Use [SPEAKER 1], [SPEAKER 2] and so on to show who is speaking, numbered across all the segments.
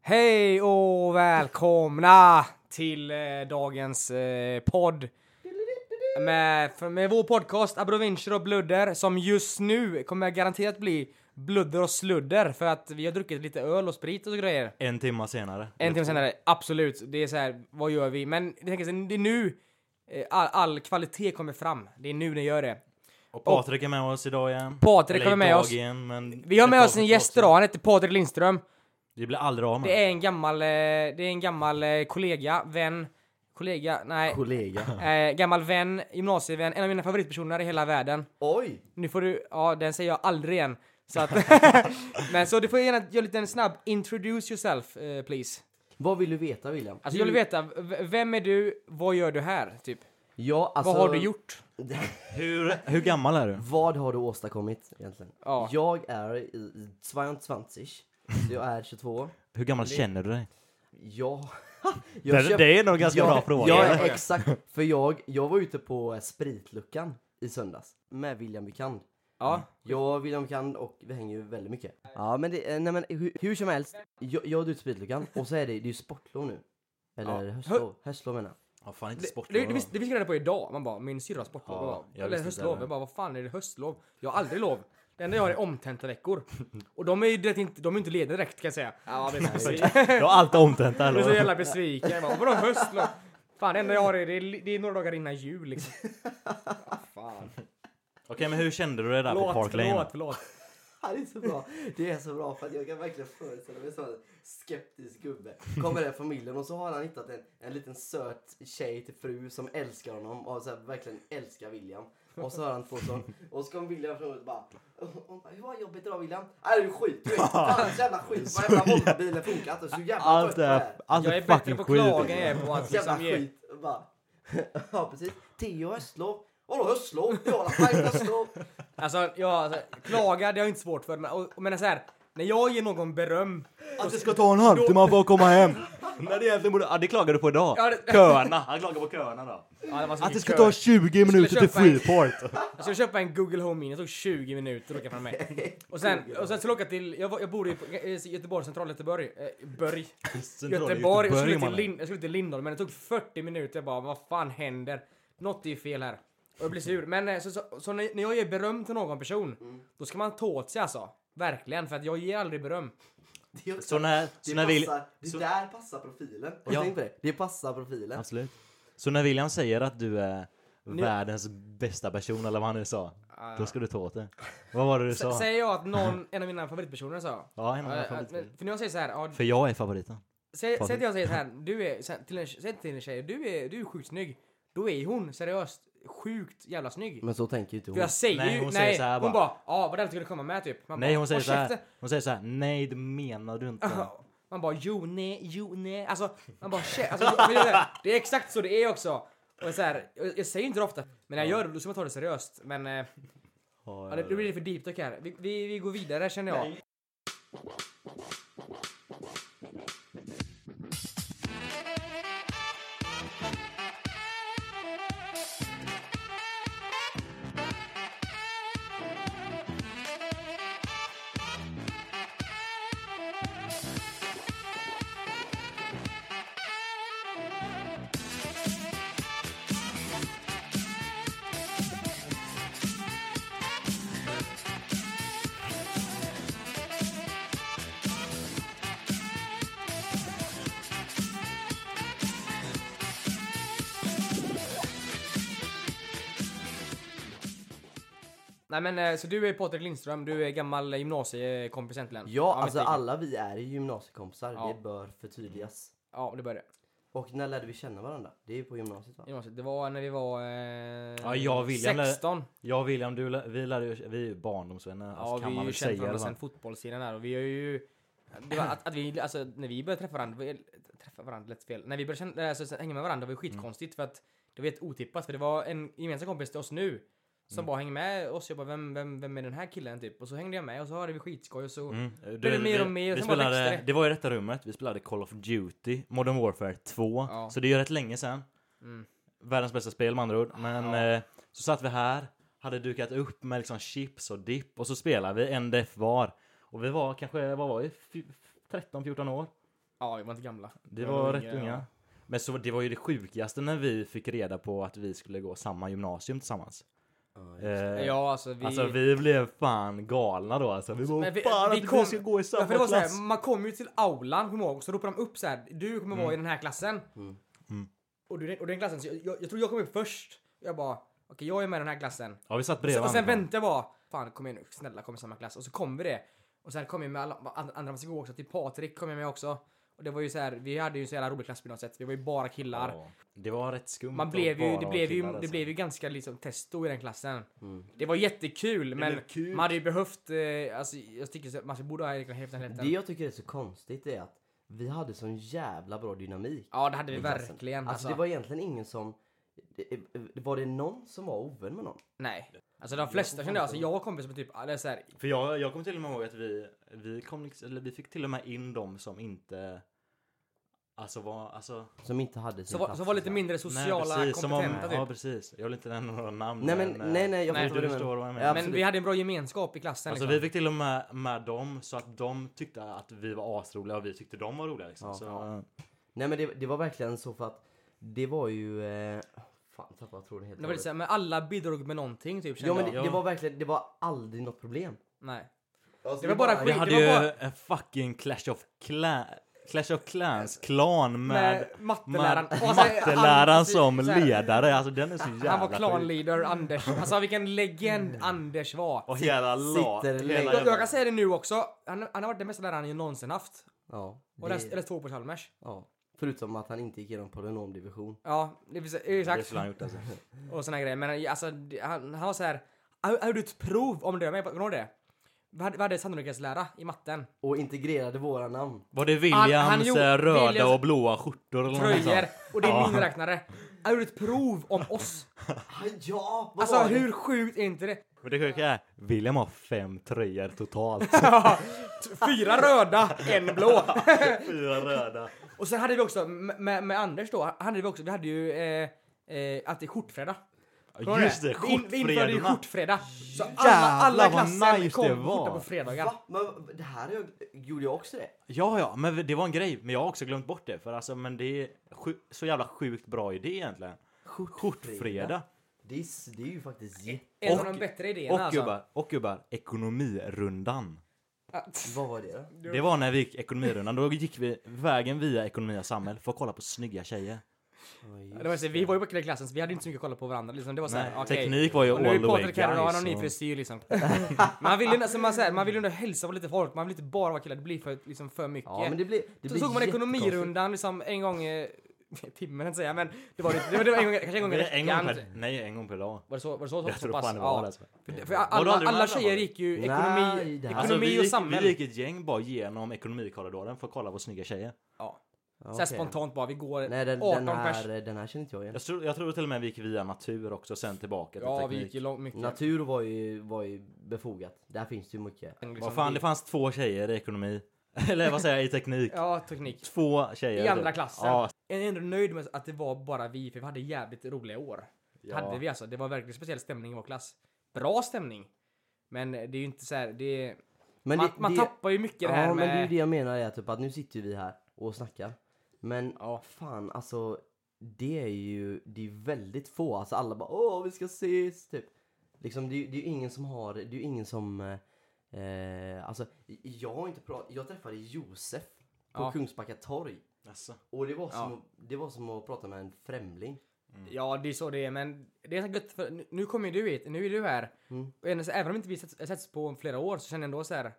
[SPEAKER 1] Hej och välkomna till eh, dagens eh, podd. Med, för- med vår podcast Abrovincher och Bludder som just nu kommer garanterat bli Bludder och Sludder för att vi har druckit lite öl och sprit och så grejer.
[SPEAKER 2] En timma senare.
[SPEAKER 1] En timme senare, absolut. Det är så här, vad gör vi? Men det tänker jag så här, det är nu eh, all, all kvalitet kommer fram. Det är nu den gör det.
[SPEAKER 2] Och Patrik är med oss idag igen.
[SPEAKER 1] Patrik
[SPEAKER 2] Eller
[SPEAKER 1] kommer med
[SPEAKER 2] idag
[SPEAKER 1] oss.
[SPEAKER 2] Igen, men
[SPEAKER 1] Vi har med
[SPEAKER 2] ett
[SPEAKER 1] oss en
[SPEAKER 2] avsnitt
[SPEAKER 1] gäst
[SPEAKER 2] också.
[SPEAKER 1] idag, han heter Patrik Lindström.
[SPEAKER 2] Vi blir aldrig av med
[SPEAKER 1] Det är en gammal, eh, det är en gammal eh, kollega, vän, kollega, nej.
[SPEAKER 3] Kollega.
[SPEAKER 1] Eh, gammal vän, gymnasievän, en av mina favoritpersoner i hela världen.
[SPEAKER 3] Oj!
[SPEAKER 1] Nu får du, ja den säger jag aldrig igen. Så att, men så du får gärna göra lite en snabb introduce yourself eh, please.
[SPEAKER 3] Vad vill du veta William?
[SPEAKER 1] Alltså jag vill veta, v- vem är du, vad gör du här? Typ.
[SPEAKER 3] Ja, alltså,
[SPEAKER 1] Vad har du gjort?
[SPEAKER 2] Hur, hur gammal är du?
[SPEAKER 3] Vad har du åstadkommit egentligen?
[SPEAKER 1] Ja.
[SPEAKER 3] Jag är i- i 22. så Jag är 22.
[SPEAKER 2] Hur gammal känner du dig?
[SPEAKER 3] Jag...
[SPEAKER 2] Det- det är nog ganska
[SPEAKER 3] jag,
[SPEAKER 2] bra fråga.
[SPEAKER 3] Ja, exakt. För jag, jag var ute på eh, spritluckan i söndags med William Wikand.
[SPEAKER 1] Ja.
[SPEAKER 3] Jag och William Wikand och vi hänger ju väldigt mycket. Ja, men det, eh, nej men hur, hur som helst. Jag, jag är ute på spritluckan och så är det, det är ju sportlov nu. Eller
[SPEAKER 1] Ja.
[SPEAKER 3] höstlov, höstlov menar jag.
[SPEAKER 2] Ja, fan inte
[SPEAKER 1] Det, det, det, visste, det fick jag reda på idag, man bara min syrra har sportlov.
[SPEAKER 2] Ja,
[SPEAKER 1] Man bara,
[SPEAKER 2] jag
[SPEAKER 1] eller
[SPEAKER 2] visste inte
[SPEAKER 1] höstlov,
[SPEAKER 2] heller.
[SPEAKER 1] jag bara vad fan är det höstlov? Jag har aldrig lov. Det enda jag har är omtenta veckor. Och de är ju direkt inte, de är inte lediga direkt kan jag säga. Ja, det är så
[SPEAKER 2] Jag har alltid omtänt det här.
[SPEAKER 1] Jag blir så
[SPEAKER 2] då.
[SPEAKER 1] jävla besviken. Jag bara, Vadå höstlov? Fan det enda jag har är, det är, det är några dagar innan jul liksom. Ah, fan.
[SPEAKER 2] Okej, men hur kände du dig där på
[SPEAKER 1] Förlåt,
[SPEAKER 2] Park Lane?
[SPEAKER 1] förlåt, förlåt.
[SPEAKER 3] Ja, Det är så bra. Det är så bra för att jag kan verkligen föreställa mig en sån skeptisk gubbe. Kommer den familjen och så har han hittat en, en liten söt tjej till fru som älskar honom och så här, verkligen älskar William. Och så hör han två sån och så kommer William fram och bara och hon bara, hur var jobbet idag William? Nej det är skit, du vet. Fan så jävla skit. Varenda Volvobilen funkar inte. Så jävla
[SPEAKER 2] Allt
[SPEAKER 3] trött
[SPEAKER 2] är, allt
[SPEAKER 1] Jag
[SPEAKER 2] är
[SPEAKER 1] är bättre
[SPEAKER 2] Alltså, fucking
[SPEAKER 1] på att klaga än jag är
[SPEAKER 2] skit. alltså.
[SPEAKER 1] på att
[SPEAKER 3] Jävla
[SPEAKER 1] liksom ge.
[SPEAKER 3] skit. Bara. Ja precis. Tio höstlov. Vadå höstlov? Jag har fan inte höstlov.
[SPEAKER 1] Alltså, jag, alltså, klaga det har jag inte svårt för. Men, och, och men så här, när jag ger någon beröm.
[SPEAKER 2] Att det ska ta en halvtimme för att komma hem. Nej, det, egentligen borde, ja, det klagar du på idag.
[SPEAKER 1] Ja, det-
[SPEAKER 2] Köerna. Han klagar på köerna då.
[SPEAKER 1] Ja, det var så
[SPEAKER 2] Att det
[SPEAKER 1] mycket
[SPEAKER 2] ska
[SPEAKER 1] kö.
[SPEAKER 2] ta 20 minuter till
[SPEAKER 1] köpa en-
[SPEAKER 2] Freeport.
[SPEAKER 1] alltså, Jag skulle köpa en Google Home Mini, det tog 20 minuter att åka från mig. Och sen, och sen skulle jag åka till, jag, var, jag bor i i Göteborg, central Göteborg. Eh, Börj.
[SPEAKER 2] Centrala
[SPEAKER 1] Göteborg, jag skulle, till
[SPEAKER 2] mannen.
[SPEAKER 1] Lin- jag skulle till Lindholmen, men det tog 40 minuter. Jag bara, vad fan händer? Något är ju fel här. Och jag blir sur. Men eh, så, så, så när när jag ger beröm till någon person, då ska man ta åt sig alltså. Verkligen, för att jag ger aldrig beröm.
[SPEAKER 3] Det är också-
[SPEAKER 2] Så när,
[SPEAKER 3] Det,
[SPEAKER 2] så när Will-
[SPEAKER 3] passar, det
[SPEAKER 2] så-
[SPEAKER 3] där passar profilen. Har
[SPEAKER 2] Ja.
[SPEAKER 3] du tänkt på det? Det passar profilen.
[SPEAKER 2] Absolut. Så när William säger att du är världens bästa person, eller vad han nu sa, då ska du ta åt det. Vad var det du
[SPEAKER 1] S-
[SPEAKER 2] sa?
[SPEAKER 1] Säger jag att någon, en av mina favoritpersoner sa.
[SPEAKER 2] Ja, en av mina
[SPEAKER 1] eh,
[SPEAKER 2] favoriter.
[SPEAKER 1] men- För när jag säger så här, ja,
[SPEAKER 2] För jag är favoriten.
[SPEAKER 1] säg, säg
[SPEAKER 2] Patrik.
[SPEAKER 1] att jag säger så här, du är, sä- till en, säg till en tjej, du är, du är sjukt snygg. Då är hon seriöst sjukt jävla snygg.
[SPEAKER 3] Men så tänker ju inte
[SPEAKER 1] För jag säger
[SPEAKER 2] Nej,
[SPEAKER 1] ju, nej,
[SPEAKER 2] hon säger så här
[SPEAKER 1] hon
[SPEAKER 2] bara.
[SPEAKER 1] bara, ja vad den skulle komma med typ. Man
[SPEAKER 2] Nej,
[SPEAKER 1] bara,
[SPEAKER 2] hon säger
[SPEAKER 1] "Håll
[SPEAKER 2] så här.
[SPEAKER 1] käften."
[SPEAKER 2] Hon säger så här. Nej, det menar du inte.
[SPEAKER 1] Man bara jo, nej, jo, nej. Alltså, man bara shit. Alltså, men det, är- det är exakt så det är också. Och så här, jag, jag säger inte det ofta, men när jag gör det då ska man ta det seriöst. Men eh, ja, det, nu blir det för deep talk här. Vi, vi, vi går vidare känner jag. Nej men eh, så du är Patrik Lindström, du är gammal gymnasiekompis egentligen.
[SPEAKER 3] Ja,
[SPEAKER 1] men
[SPEAKER 3] alltså
[SPEAKER 1] inte-
[SPEAKER 3] alla vi är ju gymnasiekompisar.
[SPEAKER 1] Ja.
[SPEAKER 3] Det bör förtydligas.
[SPEAKER 1] Ja, det började.
[SPEAKER 3] Och när lärde vi känna varandra? Det är ju på gymnasiet va?
[SPEAKER 1] Gymnasiet. Det var när vi var eh,
[SPEAKER 2] Ja, jag och William lär-
[SPEAKER 1] 16.
[SPEAKER 2] Jag och William, du, lär- vi, lär, ju- vi är ju barndomsvänner.
[SPEAKER 1] Ja,
[SPEAKER 2] alltså, kan
[SPEAKER 1] vi
[SPEAKER 2] man
[SPEAKER 1] har ju
[SPEAKER 2] väl
[SPEAKER 1] känt
[SPEAKER 2] säga.
[SPEAKER 1] varandra
[SPEAKER 2] Varandra
[SPEAKER 1] sen fotbollssidan där och vi har ju... Det var att, att vi, alltså när vi började träffa varandra, vi, träffa varandra lät fel. När vi började känna, alltså, sen hänga med varandra var
[SPEAKER 2] Mm.
[SPEAKER 1] ju skitkonstigt för att det var helt otippat för det var en gemensam kompis till oss nu som
[SPEAKER 2] Mm.
[SPEAKER 1] bara hängde med oss. Jag bara vem, vem, vem är den här killen typ? Och så hängde jag med och så hade vi skitskoj och så.
[SPEAKER 2] Mm.
[SPEAKER 1] Blev det mer och mer,
[SPEAKER 2] vi
[SPEAKER 1] sen bara
[SPEAKER 2] spelade,
[SPEAKER 1] växte det.
[SPEAKER 2] det var ju i detta rummet, vi spelade Call of Duty, Modern Warfare 2.
[SPEAKER 1] Ja.
[SPEAKER 2] Så det är ju rätt länge sedan.
[SPEAKER 1] Mm.
[SPEAKER 2] Världens bästa spel med andra ord. Men
[SPEAKER 1] Ja.
[SPEAKER 2] eh, så satt vi här, hade dukat upp med liksom chips och dipp och så spelade vi en def var. Och vi var kanske, vad var vi? Fy- 13-14 år.
[SPEAKER 1] Ja, vi var inte gamla.
[SPEAKER 2] Det
[SPEAKER 1] Vi
[SPEAKER 2] var rätt
[SPEAKER 1] yngre,
[SPEAKER 2] unga.
[SPEAKER 1] ja.
[SPEAKER 2] Men så det var ju det sjukaste när vi fick reda på att vi skulle gå samma gymnasium tillsammans. Eh,
[SPEAKER 1] Ja, alltså vi...
[SPEAKER 2] Alltså vi blev fan galna då alltså. Vi bara
[SPEAKER 1] Men vi-
[SPEAKER 2] fan
[SPEAKER 1] vi
[SPEAKER 2] att vi
[SPEAKER 1] kom-
[SPEAKER 2] ska gå i
[SPEAKER 1] Ja,
[SPEAKER 2] samma
[SPEAKER 1] för det var så
[SPEAKER 2] klass.
[SPEAKER 1] här, man kom ju till aulan, kommer jag ihåg, så ropade de upp så här. Du kommer vara i den här klassen.
[SPEAKER 3] Mm.
[SPEAKER 2] Mm.
[SPEAKER 1] Och, du, och den klassen, så jag, jag, jag tror jag kom upp först. Jag bara, okej jag är med i den här klassen.
[SPEAKER 2] Ja vi satt
[SPEAKER 1] Och
[SPEAKER 2] bredvid
[SPEAKER 1] sen, och sen
[SPEAKER 2] varandra.
[SPEAKER 1] väntade jag bara, fan kom igen nu, snälla kom i samma klass. Och så kom vi det. Och sen kom jag med alla andra andra som går också, till Patrik kom jag med också. Och det var ju så här, vi hade ju en så jävla rolig klass på något sätt. Vi var ju bara killar.
[SPEAKER 2] Ja, det var rätt skumt.
[SPEAKER 1] Man
[SPEAKER 2] att
[SPEAKER 1] blev ju,
[SPEAKER 2] bara
[SPEAKER 1] det,
[SPEAKER 2] vara
[SPEAKER 1] blev ju,
[SPEAKER 2] killar,
[SPEAKER 1] det
[SPEAKER 2] alltså.
[SPEAKER 1] blev ju ganska liksom testo i den klassen.
[SPEAKER 3] Mm.
[SPEAKER 1] Det var jättekul men
[SPEAKER 2] blev kul.
[SPEAKER 1] man hade ju behövt, eh, alltså, jag tycker så- man borde ha egentligen hälften
[SPEAKER 3] Det
[SPEAKER 1] hälften.
[SPEAKER 3] jag tycker är så konstigt är att vi hade sån jävla bra dynamik.
[SPEAKER 1] Ja det hade vi
[SPEAKER 3] i klassen.
[SPEAKER 1] verkligen.
[SPEAKER 3] Alltså,
[SPEAKER 1] Alltså,
[SPEAKER 3] det var egentligen ingen som... det- eh, Var det någon som var ovän med någon?
[SPEAKER 1] Nej. Alltså de flesta kände jag, alltså jag har kompisar som typ, ja, det är så här,
[SPEAKER 2] För jag, jag kommer till och med ihåg att vi, vi, kom, liksom- eller vi fick till och med in dem som inte... Alltså var... Alltså,
[SPEAKER 3] Som inte hade sin
[SPEAKER 1] så, var,
[SPEAKER 3] plats liksom.
[SPEAKER 1] så var
[SPEAKER 3] i
[SPEAKER 1] lite
[SPEAKER 3] klassen.
[SPEAKER 1] mindre sociala
[SPEAKER 2] som om-
[SPEAKER 1] kompetenta
[SPEAKER 2] Ja
[SPEAKER 1] typ.
[SPEAKER 2] precis. Jag vill inte nämna några namn.
[SPEAKER 3] Nej men,
[SPEAKER 2] eh,
[SPEAKER 3] nej nej jag
[SPEAKER 1] nej,
[SPEAKER 3] fattar
[SPEAKER 2] du
[SPEAKER 3] vad du
[SPEAKER 2] förstår vad jag
[SPEAKER 3] menar. Ja,
[SPEAKER 2] menar.
[SPEAKER 1] Men
[SPEAKER 3] absolut.
[SPEAKER 1] vi hade en bra gemenskap i klassen
[SPEAKER 2] Alltså vi
[SPEAKER 1] liksom.
[SPEAKER 2] fick till och med med dem så att de tyckte att vi var asroliga och vi tyckte de var roliga liksom.
[SPEAKER 3] Ja.
[SPEAKER 2] så,
[SPEAKER 3] Nej men det, det var verkligen så för att det var ju... Eh, fan tappade vad jag tror det heter.
[SPEAKER 1] Det var lite så här, men alla bidrog med någonting typ kände
[SPEAKER 3] ja men det,
[SPEAKER 1] jag.
[SPEAKER 3] det var verkligen, det var aldrig något problem.
[SPEAKER 1] Nej.
[SPEAKER 3] Alltså,
[SPEAKER 1] Det var bara
[SPEAKER 2] Vi
[SPEAKER 1] skit.
[SPEAKER 2] hade
[SPEAKER 1] det var
[SPEAKER 2] ju
[SPEAKER 1] bara-
[SPEAKER 2] en fucking Clash of Clans, Clash of Clans klan med,
[SPEAKER 1] Med matteläraren.
[SPEAKER 2] med
[SPEAKER 1] Och alltså,
[SPEAKER 2] matteläraren
[SPEAKER 1] han-
[SPEAKER 2] som
[SPEAKER 1] så här,
[SPEAKER 2] ledare. Alltså den är så jävla
[SPEAKER 1] Han var
[SPEAKER 2] sjuk.
[SPEAKER 1] klanleader Anders. Alltså vilken legend Anders var.
[SPEAKER 2] Och hela la...
[SPEAKER 3] sitter
[SPEAKER 2] hela
[SPEAKER 3] längst-
[SPEAKER 2] jävla-
[SPEAKER 1] Jag, jag kan säga det nu också. Han, han har varit den bästa läraren jag någonsin haft.
[SPEAKER 3] Ja,
[SPEAKER 1] Och läst, läst två på Chalmers.
[SPEAKER 3] ja. Förutom att han inte gick igenom polynomdivision.
[SPEAKER 1] Ja, det, finns-
[SPEAKER 2] Det
[SPEAKER 1] exakt.
[SPEAKER 2] skulle han gjort alltså.
[SPEAKER 1] Och såna grejer. Men alltså, det- han, han var så här. "Har- Har du ett prov om det? Men jag kommer du ihåg det? Vi hade, vi hade sannolikhetslära i matten.
[SPEAKER 3] Och integrerade våra namn.
[SPEAKER 2] Var det Williams
[SPEAKER 1] han gjorde-
[SPEAKER 2] eh, röda
[SPEAKER 1] Williams-
[SPEAKER 2] och blåa skjortor eller något
[SPEAKER 1] Tröjor.
[SPEAKER 2] sånt?
[SPEAKER 1] Och det
[SPEAKER 2] Ja.
[SPEAKER 1] är min räknare. Har du ett prov om oss?
[SPEAKER 3] Ah, Ja! Vad
[SPEAKER 1] Alltså
[SPEAKER 3] var det?
[SPEAKER 1] hur sjukt är inte det?
[SPEAKER 2] Men det sjuka är, William har fem tröjor totalt.
[SPEAKER 1] Fyra röda, en blå.
[SPEAKER 2] Fyra röda.
[SPEAKER 1] Och sen hade vi också, med, med- med Anders då, hade vi också, vi hade ju eh, eh, att det är skjortfredag. Kommer du
[SPEAKER 2] Just
[SPEAKER 1] ihåg
[SPEAKER 2] det,
[SPEAKER 1] Vi in- Vi införde ju
[SPEAKER 2] skjortfredorna.
[SPEAKER 1] skjortfredag. Så alla,
[SPEAKER 2] Jävlar,
[SPEAKER 1] alla i
[SPEAKER 2] vad
[SPEAKER 1] klassen
[SPEAKER 2] nice det
[SPEAKER 1] kom
[SPEAKER 2] var.
[SPEAKER 1] skjorta på fredagar.
[SPEAKER 3] Va? Men det här är- gjorde jag också det.
[SPEAKER 2] Ja, ja, men det var en grej. Men jag har också glömt bort det. För alltså, men det är sju- så jävla sjukt bra idé egentligen. Skjortfredag.
[SPEAKER 3] Det är, s- det är ju faktiskt jätte...
[SPEAKER 1] En
[SPEAKER 2] Och-
[SPEAKER 1] av de bättre idéerna
[SPEAKER 2] Och
[SPEAKER 1] alltså.
[SPEAKER 2] gubbar, och gubbar, ekonomirundan.
[SPEAKER 1] Att-
[SPEAKER 3] Vad var det då?
[SPEAKER 2] Det var när vi gick ekonomirundan. Då gick vi vägen via ekonomi och samhäll för att kolla på snygga tjejer.
[SPEAKER 1] Ja, Det var så, vi var ju på klassen så vi hade inte så mycket att kolla på varandra. Liksom. Det var så här,
[SPEAKER 2] Nej,
[SPEAKER 1] okej.
[SPEAKER 2] Teknik var ju
[SPEAKER 1] Och nu
[SPEAKER 2] all
[SPEAKER 1] är
[SPEAKER 2] the way
[SPEAKER 1] Patrik här och han har
[SPEAKER 2] guys.
[SPEAKER 1] en ny
[SPEAKER 2] och-
[SPEAKER 1] frisyr liksom. man vill ju alltså, man, så här, man vill ju ändå hälsa på lite folk, man vill inte bara vara killar, det blir för, liksom, för mycket.
[SPEAKER 3] Ja men det blir... Det
[SPEAKER 1] så
[SPEAKER 3] blir
[SPEAKER 1] såg man
[SPEAKER 3] jättekonstigt.
[SPEAKER 1] ekonomirundan liksom en gång i timmen, inte säga, men det var, det, det var en gång, kanske en gång i
[SPEAKER 2] Nej, en gång
[SPEAKER 1] veckan.
[SPEAKER 2] per, nej, en gång per dag.
[SPEAKER 1] Var det så? Var det så, så,
[SPEAKER 2] Jag
[SPEAKER 1] så
[SPEAKER 2] tror
[SPEAKER 1] pass?
[SPEAKER 2] fan det var
[SPEAKER 1] Ja.
[SPEAKER 2] det. Alltså.
[SPEAKER 1] För
[SPEAKER 2] Var du
[SPEAKER 1] alla,
[SPEAKER 2] aldrig med
[SPEAKER 1] alla
[SPEAKER 2] där,
[SPEAKER 1] tjejer
[SPEAKER 2] var du?
[SPEAKER 1] gick ju
[SPEAKER 3] Nej,
[SPEAKER 1] ekonomi,
[SPEAKER 3] det här-
[SPEAKER 2] Alltså,
[SPEAKER 1] ekonomi
[SPEAKER 2] vi,
[SPEAKER 1] och
[SPEAKER 2] gick, vi
[SPEAKER 1] samhälle.
[SPEAKER 2] gick ett gäng bara genom ekonomikorridoren för att kolla på snygga tjejer.
[SPEAKER 1] Ja.
[SPEAKER 3] Ja,
[SPEAKER 1] Såhär
[SPEAKER 3] okej.
[SPEAKER 1] spontant bara, vi går
[SPEAKER 3] Nej den,
[SPEAKER 1] 18
[SPEAKER 3] den,
[SPEAKER 1] pers.
[SPEAKER 3] här, den här känner inte jag igen.
[SPEAKER 2] Jag tror, jag tror till och med vi gick via natur också, sen tillbaka till
[SPEAKER 1] Ja, vi
[SPEAKER 2] teknik.
[SPEAKER 1] gick ju långt mycket.
[SPEAKER 3] Natur var ju, var ju befogat. Där finns det ju mycket.
[SPEAKER 1] Liksom,
[SPEAKER 2] Vad fan,
[SPEAKER 1] vi-
[SPEAKER 2] det fanns två tjejer i ekonomi. Eller vad säger jag, i teknik.
[SPEAKER 1] Ja, teknik.
[SPEAKER 2] Två tjejer.
[SPEAKER 1] I andra klassen.
[SPEAKER 2] Ja,
[SPEAKER 1] Jag är ändå nöjd med att det var bara vi, för vi hade jävligt roliga år.
[SPEAKER 2] Ja.
[SPEAKER 1] Hade vi alltså. Det var verkligen speciell stämning i vår klass. Bra stämning. Men det är ju inte så här, det är...
[SPEAKER 3] Men
[SPEAKER 1] man,
[SPEAKER 3] det,
[SPEAKER 1] man
[SPEAKER 3] det,
[SPEAKER 1] tappar ju mycket det här
[SPEAKER 3] Ja
[SPEAKER 1] med...
[SPEAKER 3] men det är ju det jag menar är typ att nu sitter vi här och snackar. Men
[SPEAKER 1] Ja.
[SPEAKER 3] fan alltså. Det är ju det är väldigt få. Alltså alla bara åh vi ska ses typ. Liksom det, är ju- det är ju ingen som har, det är ju ingen som. eh, Eh, alltså jag har inte pratat, jag träffade Josef på
[SPEAKER 1] Ja.
[SPEAKER 3] Kungsbacka torg.
[SPEAKER 2] Alltså.
[SPEAKER 3] Och det var, som,
[SPEAKER 1] Ja.
[SPEAKER 3] att- det var som att prata med en främling.
[SPEAKER 1] Mm. Ja, det är så det är, men det är så gött för nu- nu kommer ju du hit, nu är du här.
[SPEAKER 3] Mm.
[SPEAKER 1] Och även- så även om inte vi setts, setts på flera år så känner jag ändå så här.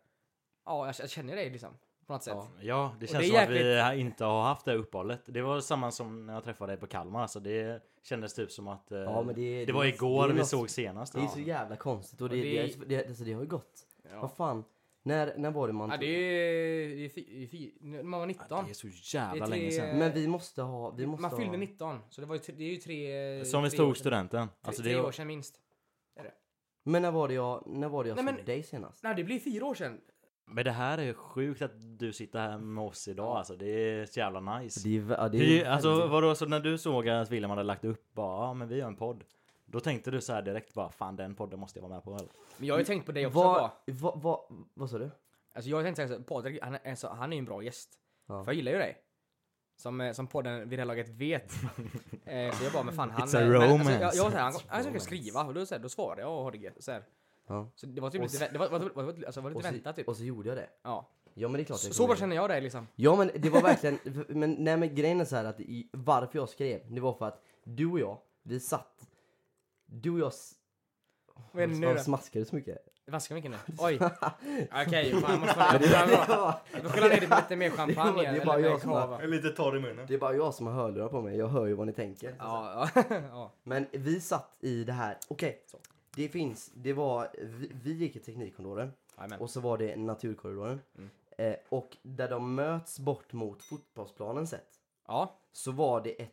[SPEAKER 1] Ja, jag, jag känner dig liksom. På något sätt.
[SPEAKER 3] Ja.
[SPEAKER 2] Ja, det
[SPEAKER 1] Och
[SPEAKER 2] känns
[SPEAKER 1] det är
[SPEAKER 2] som att vi inte har haft det här uppehållet. Det var samma som när jag träffade dig på Kalmar. Alltså, det kändes typ som att eh,
[SPEAKER 3] Ja, men det-
[SPEAKER 2] det,
[SPEAKER 3] det-
[SPEAKER 2] var igår
[SPEAKER 3] det är
[SPEAKER 2] vi
[SPEAKER 3] något-
[SPEAKER 2] såg senast.
[SPEAKER 3] Det är
[SPEAKER 2] Ja.
[SPEAKER 3] så jävla konstigt och det,
[SPEAKER 1] Och
[SPEAKER 3] det,
[SPEAKER 1] det-
[SPEAKER 3] det, det, alltså, det har ju gått.
[SPEAKER 1] Ja.
[SPEAKER 3] Vad fan. När, när var det man...
[SPEAKER 1] Ja, det är det är fi- det är fi- när man var
[SPEAKER 2] typ. Ja,
[SPEAKER 1] 19.
[SPEAKER 2] det är så jävla
[SPEAKER 1] Det är tre-
[SPEAKER 2] länge sedan.
[SPEAKER 3] Men vi måste ha... Vi måste
[SPEAKER 1] man fyllde
[SPEAKER 3] ha...
[SPEAKER 1] 19, så det, var ju, tre- det är ju tre...
[SPEAKER 2] Som vi
[SPEAKER 1] tre år
[SPEAKER 2] tog
[SPEAKER 1] sedan.
[SPEAKER 2] studenten. Alltså,
[SPEAKER 1] tre,
[SPEAKER 2] det
[SPEAKER 1] tre
[SPEAKER 2] var,
[SPEAKER 1] år sedan minst.
[SPEAKER 3] Men när var det jag, när var det jag
[SPEAKER 1] Nej,
[SPEAKER 3] såg
[SPEAKER 1] men-
[SPEAKER 3] dig senast?
[SPEAKER 1] Nej, det blir fyra år sedan.
[SPEAKER 2] Men det här är sjukt att du sitter här med oss idag alltså. Det är så jävla nice.
[SPEAKER 3] Det är, vä- ja, det är
[SPEAKER 2] Hur,
[SPEAKER 3] väldigt-
[SPEAKER 2] alltså vadå, så när du såg att William hade lagt upp bara, ja men vi gör en podd. Då tänkte du så här direkt bara, fan den podden måste jag vara med på. Eller?
[SPEAKER 1] Men jag har ju tänkt på dig också.
[SPEAKER 3] vad,
[SPEAKER 1] bara.
[SPEAKER 3] vad, vad, vad sa du?
[SPEAKER 1] Alltså jag har tänkt såhär, Patrik, han, är- alltså, han är ju en bra gäst.
[SPEAKER 3] Ja.
[SPEAKER 1] För jag gillar ju dig. Som, eh, som podden vid det här laget vet. eh, så jag bara, men fan han...
[SPEAKER 2] It's a
[SPEAKER 1] eh, men,
[SPEAKER 2] romance.
[SPEAKER 1] jag, jag, var så här, han
[SPEAKER 3] It's
[SPEAKER 1] han försökte
[SPEAKER 3] romance.
[SPEAKER 1] skriva och då, så här, då svarade jag och hade det gött. Så, här.
[SPEAKER 3] Ja.
[SPEAKER 1] så det var typ
[SPEAKER 3] Och
[SPEAKER 1] lite, vä- det var, var, var, var, alltså, var lite
[SPEAKER 3] Och så,
[SPEAKER 1] väntat typ.
[SPEAKER 3] och så gjorde jag det.
[SPEAKER 1] Ja.
[SPEAKER 3] Ja men det är klart jag
[SPEAKER 1] Så,
[SPEAKER 3] kommer
[SPEAKER 1] så bara
[SPEAKER 3] ihåg.
[SPEAKER 1] känner jag dig liksom.
[SPEAKER 3] Ja men det var verkligen, men, nej, men grejen är så här att i, varför jag skrev, det var för att du och jag, vi satt, du och jag, s-
[SPEAKER 1] Vad är det nu
[SPEAKER 3] Varför
[SPEAKER 1] då?
[SPEAKER 3] smaskar du så mycket?
[SPEAKER 1] Vaska mycket nu. Oj. Okej, fan jag måste fan, jag
[SPEAKER 3] det, är
[SPEAKER 1] får-
[SPEAKER 3] bara,
[SPEAKER 1] jag får skylla ner det med lite mer
[SPEAKER 3] Det
[SPEAKER 1] champagne
[SPEAKER 3] är
[SPEAKER 1] eller
[SPEAKER 3] bara jag
[SPEAKER 1] mer
[SPEAKER 3] som har-
[SPEAKER 1] cava.
[SPEAKER 2] Lite torr i munnen.
[SPEAKER 3] det är bara jag som har hörlurar på mig, jag hör ju vad ni tänker.
[SPEAKER 1] Ja, ja. ja.
[SPEAKER 3] Men vi satt i det här, okej,
[SPEAKER 1] Så.
[SPEAKER 3] det finns, det var, vi, vi gick i teknikkorridoren
[SPEAKER 1] Jajamän.
[SPEAKER 3] och så var det naturkorridoren.
[SPEAKER 1] Mm.
[SPEAKER 3] Eh, och där de möts bort mot fotbollsplanen sett,
[SPEAKER 1] Ja,
[SPEAKER 3] så var det ett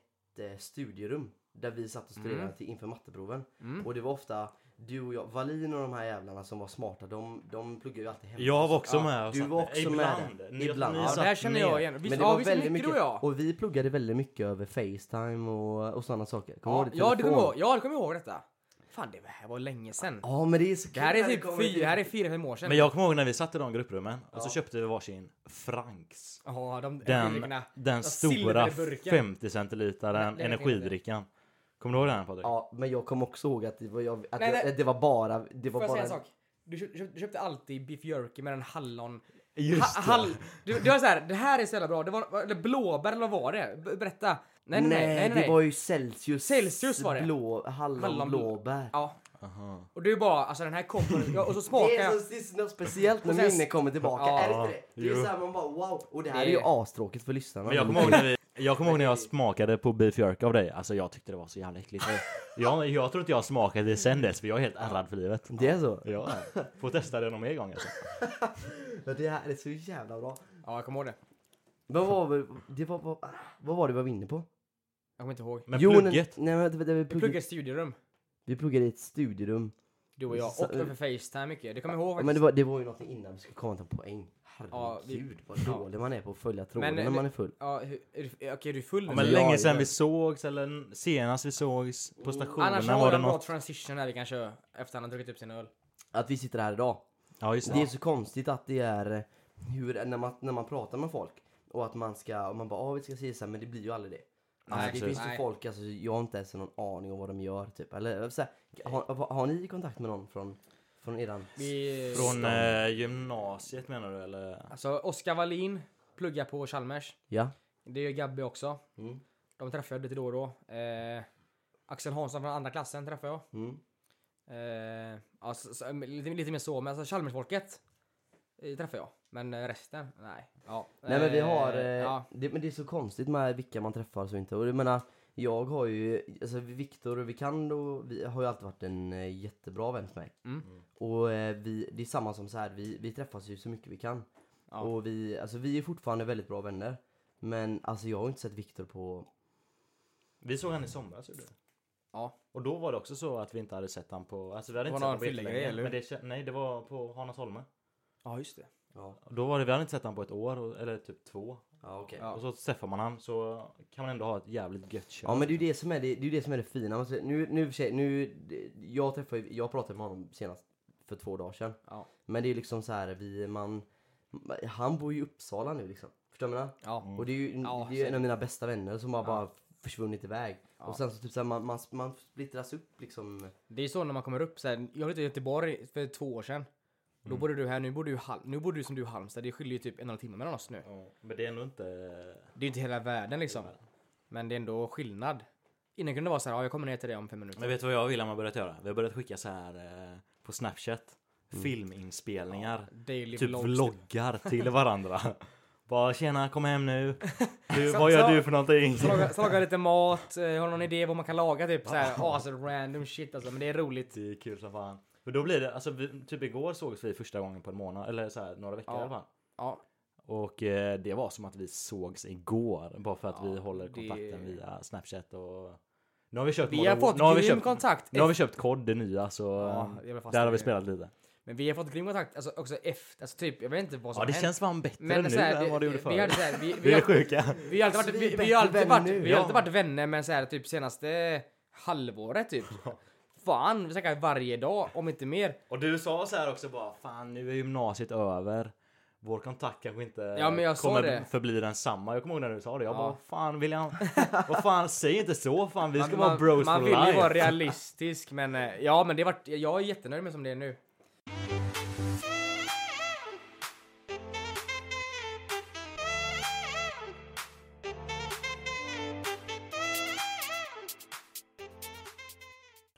[SPEAKER 3] eh, studierum där vi satt och studerade
[SPEAKER 1] Mm.
[SPEAKER 3] till, inför matteproven.
[SPEAKER 1] Mm.
[SPEAKER 3] Och det var ofta du och jag, Valin och de här jävlarna som var smarta, de, de pluggade ju alltid hemma.
[SPEAKER 2] Jag var också
[SPEAKER 1] Ja,
[SPEAKER 2] med. och
[SPEAKER 3] du
[SPEAKER 2] satt
[SPEAKER 3] var också
[SPEAKER 2] ibland.
[SPEAKER 3] med.
[SPEAKER 2] Ni-
[SPEAKER 3] Ibland.
[SPEAKER 2] ni
[SPEAKER 3] Ja,
[SPEAKER 1] ja
[SPEAKER 2] satt
[SPEAKER 1] det här känner jag
[SPEAKER 2] ner.
[SPEAKER 1] igen. Visst,
[SPEAKER 3] Men det
[SPEAKER 1] ja,
[SPEAKER 3] var
[SPEAKER 1] visst
[SPEAKER 3] väldigt
[SPEAKER 1] mycket, du och jag.
[SPEAKER 3] Och vi pluggade väldigt mycket över Facetime och, och sådana saker. Kommer
[SPEAKER 1] Ja,
[SPEAKER 3] du ihåg
[SPEAKER 1] ja, du kommer
[SPEAKER 3] Telefon.
[SPEAKER 1] ihåg, ja, du kommer ihåg detta. Fan, det här var länge sen.
[SPEAKER 3] Ja men det är så
[SPEAKER 1] Det här är
[SPEAKER 3] kul när
[SPEAKER 1] typ
[SPEAKER 3] kommer till-
[SPEAKER 1] fyra, här är fyra, fem år sedan.
[SPEAKER 2] Men jag kommer ihåg när vi satt i de grupprummen och
[SPEAKER 3] Ja.
[SPEAKER 2] så köpte vi varsin Franks.
[SPEAKER 1] Ja, de
[SPEAKER 2] Den,
[SPEAKER 1] burkarna.
[SPEAKER 2] den
[SPEAKER 1] Ja,
[SPEAKER 2] stora
[SPEAKER 1] silverburken.
[SPEAKER 2] 50
[SPEAKER 1] Nej,
[SPEAKER 2] centilitaren
[SPEAKER 1] nej, nej,
[SPEAKER 2] energidrickan. Kommer du ihåg den Patrik?
[SPEAKER 3] Ja men jag kommer också ihåg att det var, jag, att
[SPEAKER 1] Nej,
[SPEAKER 3] jag,
[SPEAKER 1] nej.
[SPEAKER 3] att det var bara, det
[SPEAKER 1] Får
[SPEAKER 3] var
[SPEAKER 1] jag säga
[SPEAKER 3] bara
[SPEAKER 1] en sak? Du köpte, du köpte alltid beef jerky med en hallon...
[SPEAKER 2] Just
[SPEAKER 1] Ha,
[SPEAKER 2] det.
[SPEAKER 1] hall, du, du var såhär, det här är så jävla bra. Det var, eller blåbär eller vad var det? B- Berätta. Nej, nej, nej. nej, nej,
[SPEAKER 3] det var ju Celsius,
[SPEAKER 1] Celsius var det.
[SPEAKER 3] blå, hallon,
[SPEAKER 1] Hallon-
[SPEAKER 3] blåbär.
[SPEAKER 1] Ja,
[SPEAKER 2] Aha.
[SPEAKER 1] och du bara, alltså den här kommer... Ja, och så
[SPEAKER 3] Det
[SPEAKER 1] smakar
[SPEAKER 3] är,
[SPEAKER 1] jag.
[SPEAKER 3] så, det är så något speciellt när
[SPEAKER 1] Och sen-
[SPEAKER 3] minnen kommer tillbaka,
[SPEAKER 1] Ja.
[SPEAKER 3] är det inte det? Det är
[SPEAKER 2] Jo.
[SPEAKER 3] såhär man bara wow! Och det här
[SPEAKER 1] Det-
[SPEAKER 3] är ju astråkigt för lyssnarna.
[SPEAKER 2] Men jag kommer ihåg när vi jag kommer ihåg när jag smakade på beef jerk av dig, alltså jag tyckte det var så jävla äckligt. Jag, jag tror inte jag smakade det sen dess för jag är helt ärrad för livet.
[SPEAKER 3] Det är så?
[SPEAKER 2] Ja, får testa det någon mer gång alltså.
[SPEAKER 3] Ja, det här är så jävla bra.
[SPEAKER 1] Ja, jag kommer ihåg det.
[SPEAKER 3] Men vad var, det var, vad, vad var det vi var inne på?
[SPEAKER 1] Jag kommer inte ihåg.
[SPEAKER 2] Men
[SPEAKER 3] Jo,
[SPEAKER 2] plugget.
[SPEAKER 3] Nej, nej, men det, det, vi,
[SPEAKER 1] Vi
[SPEAKER 3] pluggade,
[SPEAKER 1] pluggade i studierum,
[SPEAKER 3] vi pluggade i ett studierum.
[SPEAKER 1] du och jag.
[SPEAKER 3] Så-
[SPEAKER 1] Och över Facetime mycket. Det kommer jag ihåg
[SPEAKER 3] Ja,
[SPEAKER 1] faktiskt.
[SPEAKER 3] men det var, det var ju någonting innan vi skulle komma till poäng.
[SPEAKER 1] Ja, vi-
[SPEAKER 3] Herregud vad dålig man är på att följa tråden
[SPEAKER 1] Men, eh,
[SPEAKER 3] när
[SPEAKER 1] men-
[SPEAKER 3] man är full.
[SPEAKER 1] Ja, hur, är du, okej, är du full nu?
[SPEAKER 2] Ja, men
[SPEAKER 3] Ja,
[SPEAKER 2] länge
[SPEAKER 3] ja.
[SPEAKER 2] sedan vi sågs eller n- senast vi sågs på stationen
[SPEAKER 1] Mm. Annars
[SPEAKER 2] var
[SPEAKER 1] har
[SPEAKER 2] det
[SPEAKER 1] en bra
[SPEAKER 2] något.
[SPEAKER 1] transition här vi kan köra efter han har druckit upp sin öl.
[SPEAKER 3] Att vi sitter här idag.
[SPEAKER 2] Ja just
[SPEAKER 3] Det är
[SPEAKER 2] det.
[SPEAKER 3] så konstigt att det är eh, hur, när, man, när man pratar med folk och att man ska, och man bara ah, vi ska säga så här, men det blir ju aldrig det. Alltså,
[SPEAKER 1] Nej,
[SPEAKER 3] det
[SPEAKER 1] precis.
[SPEAKER 3] finns ju
[SPEAKER 1] Nej.
[SPEAKER 3] folk, alltså, jag har inte ens någon aning om vad de gör typ. Eller, så här, har, vad- har ni kontakt med någon från, från eran?
[SPEAKER 1] Vi,
[SPEAKER 2] Från eh, gymnasiet menar du eller?
[SPEAKER 1] Alltså Oskar Wallin pluggar på Chalmers.
[SPEAKER 3] Ja.
[SPEAKER 1] Det gör Gabby också.
[SPEAKER 3] Mm.
[SPEAKER 1] De träffar jag lite då och då. Eh, Axel Hansson från andra klassen träffar jag.
[SPEAKER 3] Mm.
[SPEAKER 1] Eh, alltså, så, lite, lite mer så, men alltså Chalmersfolket eh, träffar jag. Men eh, resten, nej. Ja.
[SPEAKER 3] Nej men vi har, eh,
[SPEAKER 1] Eh, ja.
[SPEAKER 3] det, men det är så konstigt med vilka man träffar så inte. Och jag menar, jag har ju, alltså Viktor och Vikando vi har ju alltid varit en eh, jättebra vän för mig.
[SPEAKER 1] Mm.
[SPEAKER 3] Och eh, vi, det är samma som så här, vi, vi träffas ju så mycket vi kan.
[SPEAKER 1] Ja.
[SPEAKER 3] Och vi, alltså vi är fortfarande väldigt bra vänner. Men alltså jag har inte sett Viktor på,
[SPEAKER 2] Vi såg han i somras gjorde vi.
[SPEAKER 1] ja.
[SPEAKER 2] Och då var det också så att vi inte hade sett han på, alltså vi hade
[SPEAKER 1] Det
[SPEAKER 2] inte
[SPEAKER 1] var någon
[SPEAKER 2] sett han på
[SPEAKER 1] fyllegrej,
[SPEAKER 2] jättelänge,
[SPEAKER 1] eller hur?
[SPEAKER 2] men det, kän- Nej det var på Hanasholme.
[SPEAKER 1] Ja, just det.
[SPEAKER 3] ja,
[SPEAKER 2] Och Då var det, vi hade inte sett han på ett år, och- eller typ två.
[SPEAKER 3] ja okej.
[SPEAKER 1] Ja.
[SPEAKER 2] Och så träffar man han så kan man ändå ha ett jävligt gött kött.
[SPEAKER 3] Ja men det är ju det som är det, det, är ju det, som är det fina. Alltså, nu, nu, i och för sig- nu, jag, träffade, ju- jag pratade med honom senast för två dagar sedan.
[SPEAKER 1] Ja.
[SPEAKER 3] Men det är liksom så här, vi, man, han bor ju i Uppsala nu liksom. Förstår du vad jag menar?
[SPEAKER 1] Ja.
[SPEAKER 3] Och det är ju,
[SPEAKER 1] Ja,
[SPEAKER 3] det är ju en
[SPEAKER 1] så-
[SPEAKER 3] av mina bästa vänner som har
[SPEAKER 1] Ja.
[SPEAKER 3] bara försvunnit iväg.
[SPEAKER 1] Ja.
[SPEAKER 3] Och sen så typ så här, man, man, man splittras upp liksom.
[SPEAKER 1] Det är så när man kommer upp. Så här, jag var ute i Göteborg för två år sedan. Då bodde du här, nu bor du, i Hal- nu bor du som du i Halmstad. Det skiljer ju typ en och en halv timme mellan oss nu.
[SPEAKER 2] Ja, Men det är ändå inte...
[SPEAKER 1] Det är ju inte hela världen liksom. Men det är ändå skillnad. Innan kunde det vara så här, ja, jag kommer ner till dig om fem minuter.
[SPEAKER 2] Men vet du vad jag och William har börjat göra? Vi har börjat skicka så här eh, på Snapchat.
[SPEAKER 1] Mm.
[SPEAKER 2] Filminspelningar.
[SPEAKER 1] Daily
[SPEAKER 2] typ
[SPEAKER 1] vlogs.
[SPEAKER 2] vloggar till varandra. Bara tjena, kom hem nu. Du,
[SPEAKER 1] Så-
[SPEAKER 2] vad gör
[SPEAKER 1] så-
[SPEAKER 2] du för någonting?
[SPEAKER 1] Så lagar- så lagar jag lite mat, eh, har någon idé vad man kan laga typ såhär as random shit alltså men det är roligt.
[SPEAKER 2] Det är kul som fan. För då blir det, alltså vi, typ igår sågs vi första gången på en månad, eller så här, några veckor
[SPEAKER 1] Ja.
[SPEAKER 2] i alla fall.
[SPEAKER 1] Ja,
[SPEAKER 2] Och eh, det var som att vi sågs igår, bara för att
[SPEAKER 1] Ja,
[SPEAKER 2] vi håller
[SPEAKER 1] det-
[SPEAKER 2] kontakten via Snapchat och... Nu har vi köpt
[SPEAKER 1] vi
[SPEAKER 2] Modern
[SPEAKER 1] har
[SPEAKER 2] War-
[SPEAKER 1] fått
[SPEAKER 2] nu har vi
[SPEAKER 1] grym
[SPEAKER 2] köpt,
[SPEAKER 1] kontakt.
[SPEAKER 2] nu har
[SPEAKER 1] efter-
[SPEAKER 2] vi köpt kod, det nya, så
[SPEAKER 1] Ja,
[SPEAKER 2] eh,
[SPEAKER 1] jag blev fast
[SPEAKER 2] där
[SPEAKER 1] i
[SPEAKER 2] har vi
[SPEAKER 1] det.
[SPEAKER 2] spelat lite.
[SPEAKER 1] Men vi har fått grym kontakt alltså också efter, alltså typ jag vet inte vad som
[SPEAKER 2] Ja, det
[SPEAKER 1] har hänt.
[SPEAKER 2] känns fan bättre nu
[SPEAKER 1] så här,
[SPEAKER 2] än vad det gjorde
[SPEAKER 1] Vi,
[SPEAKER 2] förr.
[SPEAKER 1] hade så här, vi, vi,
[SPEAKER 2] Vi är
[SPEAKER 1] har-
[SPEAKER 2] sjuka.
[SPEAKER 1] vi har alltid varit,
[SPEAKER 3] Så
[SPEAKER 1] vi,
[SPEAKER 3] vi är
[SPEAKER 1] vi har alltid
[SPEAKER 3] bättre
[SPEAKER 1] varit,
[SPEAKER 3] vänner nu.
[SPEAKER 1] vi har alltid
[SPEAKER 2] Ja.
[SPEAKER 1] varit vänner men såhär typ senaste halvåret typ. Fan, vi snackar varje dag om inte mer.
[SPEAKER 2] Och du sa så här också bara, fan nu är gymnasiet över. vår kontakt kanske inte
[SPEAKER 1] Ja, men jag sa
[SPEAKER 2] kommer
[SPEAKER 1] det.
[SPEAKER 2] förbli densamma. Jag kommer ihåg när du sa det. Jag
[SPEAKER 1] Ja.
[SPEAKER 2] bara, fan William, vad fan, säg inte så fan. Vi ska vara bros
[SPEAKER 1] Man
[SPEAKER 2] for
[SPEAKER 1] vill ju
[SPEAKER 2] life.
[SPEAKER 1] vara realistisk men eh, ja men det vart, jag är jättenöjd med som det är nu.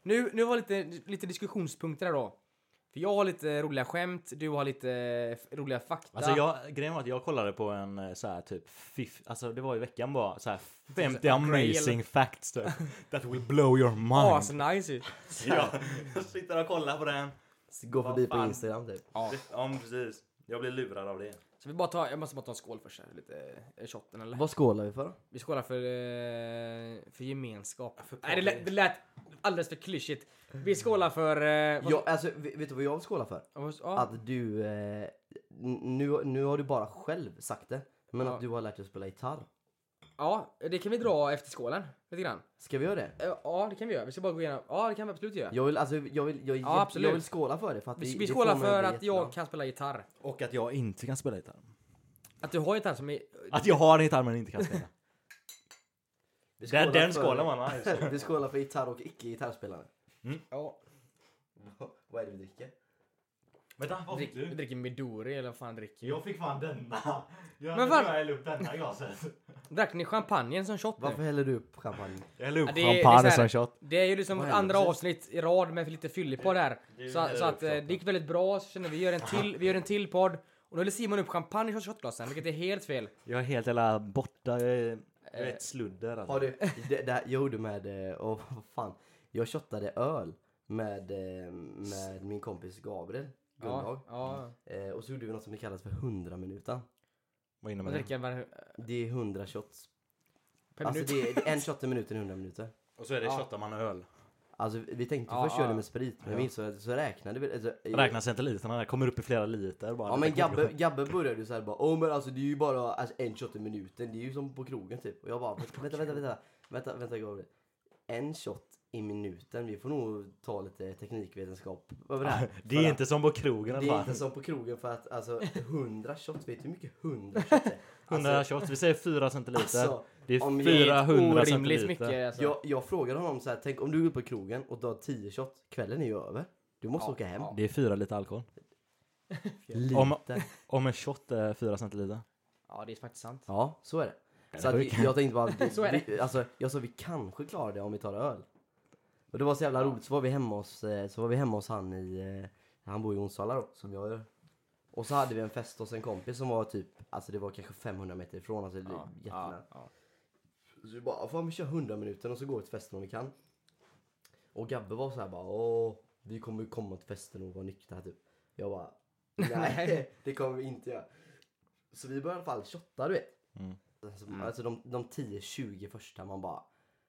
[SPEAKER 1] Nu, nu var lite, lite diskussionspunkter här då. För jag har lite roliga skämt, du har lite eh, roliga fakta.
[SPEAKER 2] Alltså jag, grejen var att jag kollade på en eh, så här typ, fiff, alltså det var i veckan bara Typ så här 50 amazing facts typ. That will blow your mind.
[SPEAKER 1] Asnice Ah, ju.
[SPEAKER 2] Ja, jag sitter och kollar på den.
[SPEAKER 3] Gå
[SPEAKER 2] Vad
[SPEAKER 3] förbi på
[SPEAKER 2] fan.
[SPEAKER 3] Instagram typ.
[SPEAKER 1] Ja.
[SPEAKER 2] Ja men precis. Jag blir lurad av det.
[SPEAKER 1] Så vi bara tar, jag måste bara ta en skål först här, lite eh, shotten eller?
[SPEAKER 3] Vad skålar vi för?
[SPEAKER 1] Vi skålar för, eh, för gemenskap. Nej, det lät, det lät alldeles för klyschigt. Vi skålar för... Eh, vad-
[SPEAKER 3] Ja, alltså, v- vet du vad jag skålar för?
[SPEAKER 1] vad- ja.
[SPEAKER 3] Att du... Eh, n- nu, nu har du bara själv sagt det. Men
[SPEAKER 1] Ja.
[SPEAKER 3] att du har lärt dig att spela gitarr.
[SPEAKER 1] ja, det kan vi dra efter skålen. Lite grann.
[SPEAKER 3] Ska vi göra det?
[SPEAKER 1] Eh, Ja, det kan vi göra. Vi ska bara gå igenom. Ja, det kan vi absolut göra.
[SPEAKER 3] Jag vill, alltså, jag vill, jag,
[SPEAKER 1] Ja, absolut.
[SPEAKER 3] jag vill skåla för det. För att
[SPEAKER 1] Vi,
[SPEAKER 3] det-
[SPEAKER 1] vi
[SPEAKER 3] det
[SPEAKER 1] skålar
[SPEAKER 3] får mig
[SPEAKER 1] för
[SPEAKER 3] bli
[SPEAKER 1] att jag
[SPEAKER 3] jättebra.
[SPEAKER 1] kan spela gitarr.
[SPEAKER 2] Och att jag inte kan spela gitarr.
[SPEAKER 1] Att du har gitarr som är...
[SPEAKER 2] Att jag har en gitarr men inte kan spela.
[SPEAKER 3] Vi
[SPEAKER 2] den den
[SPEAKER 3] för-
[SPEAKER 2] skålar man. nej, så.
[SPEAKER 3] Vi skålar för gitarr och icke-gitarrspelare.
[SPEAKER 1] Ja,
[SPEAKER 3] Vad är det vi dricker?
[SPEAKER 2] Vänta, vad
[SPEAKER 1] drick,
[SPEAKER 2] fick
[SPEAKER 1] vi
[SPEAKER 2] du?
[SPEAKER 1] dricker Midori eller vad fan dricker vi?
[SPEAKER 2] Jag fick fan denna.
[SPEAKER 1] Men
[SPEAKER 2] Jag
[SPEAKER 1] fan-
[SPEAKER 2] men fan? Jag hällde upp denna i glaset.
[SPEAKER 1] Drack ni champagne som shot
[SPEAKER 3] Varför
[SPEAKER 1] nu?
[SPEAKER 3] häller du upp champagne?
[SPEAKER 2] Jag hällde upp
[SPEAKER 1] Ja, det är- det är
[SPEAKER 2] champagne
[SPEAKER 1] så här-
[SPEAKER 2] som shot.
[SPEAKER 1] Det är ju liksom
[SPEAKER 3] Vad
[SPEAKER 1] vårt
[SPEAKER 3] är det?
[SPEAKER 1] andra avsnitt i rad med lite fyllepodd här.
[SPEAKER 2] Det är ju
[SPEAKER 1] Så,
[SPEAKER 2] det
[SPEAKER 1] så
[SPEAKER 2] där
[SPEAKER 1] att eh,
[SPEAKER 2] uppshotten.
[SPEAKER 1] det gick väldigt bra, så känner vi gör en till, vi gör en till podd. Och nu häller Simon upp champagne i shotglasen, vilket är helt fel.
[SPEAKER 2] Jag är helt jävla borta. Jag är, jag
[SPEAKER 1] Eh,
[SPEAKER 2] är ett sludder alltså.
[SPEAKER 3] Har du, det, det här, jag gjorde med, eh, åh vad fan. Jag shottade öl med, eh, med min kompis Gabriel Gullhag.
[SPEAKER 1] Ja, ja.
[SPEAKER 3] Eh, och så gjorde vi något som kallas för 100 minuter.
[SPEAKER 2] Vad innebär
[SPEAKER 3] Mm.
[SPEAKER 1] Man
[SPEAKER 2] det?
[SPEAKER 1] dricker var
[SPEAKER 3] Det är 100 shots.
[SPEAKER 1] per
[SPEAKER 3] alltså
[SPEAKER 1] minut.
[SPEAKER 3] det är det är en shot i minuten 100 minuter.
[SPEAKER 2] Och så är det
[SPEAKER 1] Ja.
[SPEAKER 2] shottar man öl.
[SPEAKER 3] Alltså vi tänkte
[SPEAKER 1] Ja,
[SPEAKER 3] först göra
[SPEAKER 1] ja.
[SPEAKER 3] det med sprit men
[SPEAKER 2] Ja.
[SPEAKER 3] vi insåg så räknade vi. Alltså, i-
[SPEAKER 2] Räknas inte literna? Det kommer upp i flera liter bara.
[SPEAKER 3] Ja
[SPEAKER 2] Detta kommer
[SPEAKER 3] men
[SPEAKER 2] bli
[SPEAKER 3] Gabbe,
[SPEAKER 2] sjukt.
[SPEAKER 3] Gabbe började ju såhär bara Åh men alltså det är ju bara alltså, en shot i minuten, det är ju som på krogen typ. Och jag bara vänta vänta vänta vänta, vänta, vänta Gabriel. En shot i minuten, vi får nog ta lite teknikvetenskap över det här.
[SPEAKER 2] Det
[SPEAKER 3] För
[SPEAKER 2] är
[SPEAKER 3] att-
[SPEAKER 2] inte som på krogen
[SPEAKER 3] Det är
[SPEAKER 2] eller
[SPEAKER 3] inte
[SPEAKER 2] fan.
[SPEAKER 3] som på krogen för att alltså 100 shots, vet du hur mycket 100 shots är?
[SPEAKER 2] 100 shots, vi säger 4 centiliter.
[SPEAKER 3] Alltså,
[SPEAKER 2] det
[SPEAKER 3] om
[SPEAKER 2] är
[SPEAKER 3] jag-
[SPEAKER 2] 400
[SPEAKER 1] Orimligt
[SPEAKER 2] centiliter.
[SPEAKER 1] mycket alltså.
[SPEAKER 3] jag, jag frågade honom så här, tänk om du går ut på krogen och tar 10 shots, kvällen är ju över. Du måste
[SPEAKER 1] Ja,
[SPEAKER 3] åka hem.
[SPEAKER 1] ja.
[SPEAKER 2] Det är 4 liter alkohol.
[SPEAKER 3] Lite.
[SPEAKER 2] Om, om en shot är 4 centiliter.
[SPEAKER 1] Ja, det är faktiskt sant.
[SPEAKER 3] Ja, så är det. Så
[SPEAKER 2] Ja,
[SPEAKER 3] att
[SPEAKER 2] det
[SPEAKER 3] vi- jag tänkte bara, vi-
[SPEAKER 1] Så är det.
[SPEAKER 3] vi, alltså, jag sa vi kanske klarar det om vi tar öl. Och det var så jävla roligt, så var vi hemma hos, eh, så var vi hemma hos han i, eh, han bor i Onsala då, som jag gör. Och så hade vi en fest hos en kompis som var typ, alltså det var kanske 500 meter ifrån, alltså det är
[SPEAKER 1] Ja,
[SPEAKER 3] jättenära.
[SPEAKER 1] ja.
[SPEAKER 3] Så vi bara, fan vi kör 100 minuter och så går vi till festen om vi kan. Och Gabbe var så här bara, åh, vi kommer ju komma till festen och vara nyktra typ. Jag bara, nej det kommer vi inte göra. Så vi började i alla fall shotta du vet.
[SPEAKER 2] Mm.
[SPEAKER 3] Alltså, alltså de, de 10-20 första man bara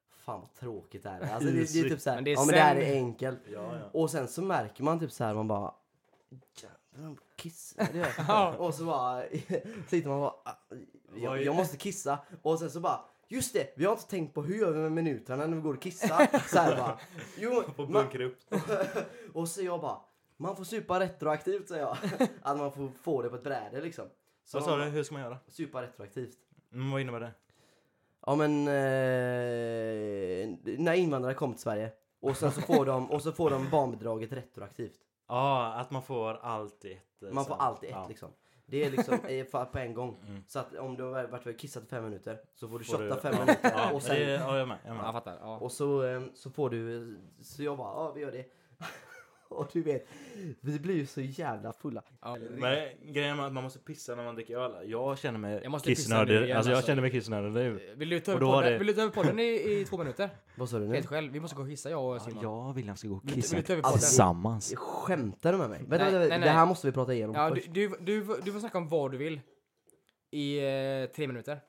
[SPEAKER 3] Fan vad tråkigt det här är. Alltså, det, det är typ
[SPEAKER 2] Mysigt.
[SPEAKER 3] såhär,
[SPEAKER 1] Men det är
[SPEAKER 3] ja men det här
[SPEAKER 1] sen-
[SPEAKER 3] är enkelt.
[SPEAKER 2] Ja, ja.
[SPEAKER 3] Och sen så märker man typ såhär man bara Jävlar de kissar. det gör jag." och så bara sitter man bara "Ah, jag, jag måste kissa. Och sen så bara Just det, vi har inte tänkt på hur gör vi med minuterna när vi går och kissar. Så här bara. Jo, man,
[SPEAKER 2] upp.
[SPEAKER 3] och så jag bara Man får supa retroaktivt säger jag. Att man får få det på ett bräde liksom. Så
[SPEAKER 2] Vad sa du?
[SPEAKER 3] man
[SPEAKER 2] Hur ska man göra?
[SPEAKER 3] bara, Supa retroaktivt.
[SPEAKER 2] Mm, vad innebär det?
[SPEAKER 3] Ja men eh, när invandrare kom till Sverige och sen så får de, och så får de barnbidraget retroaktivt.
[SPEAKER 2] Ja, att man får allt i ett. eh,
[SPEAKER 3] Man får
[SPEAKER 2] sen.
[SPEAKER 3] allt i ett
[SPEAKER 2] Ja.
[SPEAKER 3] liksom. Det är liksom eh, fa- på en gång.
[SPEAKER 2] Mm.
[SPEAKER 3] Så att om du har varit och kissat i fem minuter så får du
[SPEAKER 2] Får du-
[SPEAKER 3] shotta fem
[SPEAKER 2] ja.
[SPEAKER 3] minuter
[SPEAKER 2] Ja,
[SPEAKER 3] och
[SPEAKER 2] och det,
[SPEAKER 3] sen
[SPEAKER 2] ja, jag är med. Jag är
[SPEAKER 1] Ja, jag
[SPEAKER 2] med.
[SPEAKER 1] fattar. Ja.
[SPEAKER 3] och så, eh, så får du, så jag bara ja vi gör det. och du vet, vi blir ju så jävla fulla.
[SPEAKER 1] Ja.
[SPEAKER 2] Men grejen är att man måste pissa när man dricker öl. Jag känner mig
[SPEAKER 1] Jag måste pissa nu
[SPEAKER 2] kissnödig.
[SPEAKER 1] igen,
[SPEAKER 2] Alltså, jag
[SPEAKER 1] alltså.
[SPEAKER 2] känner mig kissnödig nu.
[SPEAKER 1] Vill du ta
[SPEAKER 2] Och
[SPEAKER 1] över
[SPEAKER 2] då var
[SPEAKER 1] podden,
[SPEAKER 2] det-
[SPEAKER 1] vill du ta över podden i, i två minuter?
[SPEAKER 3] Vad sa du nu?
[SPEAKER 1] Helt själv. Vi måste gå och kissa jag och Simon.
[SPEAKER 2] Alltså, Jag och William ska gå och
[SPEAKER 1] Vill du- vill du ta över podden?
[SPEAKER 2] tillsammans.
[SPEAKER 3] Skämtar du med mig? Vänta,
[SPEAKER 1] Nej,
[SPEAKER 3] vänta,
[SPEAKER 1] nej,
[SPEAKER 3] det
[SPEAKER 1] nej.
[SPEAKER 3] här måste vi prata igenom
[SPEAKER 1] Ja, du,
[SPEAKER 3] först.
[SPEAKER 1] du, du, du får snacka om vad du vill. I eh, tre minuter.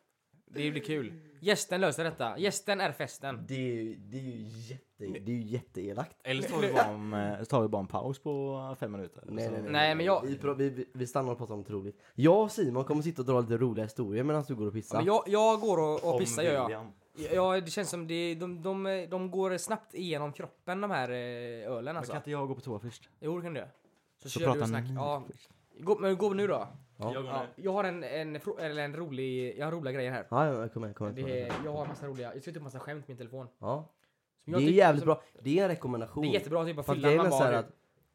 [SPEAKER 1] Det blir kul. Gästen löser detta. Gästen är festen.
[SPEAKER 3] Det är ju, det är ju jätte, det är ju jätteelakt.
[SPEAKER 2] Eller så tar vi bara en, eh, så tar vi bara en paus på eh, fem minuter.
[SPEAKER 3] Nej,
[SPEAKER 2] Så-
[SPEAKER 3] nej, nej.
[SPEAKER 1] Nej, men jag-
[SPEAKER 3] vi, pra- vi, vi- vi stannar och pratar om något roligt. Jag och Simon kommer sitta och dra lite roliga historier medan du går och
[SPEAKER 1] Ja,
[SPEAKER 3] pissar.
[SPEAKER 1] men jag, jag går och, och
[SPEAKER 2] Om
[SPEAKER 1] pissar gör jag.
[SPEAKER 2] William.
[SPEAKER 1] Ja, det känns som det, de, de, de går snabbt igenom kroppen de här eh, ölen
[SPEAKER 2] Men
[SPEAKER 1] alltså.
[SPEAKER 2] kan inte jag gå på toa först?
[SPEAKER 1] Jo, det kan du göra. Så,
[SPEAKER 2] Så
[SPEAKER 1] kör du
[SPEAKER 2] pratar
[SPEAKER 1] och snack.
[SPEAKER 2] ni
[SPEAKER 1] Ja. Gå, men gå nu då.
[SPEAKER 3] Ja.
[SPEAKER 2] Jag går
[SPEAKER 1] Ja,
[SPEAKER 2] nu.
[SPEAKER 1] jag har en, en, fro- eller en rolig, jag har roliga grejer här.
[SPEAKER 3] Ja, ja, kom igen, kom igen. Kom
[SPEAKER 1] Det
[SPEAKER 3] igen.
[SPEAKER 1] är, jag har massa roliga, jag skriver upp massa skämt på min telefon.
[SPEAKER 3] Ja.
[SPEAKER 1] Som
[SPEAKER 3] Det
[SPEAKER 1] jag
[SPEAKER 3] är
[SPEAKER 1] tycker-
[SPEAKER 3] jävligt
[SPEAKER 1] som-
[SPEAKER 3] bra. Det är en rekommendation.
[SPEAKER 1] Det är jättebra typ att
[SPEAKER 3] För att
[SPEAKER 1] fylla.
[SPEAKER 3] grejen är
[SPEAKER 1] Man
[SPEAKER 3] så här
[SPEAKER 1] bara,
[SPEAKER 3] att,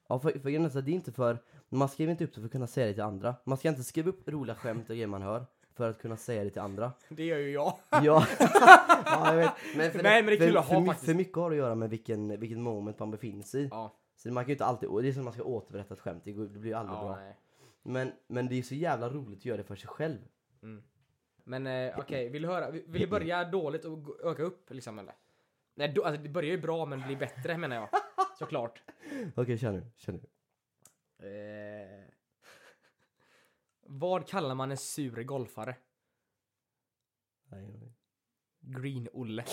[SPEAKER 3] ja, för, för grejen är så här, det är inte för, man skriver inte upp det för att kunna säga det till andra. Man ska inte skriva upp roliga skämt och grejer man hör för att kunna säga det till andra.
[SPEAKER 1] det gör ju jag.
[SPEAKER 3] Ja, ja jag vet. Men för,
[SPEAKER 1] Nej, men det är kul
[SPEAKER 3] för,
[SPEAKER 1] att ha
[SPEAKER 3] för, my-
[SPEAKER 1] faktiskt.
[SPEAKER 3] för mycket har att göra med vilken, vilket moment man befinner sig i.
[SPEAKER 1] Ja,
[SPEAKER 3] Så man kan ju inte alltid, och det är som att man ska återberätta ett skämt, det, går, det blir ju aldrig
[SPEAKER 1] ja
[SPEAKER 3] bra.
[SPEAKER 1] nej.
[SPEAKER 3] Men, men det är så jävla roligt att göra det för sig själv.
[SPEAKER 1] Men eh, okej, vill du höra? Vill du börja dåligt och gå- öka upp liksom eller? Nej, då, alltså, det börjar ju bra men blir bättre menar jag. Såklart.
[SPEAKER 3] Okej, kör nu, kör nu.
[SPEAKER 1] Eh, vad kallar man en sur golfare?
[SPEAKER 3] Nej, nej.
[SPEAKER 1] Green-Olle.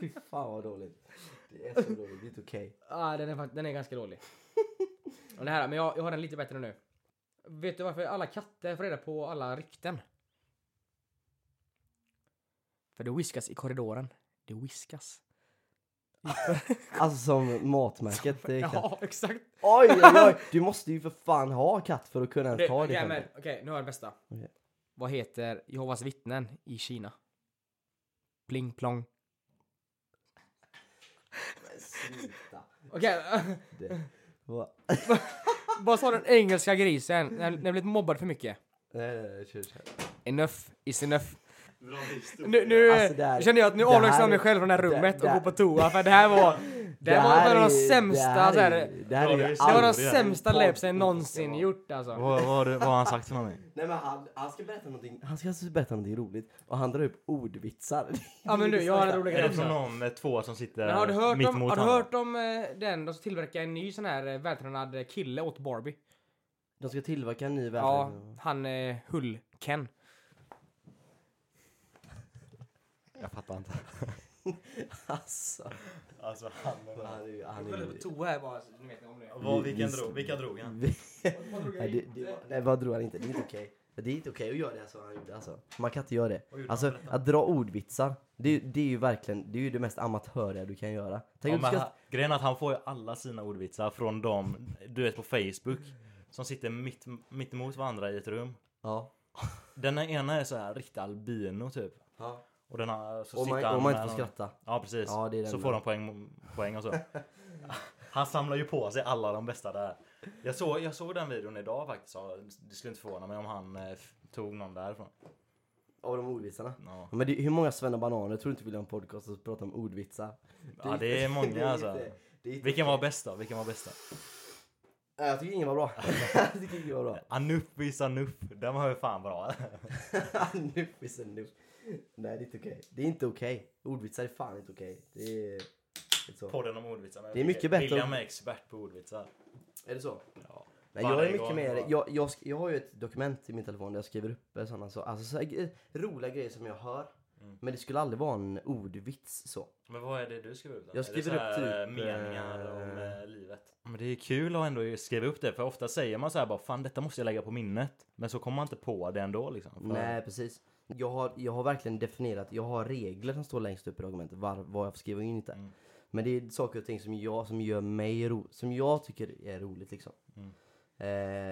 [SPEAKER 3] Fy fan vad dåligt. Det är så dåligt, det är inte okej.
[SPEAKER 1] Ah, den, är, fakt- den är ganska dålig. Och det här, men jag, jag har den lite bättre nu. Vet du varför alla katter får reda på alla rykten? För det whiskas i korridoren. Det whiskas.
[SPEAKER 3] Alltså som matmärket. Det är katt.
[SPEAKER 1] Ja, exakt.
[SPEAKER 3] Oj, oj, oj. Du måste ju för fan ha katt för att kunna
[SPEAKER 1] Det,
[SPEAKER 3] ens ta det
[SPEAKER 1] okej, men,
[SPEAKER 3] skämtet.
[SPEAKER 1] okej, nu har jag den bästa.
[SPEAKER 3] Okej.
[SPEAKER 1] Vad heter Jehovas vittnen i Kina? Pling plong.
[SPEAKER 3] Men Sluta.
[SPEAKER 1] Okej,
[SPEAKER 3] Det var...
[SPEAKER 1] vad sa den engelska grisen? Den den har blivit mobbad för mycket.
[SPEAKER 3] Nej, nej, nej, kör, kör.
[SPEAKER 1] Enough is enough.
[SPEAKER 2] Bra historia.
[SPEAKER 1] Nu, nu
[SPEAKER 3] Alltså, det här-
[SPEAKER 1] känner jag att nu
[SPEAKER 3] det här
[SPEAKER 1] avlägsnar jag mig
[SPEAKER 3] är-
[SPEAKER 1] själv från det här
[SPEAKER 3] det-
[SPEAKER 1] rummet
[SPEAKER 3] det-
[SPEAKER 1] och går på toa för det här var... Det här var
[SPEAKER 3] här
[SPEAKER 1] en av de
[SPEAKER 3] är-
[SPEAKER 1] sämsta...
[SPEAKER 3] Det här
[SPEAKER 1] så här,
[SPEAKER 3] är, det här
[SPEAKER 2] Ja,
[SPEAKER 3] är
[SPEAKER 2] det är
[SPEAKER 3] ju
[SPEAKER 2] så-
[SPEAKER 1] det var de
[SPEAKER 2] aldrig-
[SPEAKER 1] sämsta
[SPEAKER 3] Podd-
[SPEAKER 1] läpsen jag någonsin
[SPEAKER 3] Ja.
[SPEAKER 1] gjort alltså.
[SPEAKER 2] Vad, vad, har du- vad har han sagt till mig?
[SPEAKER 3] Nej men han, han ska berätta någonting, han ska alltså berätta någonting roligt och han drar upp ordvitsar.
[SPEAKER 1] Ja men du, jag har en rolig
[SPEAKER 2] Är
[SPEAKER 1] grej
[SPEAKER 2] det från
[SPEAKER 1] också.
[SPEAKER 2] de två som sitter
[SPEAKER 1] Men har
[SPEAKER 3] Eh,
[SPEAKER 1] du hört
[SPEAKER 2] mitt
[SPEAKER 1] om,
[SPEAKER 2] mot
[SPEAKER 1] har du
[SPEAKER 2] honom?
[SPEAKER 1] hört om eh, den de ska tillverka en ny sån här eh, vältränad kille åt Barbie?
[SPEAKER 3] De ska tillverka en ny
[SPEAKER 1] Ja,
[SPEAKER 3] värld.
[SPEAKER 1] han eh, Hull-Ken.
[SPEAKER 2] Jag fattar inte.
[SPEAKER 3] Alltså.
[SPEAKER 2] Alltså
[SPEAKER 3] Han är ju... Han
[SPEAKER 1] Jag
[SPEAKER 3] är
[SPEAKER 1] kollade
[SPEAKER 3] ju...
[SPEAKER 1] på toa här bara, så ni vet om det.
[SPEAKER 2] Vad, vilken drog, vilka drog
[SPEAKER 1] Mm.
[SPEAKER 2] han?
[SPEAKER 3] Vi- Nej, det, det, var- nej, vad drog han inte? Det är inte okej. Det är inte okej att göra det så han gjorde alltså. Man kan inte göra det.
[SPEAKER 2] Vad gjorde
[SPEAKER 3] Alltså
[SPEAKER 2] han? Berätta.
[SPEAKER 3] att dra ordvitsar, det, det är ju verkligen det, är ju det mest amatöriga du kan göra. Tänk
[SPEAKER 2] Ja,
[SPEAKER 3] om du
[SPEAKER 2] men
[SPEAKER 3] ska...
[SPEAKER 2] han, grejen är att han får ju alla sina ordvitsar från dem, du vet på Facebook, som sitter mitt, mitt emot varandra i ett rum.
[SPEAKER 3] Ja.
[SPEAKER 2] Den ena är så här riktig albino typ. Och den här, så
[SPEAKER 3] Om
[SPEAKER 2] sitter
[SPEAKER 3] man,
[SPEAKER 2] han
[SPEAKER 3] om man
[SPEAKER 2] med
[SPEAKER 3] inte får
[SPEAKER 2] någon-
[SPEAKER 3] skratta.
[SPEAKER 2] Ja precis.
[SPEAKER 3] Ja, det är den
[SPEAKER 2] så
[SPEAKER 3] där.
[SPEAKER 2] får de poäng, poäng och så. Han samlar ju på sig alla de bästa där. Jag såg, jag såg den videon idag faktiskt. Så det skulle inte förvåna mig om han eh, f- tog någon därifrån.
[SPEAKER 3] Av de ordvitsarna.
[SPEAKER 2] Ja.
[SPEAKER 3] Ja, Men det, hur många Svennebananer tror du inte vill ha en podcast och prata om ordvitsar?
[SPEAKER 2] Ja, det är många, alltså.
[SPEAKER 3] inte- det är inte-
[SPEAKER 2] Vilken var bäst då? Vilken var bäst då?
[SPEAKER 3] Nej, Jag tycker ingen var bra. jag tycker ingen var bra.
[SPEAKER 2] Anuppis Anupp. Den var ju fan bra.
[SPEAKER 3] Nuff is a nuff. Nej, det är inte okej. Det är inte okej. Ordvitsar är fan inte okej. Det är... Det är, så.
[SPEAKER 2] Podden om ordvitsar. med
[SPEAKER 3] Det är mycket bättre
[SPEAKER 2] William
[SPEAKER 3] om-
[SPEAKER 2] är expert på ordvitsar.
[SPEAKER 3] är det så?
[SPEAKER 2] Ja.
[SPEAKER 3] Nej, jag är
[SPEAKER 2] Varje
[SPEAKER 3] mycket
[SPEAKER 2] gång
[SPEAKER 3] mer...
[SPEAKER 2] bara.
[SPEAKER 3] Jag, jag, sk- jag har ju ett dokument i min telefon där jag skriver upp eh, sådana så, alltså, så här, gre- roliga grejer som jag hör.
[SPEAKER 2] Mm.
[SPEAKER 3] Men det skulle aldrig vara en ordvits så.
[SPEAKER 2] Men vad är det du skriver upp? då?
[SPEAKER 3] Jag
[SPEAKER 2] Är det
[SPEAKER 3] skriver
[SPEAKER 2] så
[SPEAKER 3] upp
[SPEAKER 2] här,
[SPEAKER 3] typ,
[SPEAKER 2] eh, Meningar om
[SPEAKER 3] eh,
[SPEAKER 2] eh, livet. Men det är kul att ändå skriva upp det. För ofta säger man så här bara fan detta måste jag lägga på minnet. Men så kommer man inte på det ändå liksom. För-
[SPEAKER 3] Nej, precis. Jag har, jag har verkligen definierat, jag har regler som står längst upp i dokumentet, var, vad jag får skriva och inte.
[SPEAKER 2] Mm.
[SPEAKER 3] Men det är saker och ting som jag, som gör mig ro, som jag tycker är roligt liksom.
[SPEAKER 2] Mm.
[SPEAKER 3] Eh,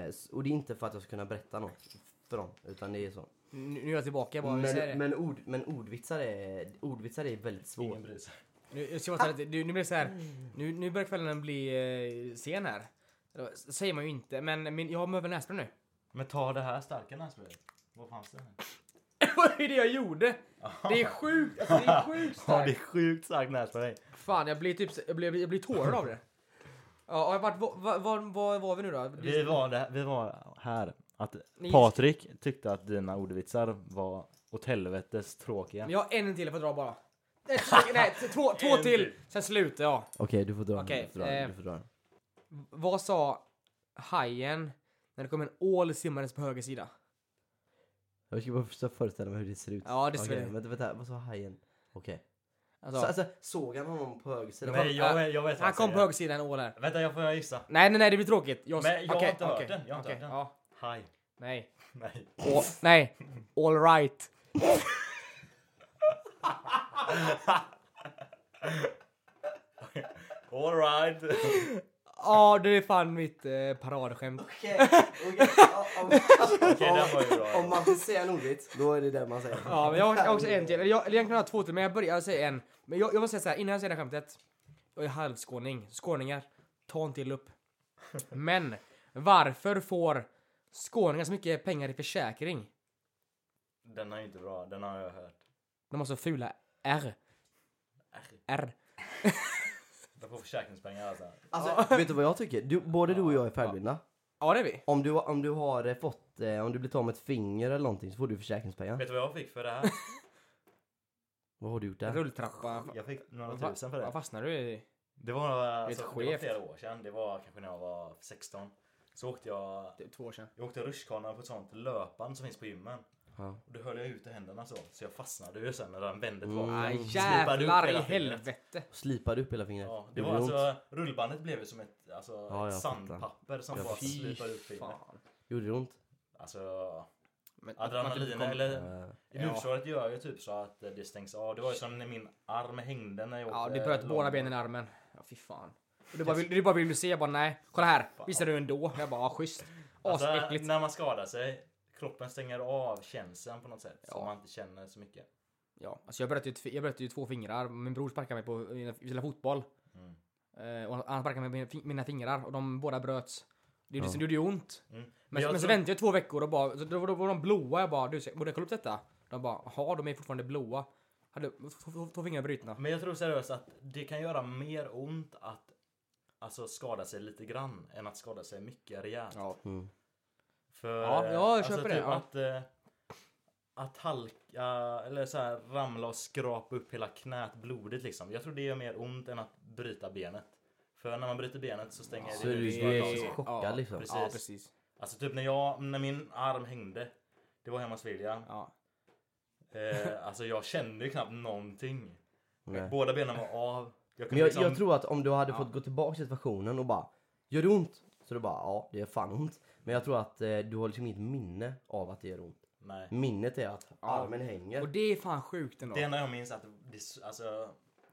[SPEAKER 3] s- och det är inte för att jag ska kunna berätta något för dem, utan det är så.
[SPEAKER 1] Nu nu är jag tillbaka, jag bara vill säga
[SPEAKER 3] Men,
[SPEAKER 1] det.
[SPEAKER 3] men, ord, men ordvitsar, är, ordvitsar är väldigt svårt.
[SPEAKER 2] Ingen bryr sig.
[SPEAKER 1] Nu, jag ska bara säga att nu, nu blir det så här. Nu, nu börjar kvällen bli eh, sen här. Eller, s- Säger man ju inte, men min, jag har möbel nässpray nu.
[SPEAKER 2] Men ta det här starka nässprayet. Vad fanns det? här?
[SPEAKER 1] Det var ju det jag gjorde! Det är sjukt, alltså det är sjukt
[SPEAKER 2] Ja det är
[SPEAKER 1] starkt.
[SPEAKER 2] sjukt starkt nässpray.
[SPEAKER 1] Fan jag blir typ, så- jag blir, jag blir tårad av det. Ja, har jag varit, var, var, var var vi nu då?
[SPEAKER 2] Vi var, det, vi var här. Att
[SPEAKER 1] Ni-
[SPEAKER 2] Patrik tyckte att dina ordvitsar var åt helvetes tråkiga.
[SPEAKER 1] Men jag har en till jag får dra bara. Ett stycke- Nej, t- två, två
[SPEAKER 2] En
[SPEAKER 1] till,
[SPEAKER 2] till.
[SPEAKER 1] sen slutar jag.
[SPEAKER 3] Okej, du får dra
[SPEAKER 1] Okej,
[SPEAKER 3] den. Du får dra den,
[SPEAKER 1] eh,
[SPEAKER 3] du får dra den.
[SPEAKER 1] Vad sa hajen när det kom en ål simmandes på höger sida?
[SPEAKER 3] Jag ska bara först- föreställa mig hur det ser ut.
[SPEAKER 1] Ja, det ser
[SPEAKER 3] Okej,
[SPEAKER 1] väl-
[SPEAKER 3] vänta, vänta, vad sa hajen? Okej.
[SPEAKER 1] Alltså,
[SPEAKER 3] Så, alltså, såg han honom på höger sida?
[SPEAKER 2] Nej jag, jag vet vad
[SPEAKER 1] han kom på
[SPEAKER 2] säger.
[SPEAKER 1] höger sida en ål här.
[SPEAKER 2] Vänta jag får gissa.
[SPEAKER 1] Nej, nej, nej, det blir tråkigt. Jag,
[SPEAKER 2] Men jag har
[SPEAKER 1] okej,
[SPEAKER 2] inte hört
[SPEAKER 1] okej,
[SPEAKER 2] den, jag har inte
[SPEAKER 1] okej,
[SPEAKER 2] hört den.
[SPEAKER 1] Ja,
[SPEAKER 2] Hej.
[SPEAKER 1] nej.
[SPEAKER 2] Nej.
[SPEAKER 1] Å- nej. All right.
[SPEAKER 2] Alright.
[SPEAKER 1] Ja, det är fan mitt eh, paradskämt.
[SPEAKER 3] Okej, okej. Ja, om-
[SPEAKER 2] Okej, den var ju bra.
[SPEAKER 3] Om man vill säga en ordvits, då är det det man säger.
[SPEAKER 1] Ja, men jag har jag har också en till. Eller jag, eller egentligen har jag två till, men jag börjar säga en. Men jag, jag måste säga så här, innan jag säger det här skämtet. Jag är halvskåning. Skåningar, ta en till upp. Men, varför får skåningar så mycket pengar i försäkring?
[SPEAKER 2] Den är inte bra, den har jag hört.
[SPEAKER 1] De har så fula R. R.
[SPEAKER 2] De får försäkringspengar alltså.
[SPEAKER 3] Alltså, vet du vad jag tycker? Du, både du och jag är färdblinda.
[SPEAKER 1] Ja, det är vi.
[SPEAKER 3] Om du, om du har eh, fått, eh, om du blivit av med ett finger eller någonting så får du försäkringspengar.
[SPEAKER 2] Vet du vad jag fick för det här?
[SPEAKER 3] Vad har du gjort där?
[SPEAKER 1] Rulltrappa.
[SPEAKER 2] Jag fick några
[SPEAKER 1] Vad
[SPEAKER 2] tusen för
[SPEAKER 1] va,
[SPEAKER 2] det.
[SPEAKER 1] vad fastnar du i?
[SPEAKER 2] Det var, alltså, det var
[SPEAKER 1] skevt.
[SPEAKER 2] flera år sedan, det var kanske när jag var 16. Så åkte jag,
[SPEAKER 1] Det är två år sedan.
[SPEAKER 2] jag åkte rutschkana på ett sånt löpband som finns på gymmen.
[SPEAKER 3] Ja.
[SPEAKER 2] Och då höll jag ute händerna så, så jag fastnade ju sen när den vände
[SPEAKER 3] Mm.
[SPEAKER 2] tillbaka.
[SPEAKER 1] Aj,
[SPEAKER 2] Slipade upp
[SPEAKER 1] jävlar i
[SPEAKER 2] hela fingret.
[SPEAKER 1] helvete.
[SPEAKER 3] Slipade upp hela fingret.
[SPEAKER 2] Ja, det
[SPEAKER 3] Det
[SPEAKER 2] var
[SPEAKER 3] gjorde ont.
[SPEAKER 2] alltså, rullbandet blev ju som ett, alltså,
[SPEAKER 3] jag
[SPEAKER 2] ett
[SPEAKER 3] fattar.
[SPEAKER 2] sandpapper som
[SPEAKER 3] Jag
[SPEAKER 2] bara
[SPEAKER 3] fattar.
[SPEAKER 2] slipade upp fingret.
[SPEAKER 1] Fan.
[SPEAKER 3] Gjorde det ont?
[SPEAKER 2] Alltså,
[SPEAKER 1] Men, man
[SPEAKER 2] adrenalin
[SPEAKER 1] typ kom-
[SPEAKER 2] eller
[SPEAKER 3] Eh,
[SPEAKER 2] i luftslaget gör ju typ så att det stängs av. Det var ju som när min arm hängde när jag
[SPEAKER 1] Ja,
[SPEAKER 2] åkte
[SPEAKER 1] du bröt
[SPEAKER 2] lång-
[SPEAKER 1] båda benen i armen. Ja, fy fan. Och du bara, vill, du bara vill du se? Jag bara, nej. Kolla här.
[SPEAKER 2] Fan.
[SPEAKER 1] Visar du ändå? Jag bara, ja, schysst.
[SPEAKER 2] Alltså,
[SPEAKER 1] Asäckligt.
[SPEAKER 2] när man skadar sig, kroppen stänger av känslan på något sätt. Så
[SPEAKER 1] Ja.
[SPEAKER 2] man inte känner så mycket.
[SPEAKER 1] Ja, alltså jag bröt ju, tv- jag bröt ju två fingrar. Min bror sparkade mig på, vi spelade fotboll.
[SPEAKER 2] Mm.
[SPEAKER 1] Eh, och han sparkade mig på mina fi- mina fingrar och de båda bröts. Det gjorde,
[SPEAKER 3] Ja.
[SPEAKER 1] det gjorde ju ont.
[SPEAKER 2] Mm.
[SPEAKER 1] Men,
[SPEAKER 2] jag
[SPEAKER 1] men så
[SPEAKER 2] tror-
[SPEAKER 1] väntade jag två veckor och bara, så då, då var de blåa. Jag bara, du, ska- borde jag kolla upp detta? De bara, jaha, de är fortfarande blåa. Hade två, två, två fingrar brutna.
[SPEAKER 2] Men jag tror seriöst att det kan göra mer ont att alltså, skada sig lite grann än att skada sig mycket rejält.
[SPEAKER 1] Ja.
[SPEAKER 3] Mm.
[SPEAKER 2] För,
[SPEAKER 1] Ja,
[SPEAKER 2] eh,
[SPEAKER 1] jag
[SPEAKER 2] alltså,
[SPEAKER 1] köper
[SPEAKER 2] typ
[SPEAKER 1] det, ja.
[SPEAKER 2] Att, eh, att halka eller så här, ramla och skrapa upp hela knät blodigt liksom. Jag tror det gör mer ont än att bryta benet. För när man bryter benet så stänger
[SPEAKER 1] Ja,
[SPEAKER 3] Så
[SPEAKER 2] det
[SPEAKER 3] du,
[SPEAKER 2] ut
[SPEAKER 1] det-
[SPEAKER 3] du
[SPEAKER 2] bara
[SPEAKER 3] är
[SPEAKER 2] av.
[SPEAKER 3] så
[SPEAKER 1] Ja,
[SPEAKER 3] chockad liksom.
[SPEAKER 2] precis.
[SPEAKER 1] Ja, precis.
[SPEAKER 2] Alltså typ när jag, när min arm hängde. Det var hemma hos William.
[SPEAKER 1] Ja.
[SPEAKER 2] Eh, alltså jag kände ju knappt någonting.
[SPEAKER 3] Nej.
[SPEAKER 2] Båda benen var av. Jag kunde
[SPEAKER 3] Men jag,
[SPEAKER 2] liksom-
[SPEAKER 3] jag tror att om du hade
[SPEAKER 1] Ja.
[SPEAKER 3] fått gå tillbaka till situationen och bara Gör det ont? Så du bara ja, det gör fan ont. Men jag tror att eh, du har liksom inget minne av att det gör ont.
[SPEAKER 2] Nej.
[SPEAKER 1] Mm.
[SPEAKER 3] Minnet är att armen hänger.
[SPEAKER 1] Och det är fan sjukt ändå.
[SPEAKER 2] Det enda jag minns är att det, s- alltså,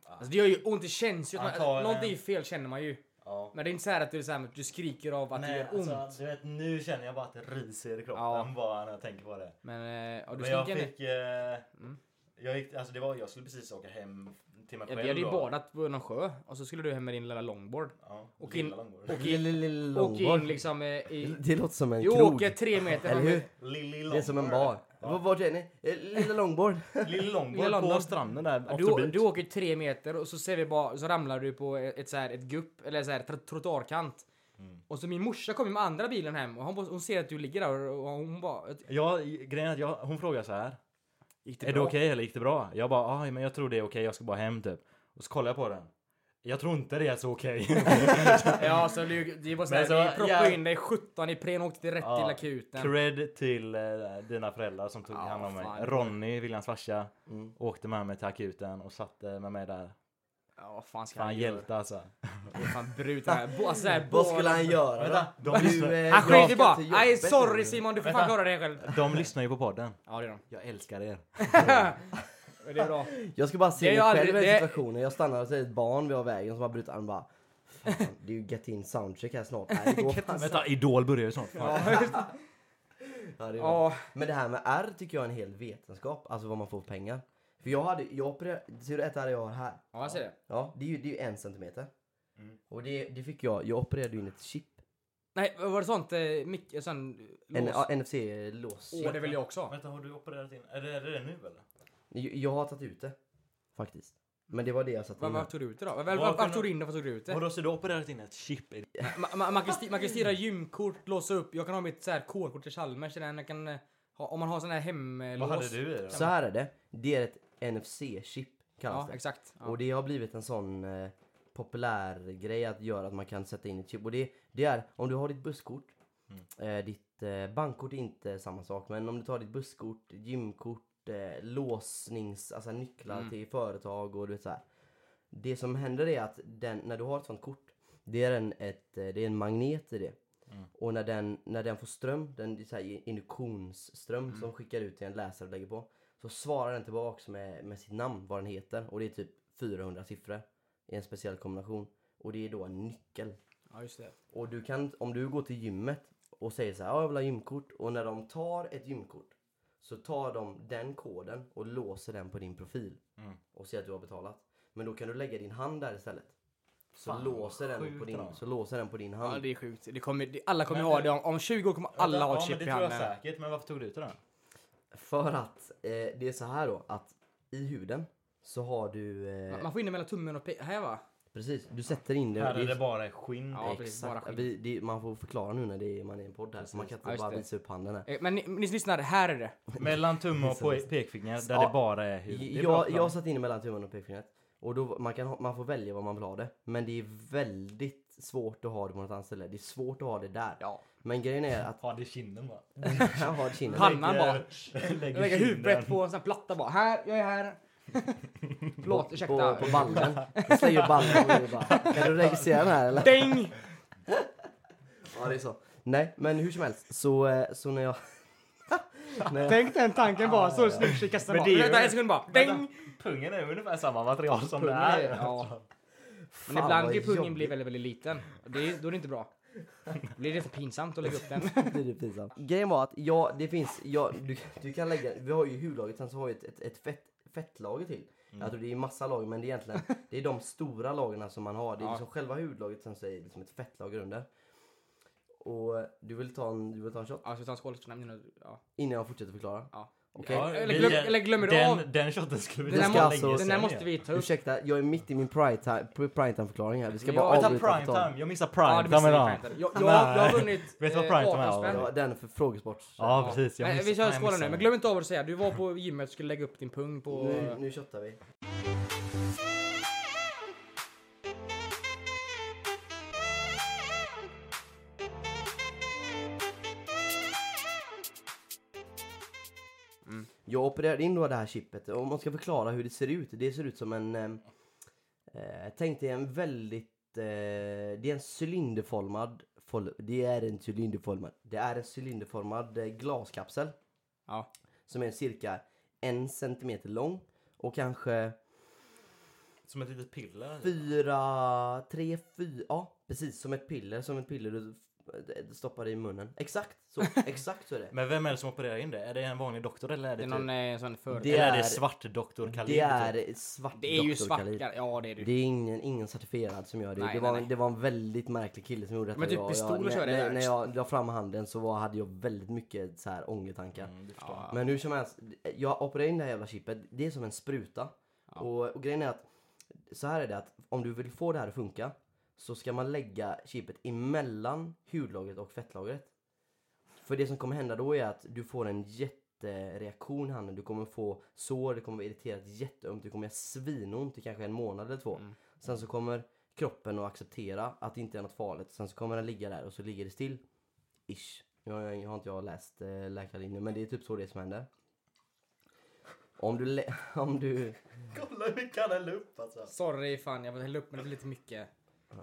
[SPEAKER 1] Alltså det gör ju ont, det känns ju. Att man, alltså,
[SPEAKER 2] Antagligen.
[SPEAKER 1] någonting är fel känner man ju.
[SPEAKER 2] ja.
[SPEAKER 1] Men det är inte så här att du, är så här, att du skriker av att det
[SPEAKER 2] Nej,
[SPEAKER 1] gör ont.
[SPEAKER 2] alltså, du vet, nu känner jag bara att det ryser i kroppen
[SPEAKER 1] Ja.
[SPEAKER 2] bara när jag tänker på det.
[SPEAKER 1] Men, eh, ja, du
[SPEAKER 2] Men jag
[SPEAKER 1] skriker nu.
[SPEAKER 2] fick, eh,
[SPEAKER 1] Mm.
[SPEAKER 2] jag gick, alltså det var, jag skulle precis åka hem till mig
[SPEAKER 1] Ja,
[SPEAKER 2] själv
[SPEAKER 1] vi hade ju
[SPEAKER 2] då.
[SPEAKER 1] badat på någon sjö och så skulle du hem med din lilla longboard.
[SPEAKER 2] Ja,
[SPEAKER 1] Och in-
[SPEAKER 2] lilla långbord.
[SPEAKER 1] Och in,
[SPEAKER 3] Lille, lille
[SPEAKER 1] och
[SPEAKER 3] långboard.
[SPEAKER 1] in liksom eh, i...
[SPEAKER 3] Det låter som en
[SPEAKER 1] Du
[SPEAKER 3] krog.
[SPEAKER 1] åker tre meter
[SPEAKER 3] Eller
[SPEAKER 1] från-
[SPEAKER 3] hur?
[SPEAKER 2] Lille
[SPEAKER 3] Det är som en bar. V- Vart är ni? Eh, Lilla långbord.
[SPEAKER 2] Lille
[SPEAKER 1] Lilla
[SPEAKER 2] långbord på
[SPEAKER 1] London.
[SPEAKER 2] stranden där.
[SPEAKER 1] Ja,
[SPEAKER 2] Otterbyt.
[SPEAKER 1] Du, du åker tre meter och så ser vi bara, så ramlar du på ett, så här, ett gupp, eller så här, tr- trottoarkant.
[SPEAKER 2] Mm.
[SPEAKER 1] Och så min morsa kommer med andra bilen hem och hon, bara- hon ser att du ligger där och hon bara...
[SPEAKER 2] Ja, grejen är att jag, hon frågar så här.
[SPEAKER 1] Gick det
[SPEAKER 2] Är det
[SPEAKER 1] bra?
[SPEAKER 2] okej eller gick det bra? Jag bara, "Aj, men jag tror det är okej, jag ska bara hem typ. Och så kollar jag på den. Jag tror inte det är så okej.
[SPEAKER 1] Ja, så det, det var
[SPEAKER 2] Men
[SPEAKER 1] såhär,
[SPEAKER 2] så-
[SPEAKER 1] vi proppade
[SPEAKER 2] ja.
[SPEAKER 1] in dig 17 i pren och åkte direkt
[SPEAKER 2] Ja,
[SPEAKER 1] till akuten.
[SPEAKER 2] Cred till eh, dina föräldrar som tog
[SPEAKER 1] Ja,
[SPEAKER 2] hand om mig.
[SPEAKER 1] fan.
[SPEAKER 2] Ronny, Williams farsa,
[SPEAKER 3] Mm.
[SPEAKER 2] åkte med mig till akuten och satte med mig där.
[SPEAKER 1] Ja, vad fan ska
[SPEAKER 2] Fan
[SPEAKER 1] han göra?
[SPEAKER 2] hjälte alltså.
[SPEAKER 1] Det är fan brut det här. Bo- alltså, det här
[SPEAKER 3] Vad
[SPEAKER 1] bo-
[SPEAKER 3] skulle han
[SPEAKER 2] Vänta,
[SPEAKER 3] göra?
[SPEAKER 2] de lyssnar-
[SPEAKER 3] eh,
[SPEAKER 1] Han
[SPEAKER 3] jag
[SPEAKER 1] skiter
[SPEAKER 3] ska
[SPEAKER 1] bara.
[SPEAKER 3] till
[SPEAKER 1] Nej,
[SPEAKER 3] jobbet
[SPEAKER 1] sorry
[SPEAKER 3] nu.
[SPEAKER 1] Simon, du får
[SPEAKER 2] Vänta.
[SPEAKER 1] fan klara dig själv.
[SPEAKER 2] De lyssnar ju på podden.
[SPEAKER 1] Ja, det är de.
[SPEAKER 2] Jag älskar er.
[SPEAKER 1] Men Det är bra.
[SPEAKER 3] Jag ska bara
[SPEAKER 1] Det
[SPEAKER 3] se
[SPEAKER 1] är
[SPEAKER 3] mig
[SPEAKER 1] ju
[SPEAKER 3] själv i
[SPEAKER 1] aldrig-
[SPEAKER 3] den
[SPEAKER 1] det-
[SPEAKER 3] situationen. Jag stannar och ser ett barn vid vägen som har brutit armen bara. Fan, det är ju get in soundcheck här snart. Nej, det går fan.
[SPEAKER 2] Vänta, Idol börjar ju snart. Fan.
[SPEAKER 3] Ja, det är bra.
[SPEAKER 1] Ja,
[SPEAKER 3] Men det här med R tycker jag är en hel vetenskap. Alltså vad man får för pengar. För jag hade, jag opererade, ser du ett R jag har här?
[SPEAKER 1] ja, jag ser det.
[SPEAKER 3] Ja, det är ju, det är ju en centimeter.
[SPEAKER 1] Mm.
[SPEAKER 3] Och det, det fick jag, jag opererade ju in ett chip.
[SPEAKER 1] Nej, var det sånt? Eh, mic- sån
[SPEAKER 3] En
[SPEAKER 1] lås?
[SPEAKER 3] ja, NFC-lås.
[SPEAKER 1] Åh, det vill jag också ha.
[SPEAKER 2] Vänta, har du opererat in? Är det, är det det nu eller?
[SPEAKER 3] Jag, jag har tagit ut det. Faktiskt. Men det var det jag satte
[SPEAKER 1] Vad
[SPEAKER 3] in.
[SPEAKER 1] vad
[SPEAKER 3] här.
[SPEAKER 1] tog du ut det då? Vad- vad-
[SPEAKER 2] Vad
[SPEAKER 1] Varför
[SPEAKER 2] kunde-
[SPEAKER 1] tog du in det? Varför tog du ut det?
[SPEAKER 2] Vadå, så du har opererat in ett chip? i-
[SPEAKER 1] Ma- ma- Man kan sti- man kan styra gymkort, låsa upp. Jag kan ha mitt så här kårkort till Chalmers. eller Jag kan, eh, ha, om man har sån här hemlås.
[SPEAKER 2] Vad hade du i det?
[SPEAKER 3] Så här är det. Det är ett NFC-chip kallas
[SPEAKER 1] Ja,
[SPEAKER 3] det.
[SPEAKER 1] exakt. Ja.
[SPEAKER 3] Och det har blivit en sån eh, populär grej att göra att man kan sätta in ett chip. Och det, det är om du har ditt busskort. Eh, ditt eh, bankkort är inte samma sak men om du tar ditt busskort, gymkort, eh, låsnings, alltså nycklar till företag och du vet så här. Det som händer är att den, när du har ett sånt kort, det är en, ett, eh, det är en magnet i det. Och när den, när den får ström, den det är så här induktionsström som skickar ut till en läsare och lägger på. Så svarar den tillbaks med, med sitt namn, vad den heter. Och det är typ 400 siffror i en speciell kombination. Och det är då en nyckel.
[SPEAKER 1] Ja, just det.
[SPEAKER 3] Och du kan, om du går till gymmet och säger så här, "Ja, jag vill ha gymkort. Och när de tar ett gymkort så tar de den koden och låser den på din profil.
[SPEAKER 2] Mm.
[SPEAKER 3] Och ser att du har betalat. Men då kan du lägga din hand där istället. Så,
[SPEAKER 2] Fan,
[SPEAKER 3] låser, den
[SPEAKER 2] sjukt
[SPEAKER 3] på din,
[SPEAKER 2] bra.
[SPEAKER 3] så låser den på din hand.
[SPEAKER 1] Ja, det är sjukt. Det kommer, det, alla kommer
[SPEAKER 2] Men-
[SPEAKER 1] ha det. Om, om 20 år kommer alla ha
[SPEAKER 2] ja,
[SPEAKER 1] ett
[SPEAKER 2] men
[SPEAKER 1] chip
[SPEAKER 2] det
[SPEAKER 1] i
[SPEAKER 2] tror jag
[SPEAKER 1] handen.
[SPEAKER 2] säkert. Men varför tog du ut den?
[SPEAKER 3] För att eh, det är så här då att i huden så har du... Eh,
[SPEAKER 1] Man- Man får in det mellan tummen och pe- här va?
[SPEAKER 3] Precis, du sätter in det.
[SPEAKER 2] Här är
[SPEAKER 3] det-
[SPEAKER 2] det bara skinn.
[SPEAKER 1] Ja,
[SPEAKER 3] Exakt.
[SPEAKER 1] precis, bara skinn.
[SPEAKER 3] vi, det, man får förklara nu när det är, man är i en podd här. Så man kan
[SPEAKER 1] Ja,
[SPEAKER 3] inte
[SPEAKER 1] just
[SPEAKER 3] bara
[SPEAKER 1] det.
[SPEAKER 3] visa upp handen här.
[SPEAKER 1] Eh, Men ni, ni som lyssnar, här är det.
[SPEAKER 2] Mellan tumme och pe- pekfinger där
[SPEAKER 3] Ja.
[SPEAKER 2] det bara är hud. Det är bra
[SPEAKER 3] Jag,
[SPEAKER 2] plan.
[SPEAKER 3] jag satte in det mellan tummen och pekfingret. Och då, man, kan, ha- man får välja vad man vill ha det. Men det är väldigt svårt att ha det på något annat ställe. Det är svårt att ha det där.
[SPEAKER 1] Ja.
[SPEAKER 3] Men grejen är att
[SPEAKER 2] Har det i kinden bara.
[SPEAKER 3] ha det kinden.
[SPEAKER 1] Pannan bara.
[SPEAKER 2] Lägger,
[SPEAKER 1] Jag lägger
[SPEAKER 2] kinden.
[SPEAKER 1] huvudet på en sån här platta bara. Här, jag är här. Förlåt, ursäkta.
[SPEAKER 3] På, på ballen. Jag slänger ballen och det bara. Kan du regissera den här eller?
[SPEAKER 1] Däng!
[SPEAKER 3] Ja det är så. Nej men hur som helst. Så, eh, så när jag... när jag
[SPEAKER 1] Tänk den tanken bara, så snyggt i kassan
[SPEAKER 2] Men
[SPEAKER 1] bara.
[SPEAKER 2] det är ju-
[SPEAKER 1] Vänta en sekund bara.
[SPEAKER 2] Vänta,
[SPEAKER 1] Däng!
[SPEAKER 2] Pungen är ungefär samma material som det
[SPEAKER 3] Pungen
[SPEAKER 2] här.
[SPEAKER 3] är-
[SPEAKER 1] Ja. Men
[SPEAKER 3] Fan,
[SPEAKER 1] ibland
[SPEAKER 3] vad
[SPEAKER 1] kan ju pungen
[SPEAKER 3] jobbigt.
[SPEAKER 1] bli väldigt, väldigt liten. Och Det, är- då är det inte bra. Då blir det för pinsamt att lägga upp den.
[SPEAKER 3] blir det pinsamt. Grejen var att ja, det finns, ja, du, du kan lägga, vi har ju hudlaget, sen så har vi ett, ett, ett fett, fettlager till.
[SPEAKER 1] Mm.
[SPEAKER 3] Jag tror det är massa lager men det är egentligen, det är de stora lagren som man har. Det är
[SPEAKER 1] Ja.
[SPEAKER 3] liksom själva hudlaget sen så är det liksom ett fettlager under. Och du vill ta en, du vill ta en shot?
[SPEAKER 1] Ja, ska vi ta en skål? för namn nu? Ja.
[SPEAKER 3] Innan jag fortsätter förklara.
[SPEAKER 1] ja.
[SPEAKER 3] Okej?
[SPEAKER 1] Ja, Eller glöm- eller glömmer du
[SPEAKER 2] den,
[SPEAKER 1] av?
[SPEAKER 2] Den shoten skulle vi
[SPEAKER 1] Den,
[SPEAKER 3] ska
[SPEAKER 1] här
[SPEAKER 2] ta
[SPEAKER 1] må-
[SPEAKER 2] för
[SPEAKER 3] alltså-
[SPEAKER 2] länge
[SPEAKER 1] den här
[SPEAKER 2] sedan
[SPEAKER 1] måste
[SPEAKER 2] ju.
[SPEAKER 1] vi ta upp.
[SPEAKER 3] Ursäkta, jag är mitt i min primetime primetime förklaring här. Vi ska
[SPEAKER 1] Ja,
[SPEAKER 3] bara
[SPEAKER 2] Vänta,
[SPEAKER 3] avbryta och ta-
[SPEAKER 2] primetime. Jag missar
[SPEAKER 1] Ja, det missade
[SPEAKER 2] primetime
[SPEAKER 1] vi
[SPEAKER 2] idag.
[SPEAKER 1] primetime. Jag, jag, jag har
[SPEAKER 2] Nej.
[SPEAKER 1] vunnit
[SPEAKER 2] Vet du vad
[SPEAKER 1] eh,
[SPEAKER 2] primetime är,
[SPEAKER 1] 18
[SPEAKER 2] eller?
[SPEAKER 1] spänn.
[SPEAKER 3] Ja, den för frågesport.
[SPEAKER 2] Ja, precis. Jag
[SPEAKER 1] Nej,
[SPEAKER 2] missar-
[SPEAKER 1] vi kör
[SPEAKER 2] nej, jag
[SPEAKER 1] skålen
[SPEAKER 2] missar
[SPEAKER 1] nu, men
[SPEAKER 2] den.
[SPEAKER 1] glöm inte av vad du säger. Du var på gymmet och skulle lägga upp din pung på...
[SPEAKER 3] Nu, nu köttar vi. Jag opererade in då det här chippet. Om man ska förklara hur det ser ut. Det ser ut som en... eh, Eh, tänk dig en väldigt... Eh, det är en cylinderformad... fol- Det är en cylinderformad... Det är en cylinderformad eh, glaskapsel
[SPEAKER 1] Ja.
[SPEAKER 3] som är cirka en centimeter lång och kanske
[SPEAKER 2] Som ett litet piller.
[SPEAKER 3] fyra, tre, fyra, ja precis som ett piller, som ett piller du f- eh, stoppar i munnen. Exakt så, exakt så är det.
[SPEAKER 2] Men vem är det som opererar in det? Är det en vanlig doktor eller är
[SPEAKER 1] Det
[SPEAKER 2] det,
[SPEAKER 1] är någon
[SPEAKER 2] typ,
[SPEAKER 1] eh, sån för...
[SPEAKER 3] Det
[SPEAKER 2] eller är
[SPEAKER 3] är-
[SPEAKER 2] det svart doktor Khalid?
[SPEAKER 3] Det
[SPEAKER 2] typ?
[SPEAKER 3] är svart
[SPEAKER 1] Det är ju
[SPEAKER 3] Dr.
[SPEAKER 1] svart.
[SPEAKER 3] Khalid.
[SPEAKER 1] Ja, det är
[SPEAKER 3] Det
[SPEAKER 1] det.
[SPEAKER 3] är ingen, ingen certifierad som gör det.
[SPEAKER 1] Nej,
[SPEAKER 3] det,
[SPEAKER 1] nej,
[SPEAKER 3] var,
[SPEAKER 1] nej.
[SPEAKER 3] det var en väldigt märklig kille som gjorde detta.
[SPEAKER 1] Men typ
[SPEAKER 3] Jag- jag-
[SPEAKER 1] pistol och
[SPEAKER 3] när-
[SPEAKER 1] köra
[SPEAKER 3] när,
[SPEAKER 1] där.
[SPEAKER 3] när jag la fram handen så var, hade jag väldigt mycket så här ångertankar.
[SPEAKER 2] Mm, det förstår jag.
[SPEAKER 1] Ja.
[SPEAKER 3] Men hur som helst, jag opererar in det här jävla chippet, det är som en spruta. Och, och grejen är att, så här är det att om du vill få det här att funka så ska man lägga chippet emellan hudlagret och fettlagret. För det som kommer hända då är att du får en jättereaktion i handen. Du kommer få sår, det kommer vara irriterat jätteömt, du kommer göra svinont i kanske en månad eller två. Sen så kommer kroppen att acceptera att det inte är något farligt. Sen så kommer den ligga där och så ligger det still. Ish. Jag, har- jag har inte jag läst eh, läkarlinjen men det är typ så det som händer. Om du... lä- Om du...
[SPEAKER 2] Kolla hur mycket han häller upp alltså.
[SPEAKER 1] Sorry fan, jag hällde upp men det blir lite mycket.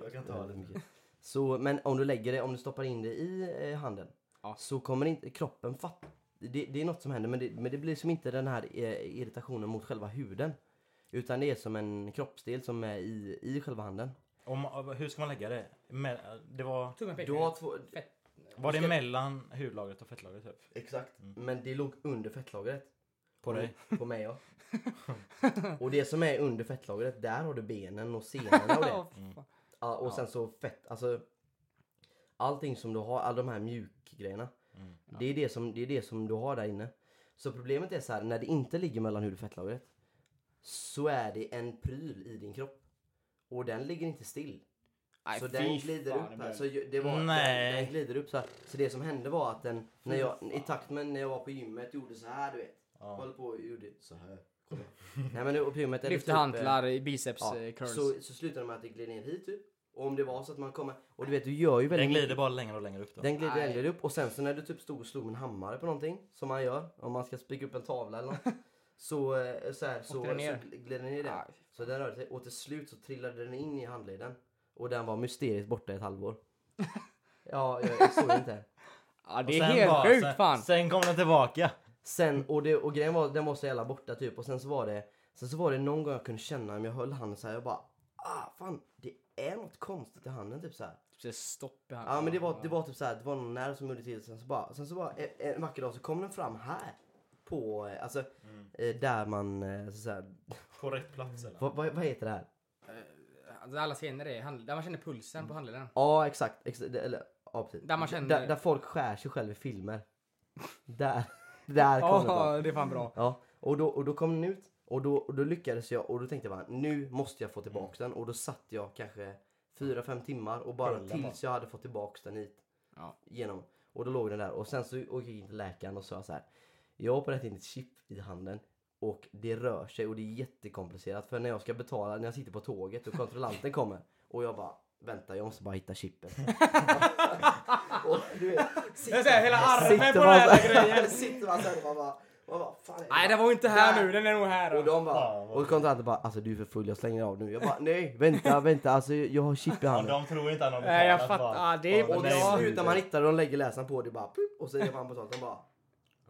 [SPEAKER 2] Jag kan
[SPEAKER 3] Ja, det är mycket. Så, men om du lägger det, om du stoppar in det i eh, handen
[SPEAKER 1] Ja.
[SPEAKER 3] så kommer inte kroppen fatta. Det, det är något som händer men det, men det blir som inte den här eh, irritationen mot själva huden. Utan det är som en kroppsdel som är i, i själva handen.
[SPEAKER 2] Om, hur ska man lägga det? Me- Det var,
[SPEAKER 1] Tummen
[SPEAKER 3] Du
[SPEAKER 1] pekar
[SPEAKER 3] har
[SPEAKER 1] ut.
[SPEAKER 3] två...
[SPEAKER 1] Fett.
[SPEAKER 2] var det
[SPEAKER 3] Ska-
[SPEAKER 2] mellan hudlagret och fettlagret typ?
[SPEAKER 3] Exakt. Men det låg under fettlagret.
[SPEAKER 2] På dig?
[SPEAKER 3] På mig ja. och det som är under fettlagret, där har du benen och senorna och det.
[SPEAKER 1] Ja,
[SPEAKER 2] Mm,
[SPEAKER 1] fan.
[SPEAKER 3] Ja, och sen så fett, alltså. Allting som du har, alla de här mjukgrejerna.
[SPEAKER 2] mm.
[SPEAKER 3] Det, är det, som, det är det som du har där inne. Så problemet är så här, när det inte ligger mellan hud och fettlagret. Så är det en pryl i din kropp. Och den ligger inte still.
[SPEAKER 1] Nej,
[SPEAKER 3] så
[SPEAKER 1] fy
[SPEAKER 3] den glider
[SPEAKER 1] fan,
[SPEAKER 3] upp
[SPEAKER 1] det
[SPEAKER 3] här.
[SPEAKER 1] blir-
[SPEAKER 3] Så ju- det var,
[SPEAKER 2] Nej.
[SPEAKER 3] den, den glider upp så här. Så det som hände var att den, när jag, i takt med när jag var på gymmet, gjorde så här du vet.
[SPEAKER 2] Ja.
[SPEAKER 3] Höll på och gjorde så här. Kolla. Nej men det var på gymmet. eller
[SPEAKER 1] Lyfter
[SPEAKER 3] typ, eh,
[SPEAKER 1] hantlar, biceps,
[SPEAKER 3] Ja,
[SPEAKER 1] eh, curls.
[SPEAKER 3] så, så slutar det med att det glider ner hit typ. Och om det var så att man kommer... Och du vet, du gör ju väldigt...
[SPEAKER 2] Den glider
[SPEAKER 3] mycket-
[SPEAKER 2] bara längre och längre upp då.
[SPEAKER 3] Den glider
[SPEAKER 1] Nej.
[SPEAKER 3] längre upp. Och sen så när du typ stod och slog en hammare på någonting, som man gör, om man ska spika upp en tavla eller något. så, eh, så, här, så, så
[SPEAKER 1] Åkte den ner?
[SPEAKER 3] glider den ner
[SPEAKER 1] Aj.
[SPEAKER 3] där. Så den rörde sig. Och till slut så trillade den in i handleden. Och den var mysteriskt borta i ett halvår. ja, jag, jag såg inte.
[SPEAKER 1] Ja,
[SPEAKER 2] Och
[SPEAKER 1] det är
[SPEAKER 2] sen
[SPEAKER 1] helt
[SPEAKER 2] bara-
[SPEAKER 1] sjukt
[SPEAKER 2] sen-
[SPEAKER 1] fan.
[SPEAKER 2] Sen kom den tillbaka.
[SPEAKER 3] Sen, och, det, och grejen var, den var så jävla borta typ. Och sen så var det, sen så var det någon gång jag kunde känna om jag höll handen så här, jag bara ah fan, det är något konstigt i handen typ så här.
[SPEAKER 1] Typ stopp i handen.
[SPEAKER 3] Ja men det var, det var typ så här, det var någon nerv som gjorde till sen så bara, sen så bara en, en vacker dag så kom den fram här. På, eh, alltså eh, där man, eh, så så här,
[SPEAKER 2] På rätt plats eller?
[SPEAKER 3] vad, vad, vad heter det här?
[SPEAKER 1] Alltså, Alla scener är hand... där man känner pulsen på handleden.
[SPEAKER 3] Ja exakt, exakt det- eller, ja, precis.
[SPEAKER 1] Där man känner-
[SPEAKER 3] där, där folk skär sig själva i filmer. där, där kom den fram.
[SPEAKER 1] det är fan bra.
[SPEAKER 3] Ja, och då, och då kom den ut och då, och då lyckades jag och då tänkte jag bara nu måste jag få tillbaka
[SPEAKER 1] Mm.
[SPEAKER 3] den och då satt jag kanske 4-5 timmar och bara
[SPEAKER 2] Höll den
[SPEAKER 3] tills jag hade fått tillbaka den hit.
[SPEAKER 1] Ja.
[SPEAKER 3] Genom, och då låg den där och sen så gick jag in till läkaren och sa så här. Jag har opererat in ett chip i handen och det rör sig och det är jättekomplicerat för när jag ska betala, när jag sitter på tåget och kontrollanten kommer och jag bara vänta jag måste bara hitta chippet. och du vet,
[SPEAKER 1] Jag säger hela armen
[SPEAKER 3] sitter
[SPEAKER 1] på
[SPEAKER 3] man
[SPEAKER 1] den här
[SPEAKER 3] så-
[SPEAKER 1] grejen.
[SPEAKER 3] sitter man såhär och man bara, man bara fan är det
[SPEAKER 1] Nej, den var ju inte här nu. Den är nog här.
[SPEAKER 3] och de bara,
[SPEAKER 2] Fan, vad
[SPEAKER 3] och kontrollanten bara alltså du är för full jag slänger av nu. Jag bara nej vänta vänta alltså jag har chip i
[SPEAKER 2] Ja,
[SPEAKER 3] handen.
[SPEAKER 2] de tror inte han har
[SPEAKER 1] Nej, jag
[SPEAKER 2] betalat,
[SPEAKER 1] fattar.
[SPEAKER 2] bara.
[SPEAKER 1] Ah, det är-
[SPEAKER 2] Bara,
[SPEAKER 3] Och
[SPEAKER 2] nej,
[SPEAKER 3] till
[SPEAKER 1] Ja.
[SPEAKER 3] slut när man
[SPEAKER 2] men-
[SPEAKER 3] hittar det, de lägger läsaren på det bara pip, och så är man betalt. De bara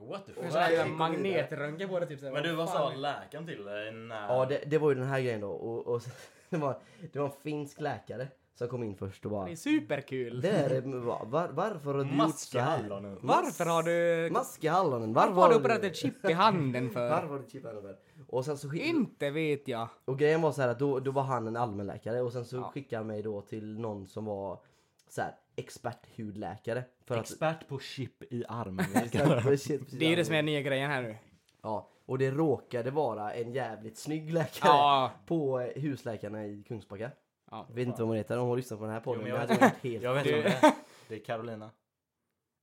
[SPEAKER 2] What the
[SPEAKER 1] En
[SPEAKER 2] fuck?
[SPEAKER 1] sån här
[SPEAKER 3] Nej,
[SPEAKER 1] jävla magnetröntgen på det typ. så här.
[SPEAKER 2] Men du, vad
[SPEAKER 1] Fan.
[SPEAKER 2] sa läkaren till dig? eh, när-
[SPEAKER 3] ja det, det var ju den här grejen då. Och, och så, det, var, det var en finsk läkare som kom in först och bara
[SPEAKER 1] Det är superkul.
[SPEAKER 3] det är, var, varför har du gjort så
[SPEAKER 2] Maska
[SPEAKER 3] här?
[SPEAKER 2] hallonen.
[SPEAKER 1] Varför har du...
[SPEAKER 3] Maska hallonen.
[SPEAKER 1] Varför har du
[SPEAKER 3] har
[SPEAKER 1] opererat ett chip i handen
[SPEAKER 3] Varför
[SPEAKER 1] för?
[SPEAKER 3] har du chip i handen? för? Och sen så skickade
[SPEAKER 1] Inte vet jag.
[SPEAKER 3] Och grejen var så här att då, då var han en allmänläkare och sen så
[SPEAKER 1] Ja.
[SPEAKER 3] skickade han mig då till någon som var så här experthudläkare. För
[SPEAKER 2] Expert på chip i armen.
[SPEAKER 3] att,
[SPEAKER 1] Det är ju det som är den nya grejen här nu.
[SPEAKER 3] Ja, och det råkade vara en jävligt snygg läkare
[SPEAKER 1] Ja.
[SPEAKER 3] på eh, husläkarna i Kungsbacka.
[SPEAKER 1] Ja.
[SPEAKER 3] Jag vet inte vad hon heter, om hon lyssnar på den här podden.
[SPEAKER 2] men jag
[SPEAKER 3] det
[SPEAKER 2] vet-
[SPEAKER 3] hade varit helt...
[SPEAKER 2] Jag vet
[SPEAKER 1] Du-
[SPEAKER 2] inte det är. Det är Carolina.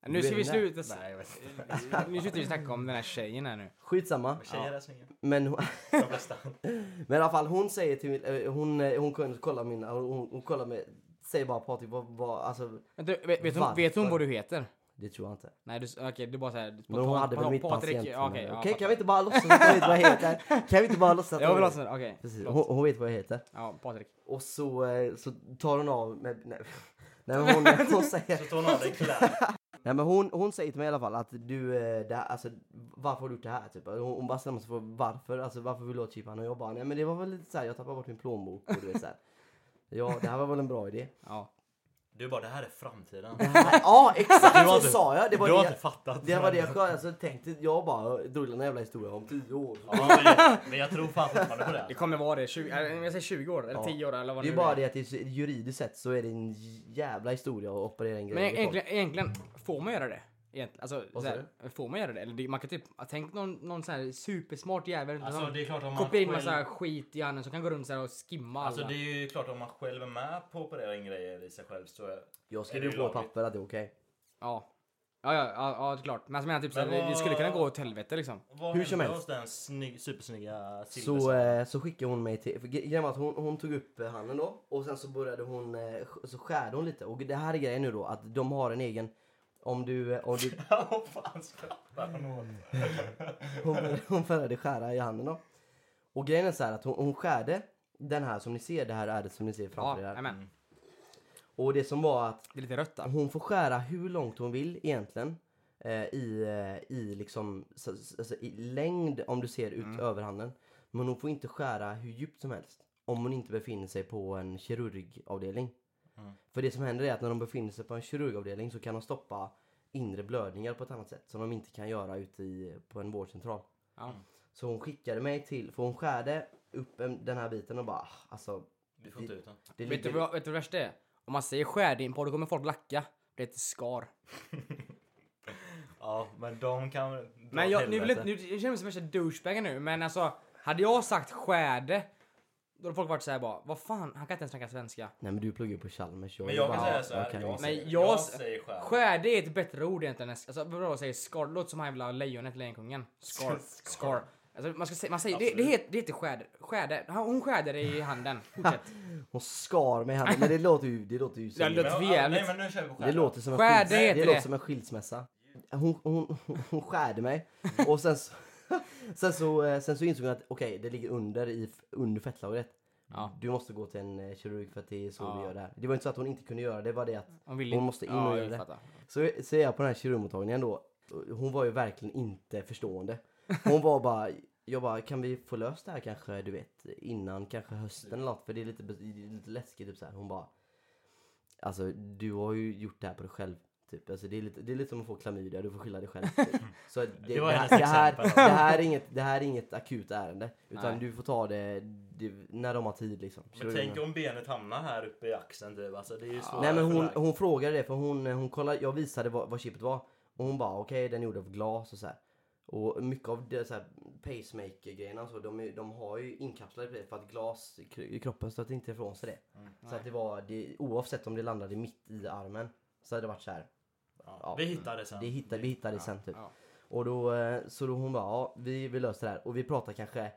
[SPEAKER 1] Nu ska vi sluta...
[SPEAKER 2] Nej, jag vet inte.
[SPEAKER 1] Nu slutar vi snacka om den här tjejen här nu.
[SPEAKER 3] Skitsamma.
[SPEAKER 2] Men Tjejer är snygga.
[SPEAKER 3] Men, hon-
[SPEAKER 2] De flesta.
[SPEAKER 3] men i alla fall hon säger till min, eh, hon, eh, hon kunde kolla min, hon, hon, hon kollar mig, säger bara Patrik vad, vad, alltså
[SPEAKER 1] Vänta, vet, vet, hon, vet hon vad du heter?
[SPEAKER 3] det tror jag inte.
[SPEAKER 1] Nej, du, s- okej, du bara såhär...
[SPEAKER 3] Men hon hade väl mitt patientnummer.
[SPEAKER 1] Okej, ja,
[SPEAKER 3] Okej, kan
[SPEAKER 1] fattar.
[SPEAKER 3] vi inte bara låtsas att hon vet vad jag heter? Kan vi inte bara låtsas att
[SPEAKER 1] Jag
[SPEAKER 3] hon
[SPEAKER 1] vill ha
[SPEAKER 3] vet?
[SPEAKER 1] sån, okej.
[SPEAKER 3] Precis,
[SPEAKER 1] förlåt.
[SPEAKER 3] hon, hon vet vad jag heter.
[SPEAKER 1] Ja, Patrik.
[SPEAKER 3] Och så, eh, så tar hon av med, nej, nej, men hon, hon säger,
[SPEAKER 2] Så tar hon av dig kläderna.
[SPEAKER 3] nej men hon, hon säger till mig i alla fall att du, eh, det här, alltså varför har du gjort det här typ? Hon, hon bara stämmer sig för varför, alltså varför vill du ha chippan? Och jag bara, nej men det var väl lite såhär, jag tappade bort min plånbok och du vet såhär. Ja, det här var väl en bra idé.
[SPEAKER 1] Ja.
[SPEAKER 2] Du bara, det här är framtiden.
[SPEAKER 3] Ja, exakt
[SPEAKER 2] har
[SPEAKER 3] så
[SPEAKER 2] inte-
[SPEAKER 3] sa jag! Det var
[SPEAKER 2] Du har inte
[SPEAKER 3] det,
[SPEAKER 2] fattat.
[SPEAKER 3] det, var det jag skön, alltså, tänkte, jag bara drog den här jävla historien om tio år.
[SPEAKER 2] Ja, men- Men jag tror fan fortfarande på
[SPEAKER 1] Det
[SPEAKER 2] det.
[SPEAKER 1] kommer vara det, 20, eller, jag säger 20 år, eller 10 år eller vad
[SPEAKER 3] Det är
[SPEAKER 1] nu
[SPEAKER 3] bara det att det är så- juridiskt sett så är det en jävla historia att operera en grej
[SPEAKER 1] Men
[SPEAKER 3] i folk.
[SPEAKER 1] egentligen, egentligen, får man göra det? Egentligen, alltså,
[SPEAKER 3] Vad
[SPEAKER 1] så här, får man göra det? Eller det- man kan typ, tänk någon, någon sån här supersmart jävel
[SPEAKER 2] Alltså
[SPEAKER 1] som
[SPEAKER 2] det är klart om man
[SPEAKER 1] kopierar in
[SPEAKER 2] själv...
[SPEAKER 1] massa skit i handen som kan gå runt så här och skimma
[SPEAKER 2] Alltså
[SPEAKER 1] alla.
[SPEAKER 2] det är ju klart om man själv är med på att operera in grejer i sig själv så... är-
[SPEAKER 3] Jag
[SPEAKER 2] Är
[SPEAKER 3] skriver
[SPEAKER 2] det
[SPEAKER 3] på
[SPEAKER 2] lagligt?
[SPEAKER 3] papper att det är okej.
[SPEAKER 1] Ja. Ja, ja, ja, ja, det är klart. Men alltså, jag menar typ så här,
[SPEAKER 2] Men
[SPEAKER 1] det- det
[SPEAKER 2] vad-
[SPEAKER 1] skulle kunna gå åt helvete liksom.
[SPEAKER 2] Vad
[SPEAKER 3] Hur som
[SPEAKER 2] hände
[SPEAKER 3] helst.
[SPEAKER 2] hos den snygg, supersnygga
[SPEAKER 3] Så,
[SPEAKER 2] Silver?
[SPEAKER 3] eh, så skickade hon mig till... för gre- Grejen var att hon, hon tog upp eh, handen då och sen så började hon... eh, sk- Så skärde hon lite. Och det här är grejen nu då att de har en egen... Om du... eh, Om du
[SPEAKER 2] Vad fan skrattar hon åt?
[SPEAKER 3] hon, började, hon började skära i handen då. Och grejen är så här att hon, hon skärde den här som ni ser. Det här Mm. är det som ni ser
[SPEAKER 1] Ja,
[SPEAKER 3] framför er.
[SPEAKER 1] jajamän.
[SPEAKER 3] Och det som var att
[SPEAKER 1] Det är lite rött där.
[SPEAKER 3] Hon får skära hur långt hon vill egentligen. Eh, I, eh, i, liksom, så, så- alltså, i längd om du ser ut
[SPEAKER 2] Mm.
[SPEAKER 3] överhanden. Men hon får inte skära hur djupt som helst. Om hon inte befinner sig på en kirurgavdelning.
[SPEAKER 2] Mm.
[SPEAKER 3] För det som händer är att när de befinner sig på en kirurgavdelning så kan de stoppa inre blödningar på ett annat sätt. Som de inte kan göra ute i, på en vårdcentral.
[SPEAKER 1] Ja.
[SPEAKER 3] Så hon skickade mig till, för hon skärde upp en, den här biten och bara "Ah, alltså.
[SPEAKER 2] Vi får inte ut den.
[SPEAKER 3] Det
[SPEAKER 1] Vet du
[SPEAKER 3] ligger...
[SPEAKER 1] vad vet du vad det värsta är? Om man säger skärdimport då kommer folk lacka. Det heter skar.
[SPEAKER 2] Ja, men de kan dra
[SPEAKER 1] Men jag,
[SPEAKER 2] åt
[SPEAKER 1] nu, vill
[SPEAKER 2] helvete.
[SPEAKER 1] jag, nu jag känner mig som värsta douchebagen nu men alltså hade jag sagt skärde då hade folk varit såhär bara vad fan han kan inte ens snacka svenska.
[SPEAKER 3] Nej men du pluggar ju på Chalmers.
[SPEAKER 2] Men jag kan
[SPEAKER 3] bara,
[SPEAKER 2] säga så här.
[SPEAKER 3] kan
[SPEAKER 2] Jag,
[SPEAKER 3] inte.
[SPEAKER 1] Men
[SPEAKER 2] säger, jag,
[SPEAKER 1] jag s-
[SPEAKER 2] säger skär.
[SPEAKER 1] Skärde är ett bättre ord egentligen. än- Alltså vadå säger skar? Det låter som han jävla lejonet, lejonkungen. Skar.
[SPEAKER 2] Skar.
[SPEAKER 1] Skar. Alltså man ska säga, man säger, det, det,
[SPEAKER 2] Absolut.
[SPEAKER 1] heter, det heter skärde. skärde. Han- Hon skärde dig i handen. Fortsätt.
[SPEAKER 3] Hon skar mig i handen, men det låter ju, det låter ju som,
[SPEAKER 1] Ja,
[SPEAKER 3] det
[SPEAKER 1] låter-
[SPEAKER 2] Men, ja,
[SPEAKER 1] jävligt.
[SPEAKER 2] Nej men nu kör vi på skär.
[SPEAKER 3] låter som, en,
[SPEAKER 1] Skär,
[SPEAKER 3] skils,
[SPEAKER 1] det
[SPEAKER 3] det
[SPEAKER 1] heter
[SPEAKER 3] låter
[SPEAKER 1] det.
[SPEAKER 3] som en skilsmässa. Hon, hon, hon, hon skärde mig och sen så, sen så, eh, sen så insåg hon att okej, det ligger under, i, under fettlagret.
[SPEAKER 1] Ja.
[SPEAKER 3] Du måste gå till en eh, kirurg för att det är så
[SPEAKER 1] Ja.
[SPEAKER 3] vi gör det här. Det var inte så att hon inte kunde göra det, det var det att
[SPEAKER 1] Hon, vill
[SPEAKER 3] Hon
[SPEAKER 1] inte-
[SPEAKER 3] måste in
[SPEAKER 1] Ja, jag
[SPEAKER 3] och göra det.
[SPEAKER 1] fattar.
[SPEAKER 3] så, så är jag på den här kirurgmottagningen då. Hon var ju verkligen inte förstående. Hon var bara, jag bara, kan vi få löst det här kanske, du vet, innan kanske hösten eller något? För det är lite, be- det är lite läskigt, typ så här. Hon bara, alltså du har ju gjort det här på dig själv. Typ. Alltså, det, är lite, det är lite som att få klamydia, du får skylla dig själv. Typ. Så det, det,
[SPEAKER 2] Det var
[SPEAKER 3] här,
[SPEAKER 2] hennes
[SPEAKER 3] det, här,
[SPEAKER 2] exempel.
[SPEAKER 3] det, här är inget, det här är inget akut ärende. Utan
[SPEAKER 1] Nej.
[SPEAKER 3] du får ta det, det när de har tid liksom.
[SPEAKER 2] Men
[SPEAKER 3] Så-
[SPEAKER 2] tänk om benet hamnar här uppe i axeln typ. Alltså det är ju svårare
[SPEAKER 3] Nej men
[SPEAKER 2] för
[SPEAKER 3] hon,
[SPEAKER 2] lag.
[SPEAKER 3] hon frågade det för hon, eh, hon kollade, jag visade vad, vad chippet var och hon bara okej den är gjord av glas och så här. Och mycket av det så här pacemaker grejerna så de, är, de har ju inkapslade det för att glas i kro- i kroppen stöter inte ifrån sig det.
[SPEAKER 1] Mm.
[SPEAKER 3] Så att det var, det, oavsett om det landade mitt i armen så hade det varit så här.
[SPEAKER 2] ja,
[SPEAKER 3] ja,
[SPEAKER 2] Vi hittar det sen.
[SPEAKER 3] Det hittade, vi hittade det sen typ.
[SPEAKER 1] ja.
[SPEAKER 3] Och då, eh, så då hon bara ja vi, vi löser det här och vi pratar kanske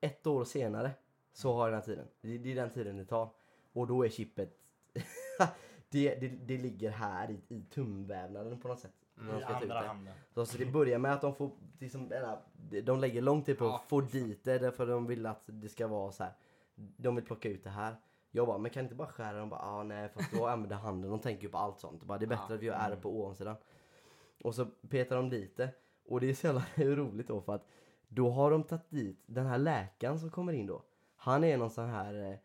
[SPEAKER 3] ett år senare så har den här tiden. Det, det är den tiden det tar. Och då är chippet, det, det, det ligger här i, i tumvävnaden på något sätt. när de
[SPEAKER 2] I
[SPEAKER 3] ska ta ut
[SPEAKER 2] andra
[SPEAKER 3] det.
[SPEAKER 2] handen.
[SPEAKER 3] Så, så det börjar med att de får, liksom, den här- de lägger lång tid på
[SPEAKER 1] Ja,
[SPEAKER 3] att få dit det därför de vill att det ska vara så här. De vill plocka ut det här. Jag bara, men kan inte bara skära? De bara, ah, nej fast då använder handen. De tänker ju på allt sånt. Bara, det är bättre
[SPEAKER 1] Ja. Mm.
[SPEAKER 3] att vi gör ärr på ovansidan. Och så petar de dit det. Och det är så jävla roligt då för att då har de tagit dit den här läkaren som kommer in då. Han är någon sån här, eh,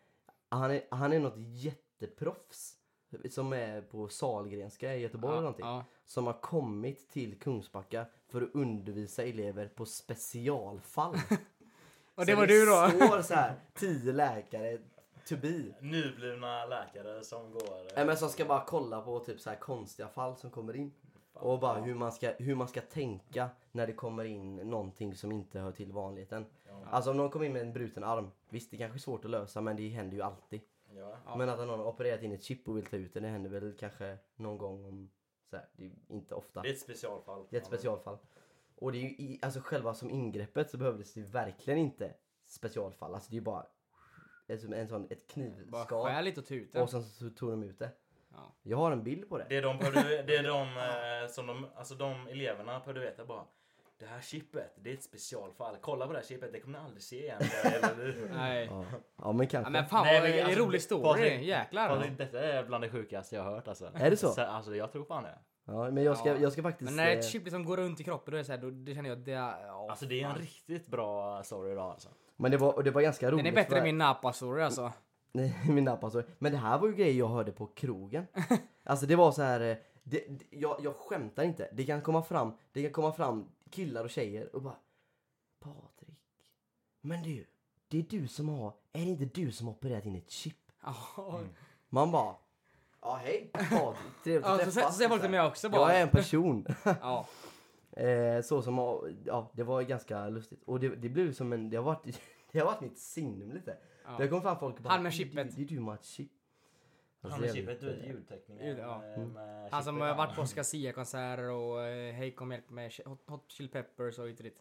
[SPEAKER 3] han är, han är något jätteproffs. Som är på Sahlgrenska i Göteborg eller
[SPEAKER 1] ja,
[SPEAKER 3] någonting
[SPEAKER 1] ja.
[SPEAKER 3] som har kommit till Kungsbacka för att undervisa elever på specialfall.
[SPEAKER 1] Och
[SPEAKER 3] Så
[SPEAKER 1] det var du då?
[SPEAKER 3] Det står så här, tio läkare to be.
[SPEAKER 2] Nyblivna läkare som går...
[SPEAKER 3] Nej, men som ska bara kolla på typ så här konstiga fall som kommer in. Och bara hur man, ska, hur man ska tänka när det kommer in någonting som inte hör till vanligheten. Alltså om någon kommer in med en bruten arm. Visst det kanske är svårt att lösa men det händer ju alltid.
[SPEAKER 2] Ja.
[SPEAKER 1] Ja.
[SPEAKER 3] Men att någon har opererat in ett chip och vill ta ut det, det händer väl kanske någon gång om... Så här, det är inte ofta.
[SPEAKER 2] Det är ett specialfall.
[SPEAKER 3] Det är ett specialfall. Och det är ju i, alltså själva som ingreppet så behövdes det ju verkligen inte specialfall. Alltså det är ju bara ett, som en sån, ett
[SPEAKER 1] Bara
[SPEAKER 3] knivskal
[SPEAKER 1] skär lite och tuta.
[SPEAKER 3] och sen så tog de ut det.
[SPEAKER 1] Ja.
[SPEAKER 3] Jag har en bild på det.
[SPEAKER 2] Det är de, behövde- det är de eh, som de, alltså de eleverna behövde veta bara. Det här chippet, det är ett specialfall. Kolla på det här chippet, det kommer ni aldrig se igen. Eller-
[SPEAKER 1] Nej.
[SPEAKER 3] Ja. ja men
[SPEAKER 1] Ja,
[SPEAKER 3] kanske.
[SPEAKER 1] men fan
[SPEAKER 2] Nej,
[SPEAKER 1] vad
[SPEAKER 2] men
[SPEAKER 1] det är
[SPEAKER 2] alltså,
[SPEAKER 1] en rolig story.
[SPEAKER 2] Patrik-
[SPEAKER 1] Jäklar.
[SPEAKER 2] Alltså, detta är bland det sjukaste jag har hört alltså.
[SPEAKER 3] Är det så?
[SPEAKER 2] Alltså jag tror fan det.
[SPEAKER 3] Ja, men jag ska,
[SPEAKER 1] Ja.
[SPEAKER 3] jag ska faktiskt...
[SPEAKER 1] Men när
[SPEAKER 3] eh,
[SPEAKER 1] ett chip liksom går runt i kroppen då, är det så här, då det känner jag att det är... Ja,
[SPEAKER 2] Alltså det är en
[SPEAKER 1] fan.
[SPEAKER 2] riktigt bra story idag alltså.
[SPEAKER 3] men det var, och det var ganska roligt.
[SPEAKER 1] Den är bättre än
[SPEAKER 3] för-
[SPEAKER 1] min Napa-story alltså.
[SPEAKER 3] Nej, min nappa sorry. Men det här var ju grejer jag hörde på krogen. Alltså det var så här. eh, Det, det, jag, jag skämtar inte. Det kan komma fram, det kan komma fram killar och tjejer och bara Patrik. Men du, det är du som har, är det inte du som har opererat in ett chip?
[SPEAKER 1] Ja.
[SPEAKER 3] Man bara Ja hej Patrik, trevligt att
[SPEAKER 1] Ja, så,
[SPEAKER 3] träffas.
[SPEAKER 1] så, så säger folk
[SPEAKER 3] här.
[SPEAKER 1] till mig också bara.
[SPEAKER 3] Jag är en person.
[SPEAKER 1] Ja.
[SPEAKER 3] Eh, så som, har- ja det var ganska lustigt. Och det, det blev som en, det har varit, det har varit mitt sinnum lite.
[SPEAKER 1] Ja.
[SPEAKER 3] Det kom fram folk och bara
[SPEAKER 1] Han med
[SPEAKER 3] "Det-
[SPEAKER 1] chippet."
[SPEAKER 3] Det är du med ett chip. Alltså,
[SPEAKER 2] Han med chippet, du vet ljudtekniken.
[SPEAKER 1] Ljud, ja. Mm.
[SPEAKER 2] eh, med
[SPEAKER 1] Han som
[SPEAKER 2] chippet.
[SPEAKER 1] har varit på Oscar Sia-konserter och eh, Hej kom hjälp mig, Hot, hot Chili Peppers och hit och dit.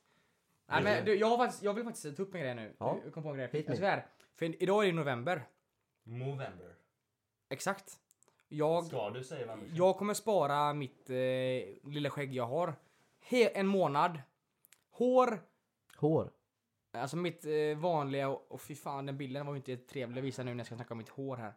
[SPEAKER 1] Nej men du, jag, har faktiskt, jag vill faktiskt ta upp en grej nu.
[SPEAKER 3] Ja.
[SPEAKER 1] Jag kom på en grej.
[SPEAKER 3] Hit
[SPEAKER 1] Jag
[SPEAKER 3] me.
[SPEAKER 1] svär. För idag är det november.
[SPEAKER 2] Movember.
[SPEAKER 1] Exakt. Jag,
[SPEAKER 2] Ska du säga vem du
[SPEAKER 1] jag kommer spara mitt eh, lilla skägg jag har. He, en månad. Hår.
[SPEAKER 3] Hår.
[SPEAKER 1] Alltså mitt eh, vanliga och, och fy fan den bilden var ju inte trevlig att visa nu när jag ska snacka om mitt hår här.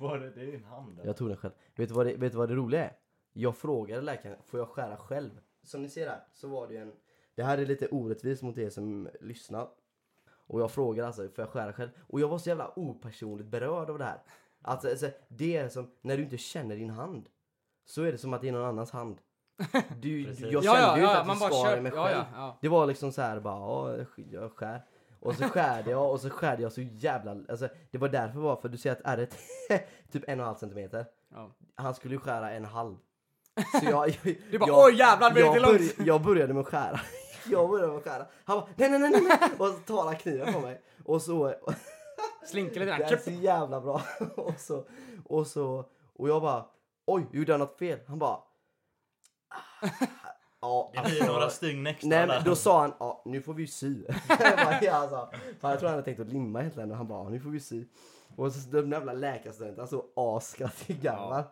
[SPEAKER 2] Var det, det är din hand. eller?
[SPEAKER 3] Jag tog den själv. Vet du, vad det, vet du vad det roliga är? Jag frågade läkaren, får jag skära själv? Som ni ser här så var det ju en... Det här är lite orättvist mot er som lyssnar. Och jag frågade alltså, får jag skära själv? Och jag var så jävla opersonligt berörd av det här. Alltså, alltså det är som, när du inte känner din hand. Så är det som att det är någon annans hand. Du, jag
[SPEAKER 2] Precis.
[SPEAKER 3] kände
[SPEAKER 2] Ja,
[SPEAKER 3] ju
[SPEAKER 1] ja,
[SPEAKER 3] inte
[SPEAKER 1] ja,
[SPEAKER 3] att
[SPEAKER 1] man
[SPEAKER 3] jag
[SPEAKER 1] bara
[SPEAKER 3] skar
[SPEAKER 1] kör-
[SPEAKER 3] i mig
[SPEAKER 1] ja,
[SPEAKER 3] själv.
[SPEAKER 1] ja, ja.
[SPEAKER 3] Det var liksom så här bara, ja, jag sk- jag skär. Och så skärde jag och så skärde jag så jävla... Alltså, det var därför bara, för du ser att ärret är typ en och en halv centimeter.
[SPEAKER 1] Ja.
[SPEAKER 3] Han skulle ju skära en halv. Så jag... jag
[SPEAKER 1] Du bara, "Oj, jävlar, blir det
[SPEAKER 3] jag
[SPEAKER 1] inte långt?"
[SPEAKER 3] börj- Jag började med att skära. Jag började med att skära. Han bara, nej, nej, nej, nej, nej. Och så tar han kniven på mig. Och så...
[SPEAKER 1] Slinker lite
[SPEAKER 3] Det
[SPEAKER 1] grann.
[SPEAKER 3] är
[SPEAKER 1] Tjup.
[SPEAKER 3] så jävla bra. Och så... Och så... Och jag bara, oj, gjorde jag något fel? Han bara... "Ah, Ja, alltså,
[SPEAKER 2] Det blir några stygn extra där.
[SPEAKER 3] Nej men då sa han, ja nu får vi ju sy. Jag bara, ja, sa han. Fan, jag tror han hade tänkt att limma egentligen och han bara, ja, nu får vi sy. Och så den jävla läkarstudenten, han såg asskrattig gammal.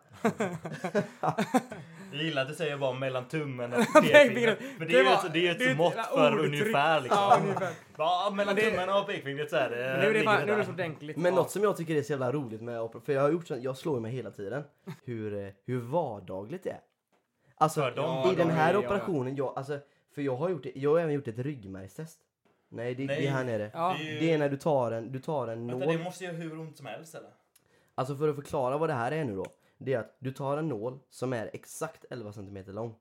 [SPEAKER 2] Jag gillar att du säger bara mellan tummen och
[SPEAKER 1] Pekfingret.
[SPEAKER 2] pekfingret. Men det
[SPEAKER 1] Det
[SPEAKER 2] är ju
[SPEAKER 1] var-
[SPEAKER 2] alltså, det är ju
[SPEAKER 1] det är
[SPEAKER 2] ett
[SPEAKER 1] ett
[SPEAKER 2] mått
[SPEAKER 1] jävla
[SPEAKER 2] för
[SPEAKER 1] ordtryck.
[SPEAKER 2] ungefär liksom.
[SPEAKER 1] Ja, ungefär.
[SPEAKER 2] Ja, mellan
[SPEAKER 1] Men det-
[SPEAKER 2] tummen och pekfingret så är det.
[SPEAKER 1] Nu är det,
[SPEAKER 2] ligger
[SPEAKER 1] fan, nu är det
[SPEAKER 2] där.
[SPEAKER 1] så ordentligt.
[SPEAKER 3] Men
[SPEAKER 1] Ja.
[SPEAKER 3] något som jag tycker är så jävla roligt med opera- för jag har gjort sånt, jag slår ju mig hela tiden, hur, eh, hur vardagligt det är. Alltså
[SPEAKER 2] För dem
[SPEAKER 3] i den
[SPEAKER 1] vardagligt,
[SPEAKER 3] här
[SPEAKER 1] ja, ja.
[SPEAKER 3] operationen, jag, alltså, för jag har gjort det, jag har även gjort ett ryggmärgstest. Nej, det,
[SPEAKER 2] Nej.
[SPEAKER 3] det är här nere.
[SPEAKER 1] Ja.
[SPEAKER 2] ju-
[SPEAKER 3] Det är när du tar en, du tar en nål.
[SPEAKER 2] Vänta, det måste göra hur ont som helst eller?
[SPEAKER 3] Alltså för att förklara vad det här är nu då. Det är att du tar en nål som är exakt 11 cm lång.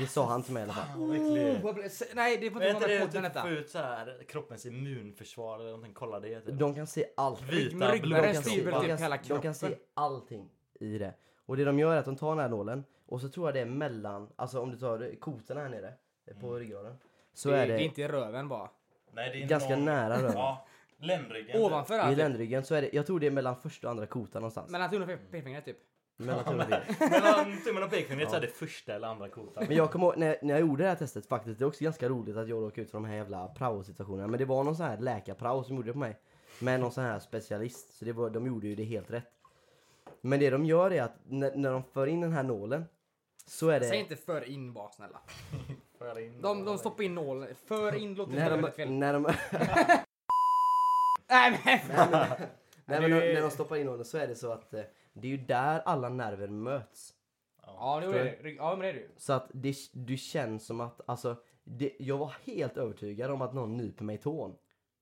[SPEAKER 3] Det sa han till mig i alla fall.
[SPEAKER 2] Fan vad äckligt.
[SPEAKER 1] Oh, vad blir- se- nej, det får
[SPEAKER 2] Men är
[SPEAKER 1] inte vara
[SPEAKER 2] inte
[SPEAKER 1] med
[SPEAKER 2] det
[SPEAKER 1] i podden
[SPEAKER 2] typ
[SPEAKER 1] detta.
[SPEAKER 2] få ut så här kroppens immunförsvar eller någonting? Kolla det typ.
[SPEAKER 3] De kan se allt.
[SPEAKER 2] Vita
[SPEAKER 1] rygg-
[SPEAKER 3] De
[SPEAKER 1] Den
[SPEAKER 3] kan,
[SPEAKER 2] blodkroppar.
[SPEAKER 1] styr
[SPEAKER 3] se,
[SPEAKER 1] väl
[SPEAKER 3] de,
[SPEAKER 1] typ
[SPEAKER 3] kan,
[SPEAKER 1] hela
[SPEAKER 3] de kan se
[SPEAKER 1] kroppen.
[SPEAKER 3] allting i det. Och det de gör är att de tar den här nålen och så tror jag det är mellan, alltså om du tar kotorna här nere eh, på ryggraden. Så
[SPEAKER 1] Mm. det,
[SPEAKER 3] är
[SPEAKER 1] det är
[SPEAKER 3] det
[SPEAKER 1] inte i röven bara.
[SPEAKER 2] Nej, det är
[SPEAKER 3] ganska
[SPEAKER 2] någon-
[SPEAKER 3] nära röven.
[SPEAKER 2] Ja, ländryggen.
[SPEAKER 1] Ovanför
[SPEAKER 3] i
[SPEAKER 1] allt. typ.
[SPEAKER 3] ländryggen så är det, jag tror det är mellan första och andra kotan någonstans.
[SPEAKER 1] Mellan tummen och pekfingret typ.
[SPEAKER 3] Mellan tummen och fingret.
[SPEAKER 2] typ. Mellan tummen och pekfingret så är det första eller andra kotan.
[SPEAKER 3] Men jag kommer ihåg, när, jag- när jag gjorde det här testet faktiskt, det är också ganska roligt att jag råkade ut för de här jävla prao-situationerna. Men det var någon sån här läkarprao som gjorde det på mig. Med någon sån här specialist. Så det var, de gjorde ju det helt rätt. Men det de gör är att när, när de för in den här nålen så är det...
[SPEAKER 1] Säg inte för in bara snälla.
[SPEAKER 2] För in-
[SPEAKER 1] De, de stoppar in nålen. För in låter
[SPEAKER 3] när
[SPEAKER 1] inte
[SPEAKER 3] de,
[SPEAKER 1] fel.
[SPEAKER 3] när de,
[SPEAKER 1] Nej men
[SPEAKER 3] nej, men
[SPEAKER 1] det är
[SPEAKER 3] de,
[SPEAKER 1] ju-
[SPEAKER 3] när de stoppar in nålen så är det så att eh, det är ju där alla nerver möts.
[SPEAKER 1] Ja, det är det. Rygg- Ja, men det är det ju.
[SPEAKER 3] Så att det, du känns som att, alltså, det, jag var helt övertygad om att någon nyper mig i tån.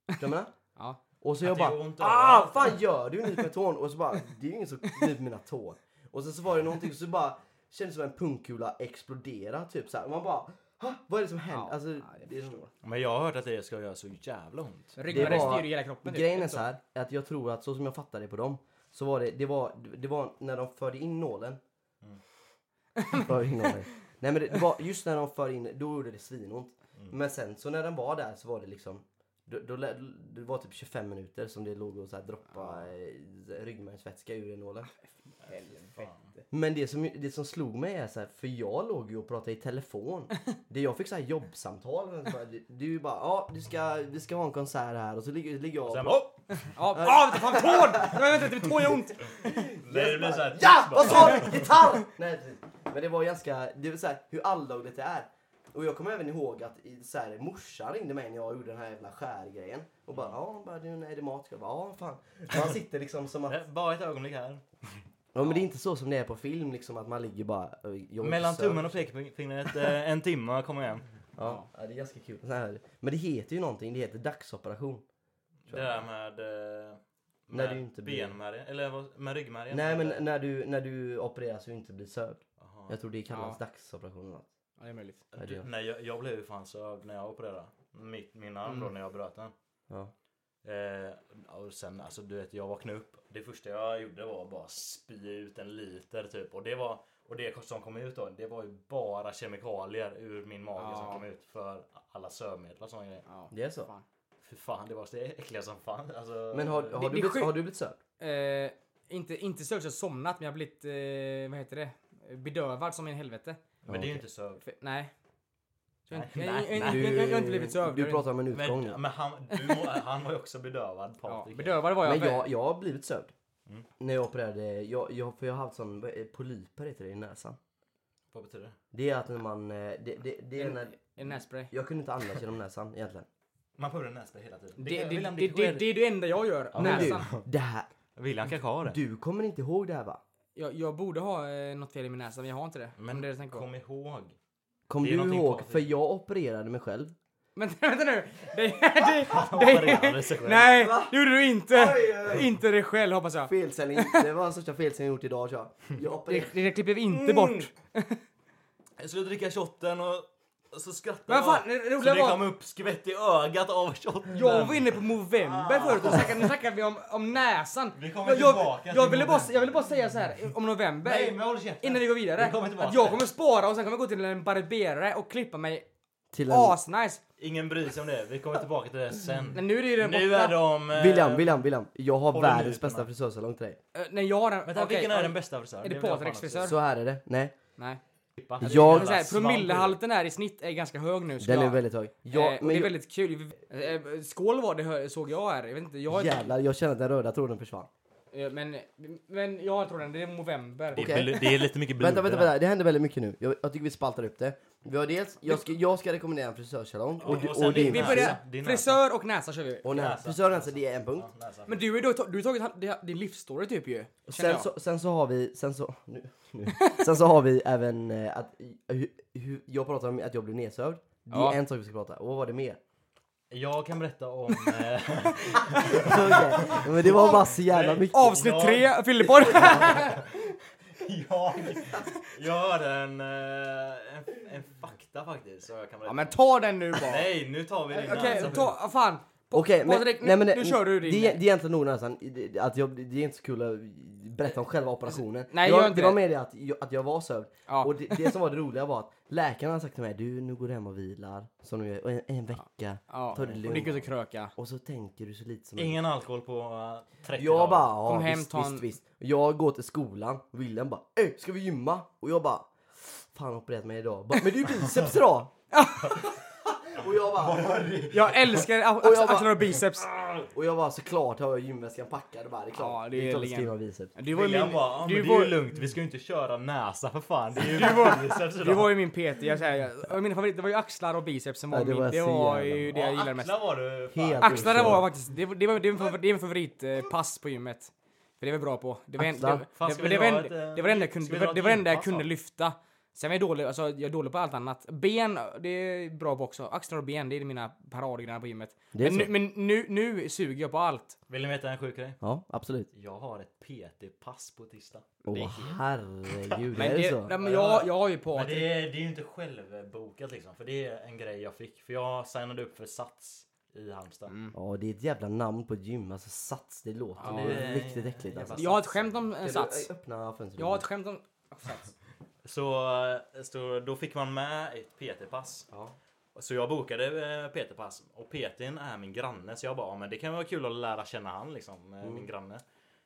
[SPEAKER 3] Förstår du vad jag menar?
[SPEAKER 1] Ja.
[SPEAKER 3] Och så jag
[SPEAKER 2] det gör
[SPEAKER 3] bara,
[SPEAKER 2] ont
[SPEAKER 3] ah
[SPEAKER 2] överallt."
[SPEAKER 3] fan gör du nyper tån? Och så bara, det är ju ingen som nyper mina tår. Och sen så var det någonting så bara, kändes som en pungkula explodera typ så här. Och man bara, "Ha? vad är det som händer?
[SPEAKER 1] Ja,
[SPEAKER 3] alltså,
[SPEAKER 1] ja, jag
[SPEAKER 3] det är
[SPEAKER 1] förstår.
[SPEAKER 2] Men jag har hört att det ska göra så jävla ont.
[SPEAKER 1] Ryggmärgen
[SPEAKER 3] var-
[SPEAKER 1] styr ju hela kroppen. typ.
[SPEAKER 3] Grejen är
[SPEAKER 1] Så.
[SPEAKER 3] så här, att jag tror att så som jag fattade det på dem, så var det, det var, det var när de förde in nålen.
[SPEAKER 1] Mm.
[SPEAKER 3] Förde in nålen. Nej men det, det var just när de förde in, då gjorde det svinont.
[SPEAKER 1] Mm.
[SPEAKER 3] Men sen så när den var där så var det liksom, då, då, lä- det var typ 25 minuter som det låg och så här droppa eh, ryggmärgsvätska ur nålen.
[SPEAKER 1] Helvete.
[SPEAKER 3] Men det som, det som slog mig är så här, för jag låg ju och pratade i telefon. Det jag fick så här jobbsamtal. och så bara, Du, du är ju bara, ja du ska, vi ska ha en konsert här och så ligger, ligger jag
[SPEAKER 2] Sen bara, oh!
[SPEAKER 1] Ja, ah, vänta fan tån! Nej vänta, det tån gör ont!
[SPEAKER 2] Nej, det blir så här,
[SPEAKER 3] Ja! Vad sa du? Gitarr! Nej, precis. Men det var ganska, det var så här, hur alldagligt det är. Och jag kommer även ihåg att i- så här, morsan ringde mig när jag gjorde den här jävla skärgrejen. Och bara, ja, hon bara, du, nej, är det mat? Jag bara, ja, fan. Man sitter liksom som att...
[SPEAKER 2] Bara ett ögonblick här.
[SPEAKER 3] Ja, men det är inte så som det är på film, liksom att man ligger bara... och- jag är
[SPEAKER 2] Mellan
[SPEAKER 3] inte sömn.
[SPEAKER 2] tummen och pekfingret, eh, en timme, kom igen.
[SPEAKER 3] Ja, ja, det är ganska kul. Så här. Men det heter ju någonting, det heter dagsoperation.
[SPEAKER 2] Det där med... eh,
[SPEAKER 3] När
[SPEAKER 2] med
[SPEAKER 3] du inte blir-
[SPEAKER 2] benmärgen, eller vad- med ryggmärgen.
[SPEAKER 3] Nej,
[SPEAKER 2] Eller-
[SPEAKER 3] men när du, när du opereras och inte blir sövd.
[SPEAKER 2] Jaha.
[SPEAKER 3] Jag tror det kallas
[SPEAKER 1] Ja.
[SPEAKER 3] dagsoperation eller något.
[SPEAKER 1] Ja, det är möjligt.
[SPEAKER 3] Ja, det
[SPEAKER 2] Du,
[SPEAKER 3] gör.
[SPEAKER 2] nej, jag, jag blev ju fan sövd när jag opererade. Mitt, min arm
[SPEAKER 3] Mm.
[SPEAKER 2] då, när jag bröt den.
[SPEAKER 3] Ja.
[SPEAKER 2] Eh, och sen, alltså du vet, jag vaknade upp. Det första jag gjorde var bara spy ut en liter typ. Och det var... Och det som kom ut då, det var ju bara kemikalier ur min mage som
[SPEAKER 1] Ja.
[SPEAKER 2] kom ut för alla sövmedel och såna grejer.
[SPEAKER 1] Ja.
[SPEAKER 3] Det är så.
[SPEAKER 1] Fan.
[SPEAKER 2] Fy fan, det var så äckliga som fan. Alltså,
[SPEAKER 3] Men har, har,
[SPEAKER 1] det
[SPEAKER 3] du,
[SPEAKER 1] är
[SPEAKER 3] blivit,
[SPEAKER 1] sjukt.
[SPEAKER 3] har du blivit sövd?
[SPEAKER 1] Eh, inte inte så att jag somnat men jag har blivit, eh, vad heter det, bedövad som i helvete.
[SPEAKER 2] men det är ju inte sövd.
[SPEAKER 1] För, nej. Så jag,
[SPEAKER 2] Nej,
[SPEAKER 1] jag,
[SPEAKER 2] nej,
[SPEAKER 1] jag, jag,
[SPEAKER 2] nej.
[SPEAKER 1] jag, jag, jag har inte blivit sövd.
[SPEAKER 3] Du pratar om en utgång
[SPEAKER 2] Men,
[SPEAKER 3] nu.
[SPEAKER 2] men han, du, må- han var ju också bedövad
[SPEAKER 1] ja,
[SPEAKER 2] Patrik.
[SPEAKER 1] Bedövad var jag.
[SPEAKER 3] Men jag, jag har blivit sövd.
[SPEAKER 2] Mm.
[SPEAKER 3] När jag opererade, jag, jag, för jag har haft sån, eh, polyper heter det, i näsan.
[SPEAKER 2] Vad betyder det?
[SPEAKER 3] Det är att när man, eh, det, det, det är
[SPEAKER 1] En-
[SPEAKER 3] när,
[SPEAKER 1] En nässpray.
[SPEAKER 3] jag kunde inte andas genom näsan egentligen.
[SPEAKER 2] Man pular nässpray hela tiden.
[SPEAKER 1] Det, det, det,
[SPEAKER 2] William,
[SPEAKER 1] det, det,
[SPEAKER 2] sker.
[SPEAKER 1] är det enda jag gör.
[SPEAKER 3] Men du,
[SPEAKER 1] näsan.
[SPEAKER 3] det här,
[SPEAKER 2] William kanske har det.
[SPEAKER 3] du kommer inte ihåg det här va?
[SPEAKER 1] Jag, jag borde ha eh, något fel i min näsa men jag har inte det. Men
[SPEAKER 2] Men
[SPEAKER 1] det är det jag tänker på.
[SPEAKER 2] kom ihåg.
[SPEAKER 3] Kom
[SPEAKER 2] Det är
[SPEAKER 3] du
[SPEAKER 2] någonting
[SPEAKER 3] ihåg?
[SPEAKER 2] konstigt.
[SPEAKER 3] För jag opererade mig själv.
[SPEAKER 1] Men vänta nu! Det, det,
[SPEAKER 2] opererade sig
[SPEAKER 1] det,
[SPEAKER 2] själv.
[SPEAKER 1] nej, det gjorde du inte!
[SPEAKER 3] Oj, oj, oj.
[SPEAKER 1] Inte dig själv hoppas jag.
[SPEAKER 3] Felsäljning, det var den största felsäljningen jag gjort idag tror jag. Jag opererade,
[SPEAKER 1] Det, det klipper vi inte bort.
[SPEAKER 2] Jag skulle dricka shotten och och så skrattade
[SPEAKER 1] Men fan,
[SPEAKER 2] jag.
[SPEAKER 1] det roliga
[SPEAKER 2] så det
[SPEAKER 1] var-
[SPEAKER 2] kom upp skvätt i ögat av shotten.
[SPEAKER 1] Jag var inne på november förut och snackade, nu snackar vi om, om näsan.
[SPEAKER 2] Vi kommer
[SPEAKER 1] jag,
[SPEAKER 2] tillbaka till
[SPEAKER 1] jag, jag, ville bara,
[SPEAKER 2] november.
[SPEAKER 1] jag ville bara säga så här om november.
[SPEAKER 2] Nej, men håll käften.
[SPEAKER 1] innan vi går vidare.
[SPEAKER 2] Vi kommer tillbaka.
[SPEAKER 1] att jag kommer spara och sen kommer jag gå till en barberare och klippa mig
[SPEAKER 3] till en,
[SPEAKER 1] asnice.
[SPEAKER 2] Ingen bryr sig om det. Vi kommer tillbaka till det sen.
[SPEAKER 1] Men nu är det ju redan
[SPEAKER 2] Nu
[SPEAKER 1] borta.
[SPEAKER 2] är de... eh,
[SPEAKER 3] William, William, William. Jag har
[SPEAKER 2] Håller nu
[SPEAKER 3] världens
[SPEAKER 2] utan
[SPEAKER 3] bästa
[SPEAKER 2] mig.
[SPEAKER 3] frisörsalong till dig.
[SPEAKER 1] Eh, Nej jag har en...
[SPEAKER 2] Vänta,
[SPEAKER 1] okej,
[SPEAKER 2] vilken
[SPEAKER 1] ja.
[SPEAKER 2] är den bästa frisören?
[SPEAKER 1] Är det
[SPEAKER 2] vill jag fan
[SPEAKER 1] Patricks
[SPEAKER 2] också
[SPEAKER 1] frisör?
[SPEAKER 3] Så här är det. Nej,
[SPEAKER 1] Nej.
[SPEAKER 2] slippa.
[SPEAKER 3] Jag-
[SPEAKER 1] Jag
[SPEAKER 2] Jävla
[SPEAKER 1] vill säga,
[SPEAKER 2] svamp.
[SPEAKER 1] promillehalten här i snitt är ganska hög nu. skulle
[SPEAKER 3] den är
[SPEAKER 1] jag-
[SPEAKER 3] väldigt hög.
[SPEAKER 1] Ja,
[SPEAKER 3] Jag,
[SPEAKER 1] eh, och
[SPEAKER 3] men
[SPEAKER 1] det är
[SPEAKER 3] jag,
[SPEAKER 1] väldigt kul. Eh, Skål var det hö- såg jag här. Jag vet inte, jag har inte,
[SPEAKER 3] jävlar, jag känner att den röda tråden försvann.
[SPEAKER 1] eh, men, men jag har tråden, det är november.
[SPEAKER 2] Det är
[SPEAKER 3] Okej.
[SPEAKER 2] bl- Det är lite mycket blod
[SPEAKER 3] Vänta,
[SPEAKER 2] i
[SPEAKER 3] vänta,
[SPEAKER 2] det här.
[SPEAKER 3] vänta. Det händer väldigt mycket nu. Jag, jag tycker vi spaltar upp det. Vi har dels, jag ska, jag ska rekommendera en frisörsalong. Och, du,
[SPEAKER 2] och sen
[SPEAKER 3] och din
[SPEAKER 1] Vi
[SPEAKER 2] din
[SPEAKER 3] frisör.
[SPEAKER 1] börjar,
[SPEAKER 2] Din näsa.
[SPEAKER 1] frisör och näsa kör vi.
[SPEAKER 3] Och nä,
[SPEAKER 2] Näsa.
[SPEAKER 3] frisören alltså, det är en punkt.
[SPEAKER 2] Ja, näsa.
[SPEAKER 1] Men du, är då, du har tagit hand- det- din livsstory typ ju. känner
[SPEAKER 3] Sen
[SPEAKER 1] jag.
[SPEAKER 3] så, sen så har vi, sen så, nu, nu. sen så har vi även eh, att, hur, hur, jag pratade om att jag blev nedsövd. Det är
[SPEAKER 1] Ja.
[SPEAKER 3] en sak vi ska prata Och vad var det mer?
[SPEAKER 2] Jag kan berätta om... eh,
[SPEAKER 3] Okej, Men det var bara så jävla
[SPEAKER 2] Nej.
[SPEAKER 3] mycket.
[SPEAKER 1] Avsnitt tre, Fylleborg!
[SPEAKER 2] jag, jag har en, eh, en, en fakta faktiskt. Så jag kan
[SPEAKER 1] ja
[SPEAKER 2] berätta.
[SPEAKER 1] men ta den nu bara!
[SPEAKER 2] Nej, nu tar vi din
[SPEAKER 1] Okej,
[SPEAKER 2] alltså.
[SPEAKER 1] ta, ah, fan! Po-
[SPEAKER 3] Okej, men-
[SPEAKER 1] Patrik, nu,
[SPEAKER 3] nej, men det-
[SPEAKER 1] nu kör du din.
[SPEAKER 3] Det, är- det är egentligen nog nästan det- att jag, det är inte så kul att berätta om själva operationen.
[SPEAKER 1] Nej,
[SPEAKER 3] det var,
[SPEAKER 1] gör inte
[SPEAKER 3] det var
[SPEAKER 1] det.
[SPEAKER 3] mer det att jag, att jag var sövd.
[SPEAKER 1] Ja.
[SPEAKER 3] Och det, det som var det roliga var att läkaren hade sagt till mig du nu går du hem och vilar som du gör, och en, en vecka.
[SPEAKER 1] ja.
[SPEAKER 3] Ta det
[SPEAKER 1] Och det
[SPEAKER 3] lugnt.
[SPEAKER 1] går inte att kröka.
[SPEAKER 3] Och så tänker du så lite som möjligt.
[SPEAKER 2] Ingen alkohol på eh, 30
[SPEAKER 3] Jag bara
[SPEAKER 2] dagar.
[SPEAKER 3] ja,
[SPEAKER 1] Kom hem,
[SPEAKER 3] visst,
[SPEAKER 1] ta en-
[SPEAKER 3] visst, visst. Jag går till skolan, William bara Ey, ska vi gymma? Och jag bara Fan opererat mig idag. Bara, Men det är ju biceps idag! och jag bara,
[SPEAKER 1] Jag älskar a-
[SPEAKER 3] jag bara-
[SPEAKER 1] axlar och biceps.
[SPEAKER 3] och jag bara såklart har jag gymväskan packad och bara det är klart.
[SPEAKER 1] Ja, det är
[SPEAKER 3] klart att
[SPEAKER 1] legend.
[SPEAKER 3] skriva biceps.
[SPEAKER 1] Du var ju
[SPEAKER 2] William
[SPEAKER 1] min,
[SPEAKER 2] bara, ah, men
[SPEAKER 1] du
[SPEAKER 2] det är
[SPEAKER 1] var,
[SPEAKER 2] ju lugnt, vi ska ju inte köra näsa för fan. Det är ju biceps
[SPEAKER 1] du
[SPEAKER 2] idag.
[SPEAKER 1] var ju min PT. Jag säger, jag, mina favoriter var ju axlar och biceps som
[SPEAKER 3] Ja,
[SPEAKER 1] var
[SPEAKER 3] det
[SPEAKER 1] min.
[SPEAKER 3] var
[SPEAKER 1] Det
[SPEAKER 3] så
[SPEAKER 1] var
[SPEAKER 3] jävla
[SPEAKER 1] ju
[SPEAKER 3] bra.
[SPEAKER 1] det jag gillar mest.
[SPEAKER 2] Axlar var du fan.
[SPEAKER 3] Helt
[SPEAKER 1] Axlar
[SPEAKER 3] oförstånd.
[SPEAKER 1] var faktiskt, det var, det var, det var, det var min favoritpass på gymmet. För det var jag bra på. Det var en- det-
[SPEAKER 3] Axlar.
[SPEAKER 2] Fan,
[SPEAKER 1] det-
[SPEAKER 2] ska vi
[SPEAKER 1] det var
[SPEAKER 2] dra
[SPEAKER 1] en-
[SPEAKER 2] ett, eh,
[SPEAKER 1] det var det enda jag
[SPEAKER 2] ska vi
[SPEAKER 1] kunde-
[SPEAKER 2] dra
[SPEAKER 1] det var-
[SPEAKER 2] ett
[SPEAKER 1] det var det enda jag
[SPEAKER 2] gympass då?
[SPEAKER 1] kunde lyfta. Sen var jag dålig, alltså jag är dålig på allt annat. Ben, det är bra på också. Axlar och ben, det är mina paradgrenar på gymmet.
[SPEAKER 3] Det är
[SPEAKER 1] Men, nu,
[SPEAKER 3] så.
[SPEAKER 1] men nu, nu suger jag på allt.
[SPEAKER 2] Vill ni veta en sjuk grej?
[SPEAKER 3] Ja, absolut.
[SPEAKER 2] Jag har ett PT-pass på tisdag.
[SPEAKER 3] Åh herregud,
[SPEAKER 1] Men
[SPEAKER 3] är det
[SPEAKER 1] det,
[SPEAKER 3] så?
[SPEAKER 1] nej, men jag, jag har ju på
[SPEAKER 2] Men det är, det är ju inte självbokat liksom. För det är en grej jag fick. För jag signade upp för Sats i Halmstad.
[SPEAKER 1] Mm.
[SPEAKER 3] Ja, det är ett jävla namn på ett gym, alltså Sats, det låter
[SPEAKER 2] Ja,
[SPEAKER 3] det
[SPEAKER 2] det
[SPEAKER 3] är
[SPEAKER 2] är-
[SPEAKER 3] riktigt äckligt alltså.
[SPEAKER 1] Jag har ett skämt om en
[SPEAKER 3] Kan
[SPEAKER 1] sats.
[SPEAKER 3] Du, öppna fönstret.
[SPEAKER 1] Jag har ett skämt om... Sats.
[SPEAKER 2] Så, eh, så då fick man med ett PT-pass. Så jag bokade eh, PT-pass. Och PTn är min granne. Så jag bara, "Ja, men det kan vara kul att lära känna han liksom. eh, Min granne.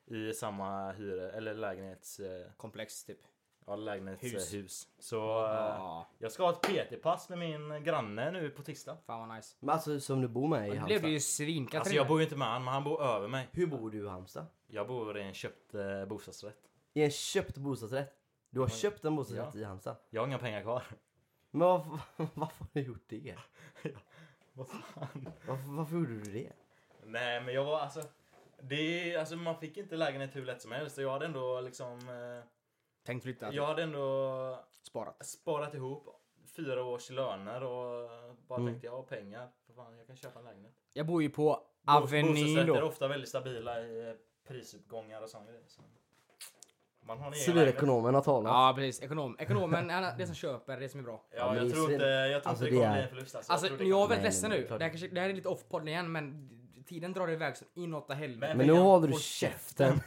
[SPEAKER 2] I samma hyre, eller lägenhets... eh,
[SPEAKER 1] Komplex typ.
[SPEAKER 2] Ja, lägenhetshus.
[SPEAKER 1] Hus.
[SPEAKER 2] Hus. hus. Så eh,
[SPEAKER 1] Ja,
[SPEAKER 2] jag ska ha ett PT-pass med min granne nu på tisdag.
[SPEAKER 1] fan vad nice.
[SPEAKER 3] Men alltså som du bor med
[SPEAKER 1] Det
[SPEAKER 3] i
[SPEAKER 1] blev
[SPEAKER 3] Halmstad.
[SPEAKER 1] ju svinkat.
[SPEAKER 2] Alltså jag bor ju inte med han, men han bor över mig.
[SPEAKER 3] Hur bor du i Halmstad?
[SPEAKER 2] Jag bor i en köpt eh, bostadsrätt.
[SPEAKER 3] I en köpt bostadsrätt? Du har köpt en bostadsrätt
[SPEAKER 2] Ja.
[SPEAKER 3] i Halmstad?
[SPEAKER 2] Jag har inga pengar kvar.
[SPEAKER 3] Men varför, varför har du gjort det?
[SPEAKER 2] Vad fan?
[SPEAKER 3] Varför, varför gjorde du det?
[SPEAKER 2] Nej men jag var alltså... Det, är- alltså man fick inte lägenhet hur lätt som helst. Så jag hade ändå liksom... Eh,
[SPEAKER 1] Tänkt flytta.
[SPEAKER 2] jag hade ändå
[SPEAKER 1] Sparat.
[SPEAKER 2] sparat ihop fyra års löner och bara tänkte jag har pengar. För fan, jag kan köpa en lägenhet.
[SPEAKER 1] Jag bor ju på
[SPEAKER 2] Bo-
[SPEAKER 1] Avenyn
[SPEAKER 2] Bostadsrätter är
[SPEAKER 1] då.
[SPEAKER 2] ofta väldigt stabila i eh, prisuppgångar och sånt. Så. Man har en egen lägenhet.
[SPEAKER 3] Civilekonomen har talat.
[SPEAKER 1] Ja precis, ekonom. ekonomen, han är det som köper, det som är bra.
[SPEAKER 3] Ja,
[SPEAKER 2] Ja,
[SPEAKER 3] men
[SPEAKER 2] jag
[SPEAKER 3] det är
[SPEAKER 2] tror
[SPEAKER 3] svin-
[SPEAKER 2] inte, jag tror
[SPEAKER 3] Alltså,
[SPEAKER 2] inte det
[SPEAKER 3] det
[SPEAKER 2] kommer bli
[SPEAKER 3] är-
[SPEAKER 2] en förlust. Alltså,
[SPEAKER 1] Alltså
[SPEAKER 2] jag tror det
[SPEAKER 1] jag är
[SPEAKER 2] kan-
[SPEAKER 1] väldigt
[SPEAKER 3] Nej,
[SPEAKER 1] ledsen
[SPEAKER 3] men
[SPEAKER 1] nu.
[SPEAKER 3] klart.
[SPEAKER 1] Det här, kanske, det här är lite off-podden igen men tiden drar iväg så inåt i helvete.
[SPEAKER 2] Men-
[SPEAKER 3] Men nu håller du
[SPEAKER 2] Håll
[SPEAKER 3] käften.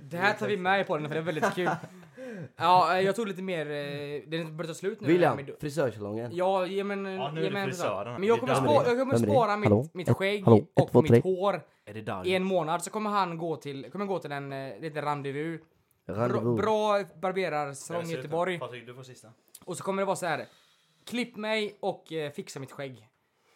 [SPEAKER 1] Det här tar vi med i podden för det är väldigt kul. Ja, eh, jag tog lite mer... eh, Det börjar ta slut nu.
[SPEAKER 3] William,
[SPEAKER 1] Men då-
[SPEAKER 3] frisörsalongen.
[SPEAKER 1] Ja, ja men...
[SPEAKER 2] Ja, nu är
[SPEAKER 1] ja,
[SPEAKER 2] det
[SPEAKER 1] men,
[SPEAKER 2] frisören.
[SPEAKER 1] men jag
[SPEAKER 2] Det är
[SPEAKER 1] kommer,
[SPEAKER 2] damm.
[SPEAKER 1] spara, jag kommer
[SPEAKER 3] Vem är det?
[SPEAKER 1] spara
[SPEAKER 3] Hallå?
[SPEAKER 1] mitt, mitt
[SPEAKER 3] Ett-
[SPEAKER 1] skägg
[SPEAKER 3] hallå? Ett,
[SPEAKER 1] och
[SPEAKER 3] två, tre.
[SPEAKER 1] mitt hår
[SPEAKER 2] Är det dagen?
[SPEAKER 1] i en månad så kommer han gå till, kommer gå till en eh, liten rendezvous. Bra,
[SPEAKER 3] Rendezvous.
[SPEAKER 1] bra barberarsalong i
[SPEAKER 2] Dessutom,
[SPEAKER 1] Göteborg.
[SPEAKER 2] Patrik, du får sista.
[SPEAKER 1] Och så kommer det vara så här. Klipp mig och eh, fixa mitt skägg.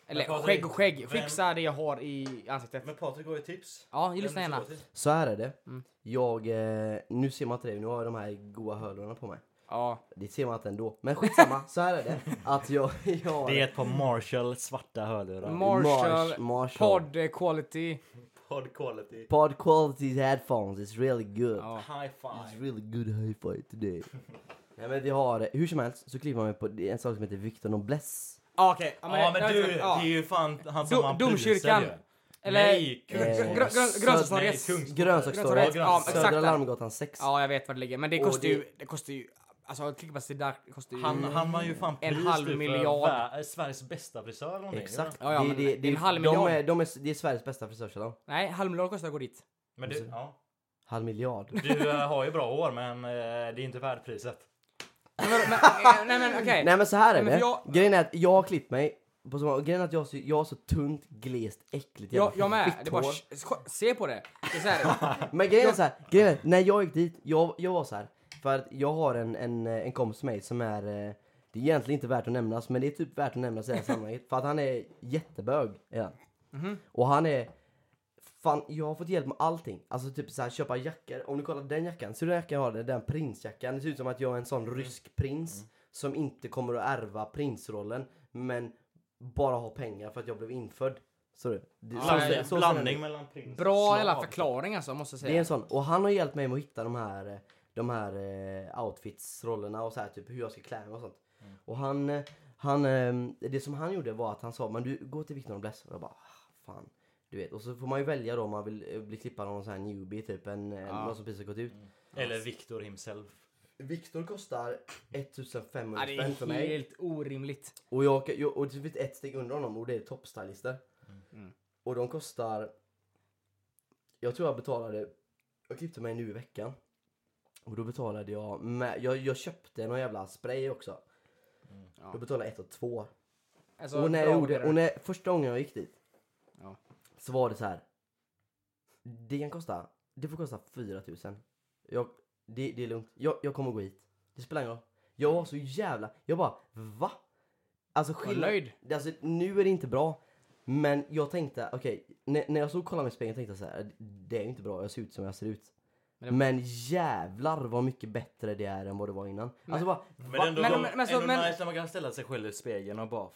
[SPEAKER 1] Eller
[SPEAKER 2] Men Patrik,
[SPEAKER 1] skägg och skägg.
[SPEAKER 2] vem-
[SPEAKER 1] Fixa det jag har i ansiktet.
[SPEAKER 2] Men Patrik har ju tips.
[SPEAKER 1] Ja,
[SPEAKER 2] Vem
[SPEAKER 1] lyssna
[SPEAKER 2] ska
[SPEAKER 1] gärna.
[SPEAKER 2] gå till?
[SPEAKER 3] Så här är det.
[SPEAKER 1] Mm.
[SPEAKER 3] Jag, eh, nu ser man inte det, nu har jag de här goa hörlurarna på mig.
[SPEAKER 1] Ja.
[SPEAKER 3] Det ser man inte ändå. Men skitsamma, så här är det. Att jag... jag
[SPEAKER 2] Det är ett par Marshall svarta hörlurar.
[SPEAKER 1] Marshall,
[SPEAKER 3] Marshall.
[SPEAKER 1] Pod eh, quality.
[SPEAKER 2] Pod quality.
[SPEAKER 3] Pod quality headphones, it's really good.
[SPEAKER 1] Ja.
[SPEAKER 2] High five.
[SPEAKER 3] It's really good hi-fi today. Nej men vi har, eh, hur som helst så kliver man med på det är en sak som heter Victor Noblesse.
[SPEAKER 1] Ja, Okej.
[SPEAKER 2] Ja
[SPEAKER 1] men-
[SPEAKER 2] men du, det
[SPEAKER 1] ja.
[SPEAKER 2] är ju fan han
[SPEAKER 1] Do-
[SPEAKER 2] som vann
[SPEAKER 1] domkyrkan.
[SPEAKER 2] priser
[SPEAKER 1] Eller- eh,
[SPEAKER 2] Nej,
[SPEAKER 1] Gr- gr- gr-
[SPEAKER 2] Kungsholmen.
[SPEAKER 1] Grönsakstorget.
[SPEAKER 2] Nej, Kungs-
[SPEAKER 3] Grönsakstorget.
[SPEAKER 1] Grönsakstorget. Ja, exakt
[SPEAKER 3] Södra
[SPEAKER 1] där.
[SPEAKER 3] Larmgatan 6.
[SPEAKER 1] Ja, jag vet var det ligger. Men det
[SPEAKER 3] Och
[SPEAKER 1] kostar
[SPEAKER 3] det-
[SPEAKER 1] ju... Det kostar ju... Alltså, att klippa sig där kostar ju...
[SPEAKER 2] Han, han var ju fan
[SPEAKER 1] En
[SPEAKER 2] pris
[SPEAKER 1] halv
[SPEAKER 2] typ för
[SPEAKER 1] miljard.
[SPEAKER 2] vär- Sveriges bästa frisör eller någonting,
[SPEAKER 3] Exakt.
[SPEAKER 1] Ja, ja, men det- det är en halv
[SPEAKER 3] de
[SPEAKER 1] miljard.
[SPEAKER 3] är, de är, det är Sveriges bästa frisörsalong.
[SPEAKER 1] Nej, halvmiljard kostar att gå dit.
[SPEAKER 2] Men du, ja.
[SPEAKER 3] Halv miljard.
[SPEAKER 2] du eh, har ju bra hår men eh, det är inte värt priset.
[SPEAKER 1] Men, vadå, men, eh, nej men okej.
[SPEAKER 3] Nej men så här är
[SPEAKER 1] Nej, men
[SPEAKER 3] det.
[SPEAKER 1] för jag-
[SPEAKER 3] Grejen är att jag har klippt mig på så, grejen är att jag, har så- jag har så tunt, glest, äckligt
[SPEAKER 1] Jag, jag med.
[SPEAKER 3] fitthår.
[SPEAKER 1] Det är bara, sh- sh- se på det. det är så här,
[SPEAKER 3] Men grejen är så här, grejen är, när jag gick dit, jag, jag var så här, för att jag har en, en, en kompis med mig som är, eh, det är egentligen inte värt att nämnas, men det är typ värt att nämnas i det här sammanhanget, för att han är jättebög. Ja. Och han är, fan jag har fått hjälp med allting. Alltså typ så här, köpa jackor, om du kollar den jackan, ser du den jackan jag har, där? den prinsjackan, det ser ut som att jag är en sån rysk prins som inte kommer att ärva prinsrollen, men bara har pengar för att jag blev infödd. Så, det, det- så-
[SPEAKER 1] nej,
[SPEAKER 3] så- så-
[SPEAKER 2] Blandning mellan prins
[SPEAKER 1] bra
[SPEAKER 2] slav.
[SPEAKER 1] jävla förklaring alltså, måste jag säga.
[SPEAKER 3] det är en sån. Och han har hjälpt mig med att hitta de här, eh,
[SPEAKER 1] Mm.
[SPEAKER 3] de här eh, outfits, rollerna och så här, typ hur jag ska klä mig och sånt. Och han, eh, Han, ehm, det som han gjorde var att han sa men du gå till Victor Noblesse. Och jag bara "Ah, fan. Du vet. Och så får man ju välja då om man vill eh, bli klippad av någon sån här newbie typ. En, en-
[SPEAKER 1] Ja. Mm.
[SPEAKER 3] Någon som precis har gått ut.
[SPEAKER 2] Eller Victor himself.
[SPEAKER 3] Victor kostar 1500
[SPEAKER 1] Ja, det
[SPEAKER 3] spänn för
[SPEAKER 1] är
[SPEAKER 3] mig.
[SPEAKER 1] helt orimligt.
[SPEAKER 3] Och jag, jag och det finns ett steg under honom och det är toppstylister.
[SPEAKER 1] Mm.
[SPEAKER 3] Och de kostar... Jag tror jag betalade... Jag klippte mig nu i veckan. Och då betalade jag med... Jag, jag köpte någon jävla spray också.
[SPEAKER 2] Mm.
[SPEAKER 1] Ja.
[SPEAKER 3] Jag betalade ett och två.
[SPEAKER 1] Alltså,
[SPEAKER 3] Och när, jag
[SPEAKER 1] bra
[SPEAKER 3] gjorde,
[SPEAKER 1] åkare.
[SPEAKER 3] och när första gången jag gick dit.
[SPEAKER 1] Ja.
[SPEAKER 3] Så var det så här. Det kan kosta... Det får kosta 4000. Jag, det, det är lugnt. Jag, jag kommer gå hit. Det spelar ingen roll. Jag var så jävla... Jag bara va? Alltså
[SPEAKER 1] Var
[SPEAKER 3] skillnad,
[SPEAKER 1] nöjd.
[SPEAKER 3] det- Alltså, nu är det inte bra. Men jag tänkte, okej, när, när jag såg och kollade mig i spegeln tänkte jag så här, det är ju inte bra, jag ser ut som jag ser ut.
[SPEAKER 1] Men det-
[SPEAKER 3] Men, jävlar vad mycket bättre det är än vad det var innan. alltså bara,
[SPEAKER 2] Men
[SPEAKER 3] va,
[SPEAKER 2] ändå,
[SPEAKER 1] Men-
[SPEAKER 2] men,
[SPEAKER 1] men- men så-
[SPEAKER 2] ändå
[SPEAKER 1] men-
[SPEAKER 2] nice när man kan ställa sig själv i spegeln och bara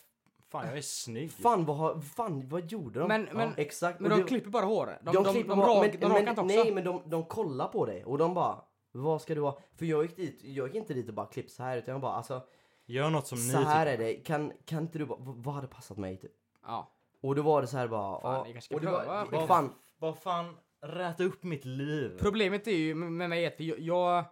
[SPEAKER 2] Fan jag är snygg.
[SPEAKER 3] fan, vad, har- fan vad gjorde de?
[SPEAKER 1] Men-
[SPEAKER 3] Ja,
[SPEAKER 1] men-
[SPEAKER 3] exakt.
[SPEAKER 1] Men
[SPEAKER 3] och
[SPEAKER 1] de
[SPEAKER 3] det-
[SPEAKER 1] klipper bara hår. De,
[SPEAKER 3] de
[SPEAKER 1] de, de,
[SPEAKER 3] klipper
[SPEAKER 1] de,
[SPEAKER 3] bara-
[SPEAKER 1] rak, de
[SPEAKER 3] men- men-
[SPEAKER 1] rakar inte också.
[SPEAKER 3] Nej men de, de kollar på dig och de bara, vad ska du ha? För jag gick dit, jag gick inte dit och bara klipp så här utan jag bara alltså,
[SPEAKER 1] Mm,
[SPEAKER 2] Gör något som
[SPEAKER 3] så
[SPEAKER 1] typ.
[SPEAKER 2] ni
[SPEAKER 3] här
[SPEAKER 2] tycker.
[SPEAKER 3] är det, kan, kan inte du bara, vad vad hade passat mig typ?
[SPEAKER 1] Ja.
[SPEAKER 3] Och då var det så här bara,
[SPEAKER 1] Fan,
[SPEAKER 3] ja,
[SPEAKER 1] vi kanske ska
[SPEAKER 3] och det var-
[SPEAKER 1] pröva
[SPEAKER 3] det-
[SPEAKER 1] på-
[SPEAKER 3] fan,
[SPEAKER 2] Vad fan, räta upp mitt liv.
[SPEAKER 1] Problemet är ju med mig att jag, jag,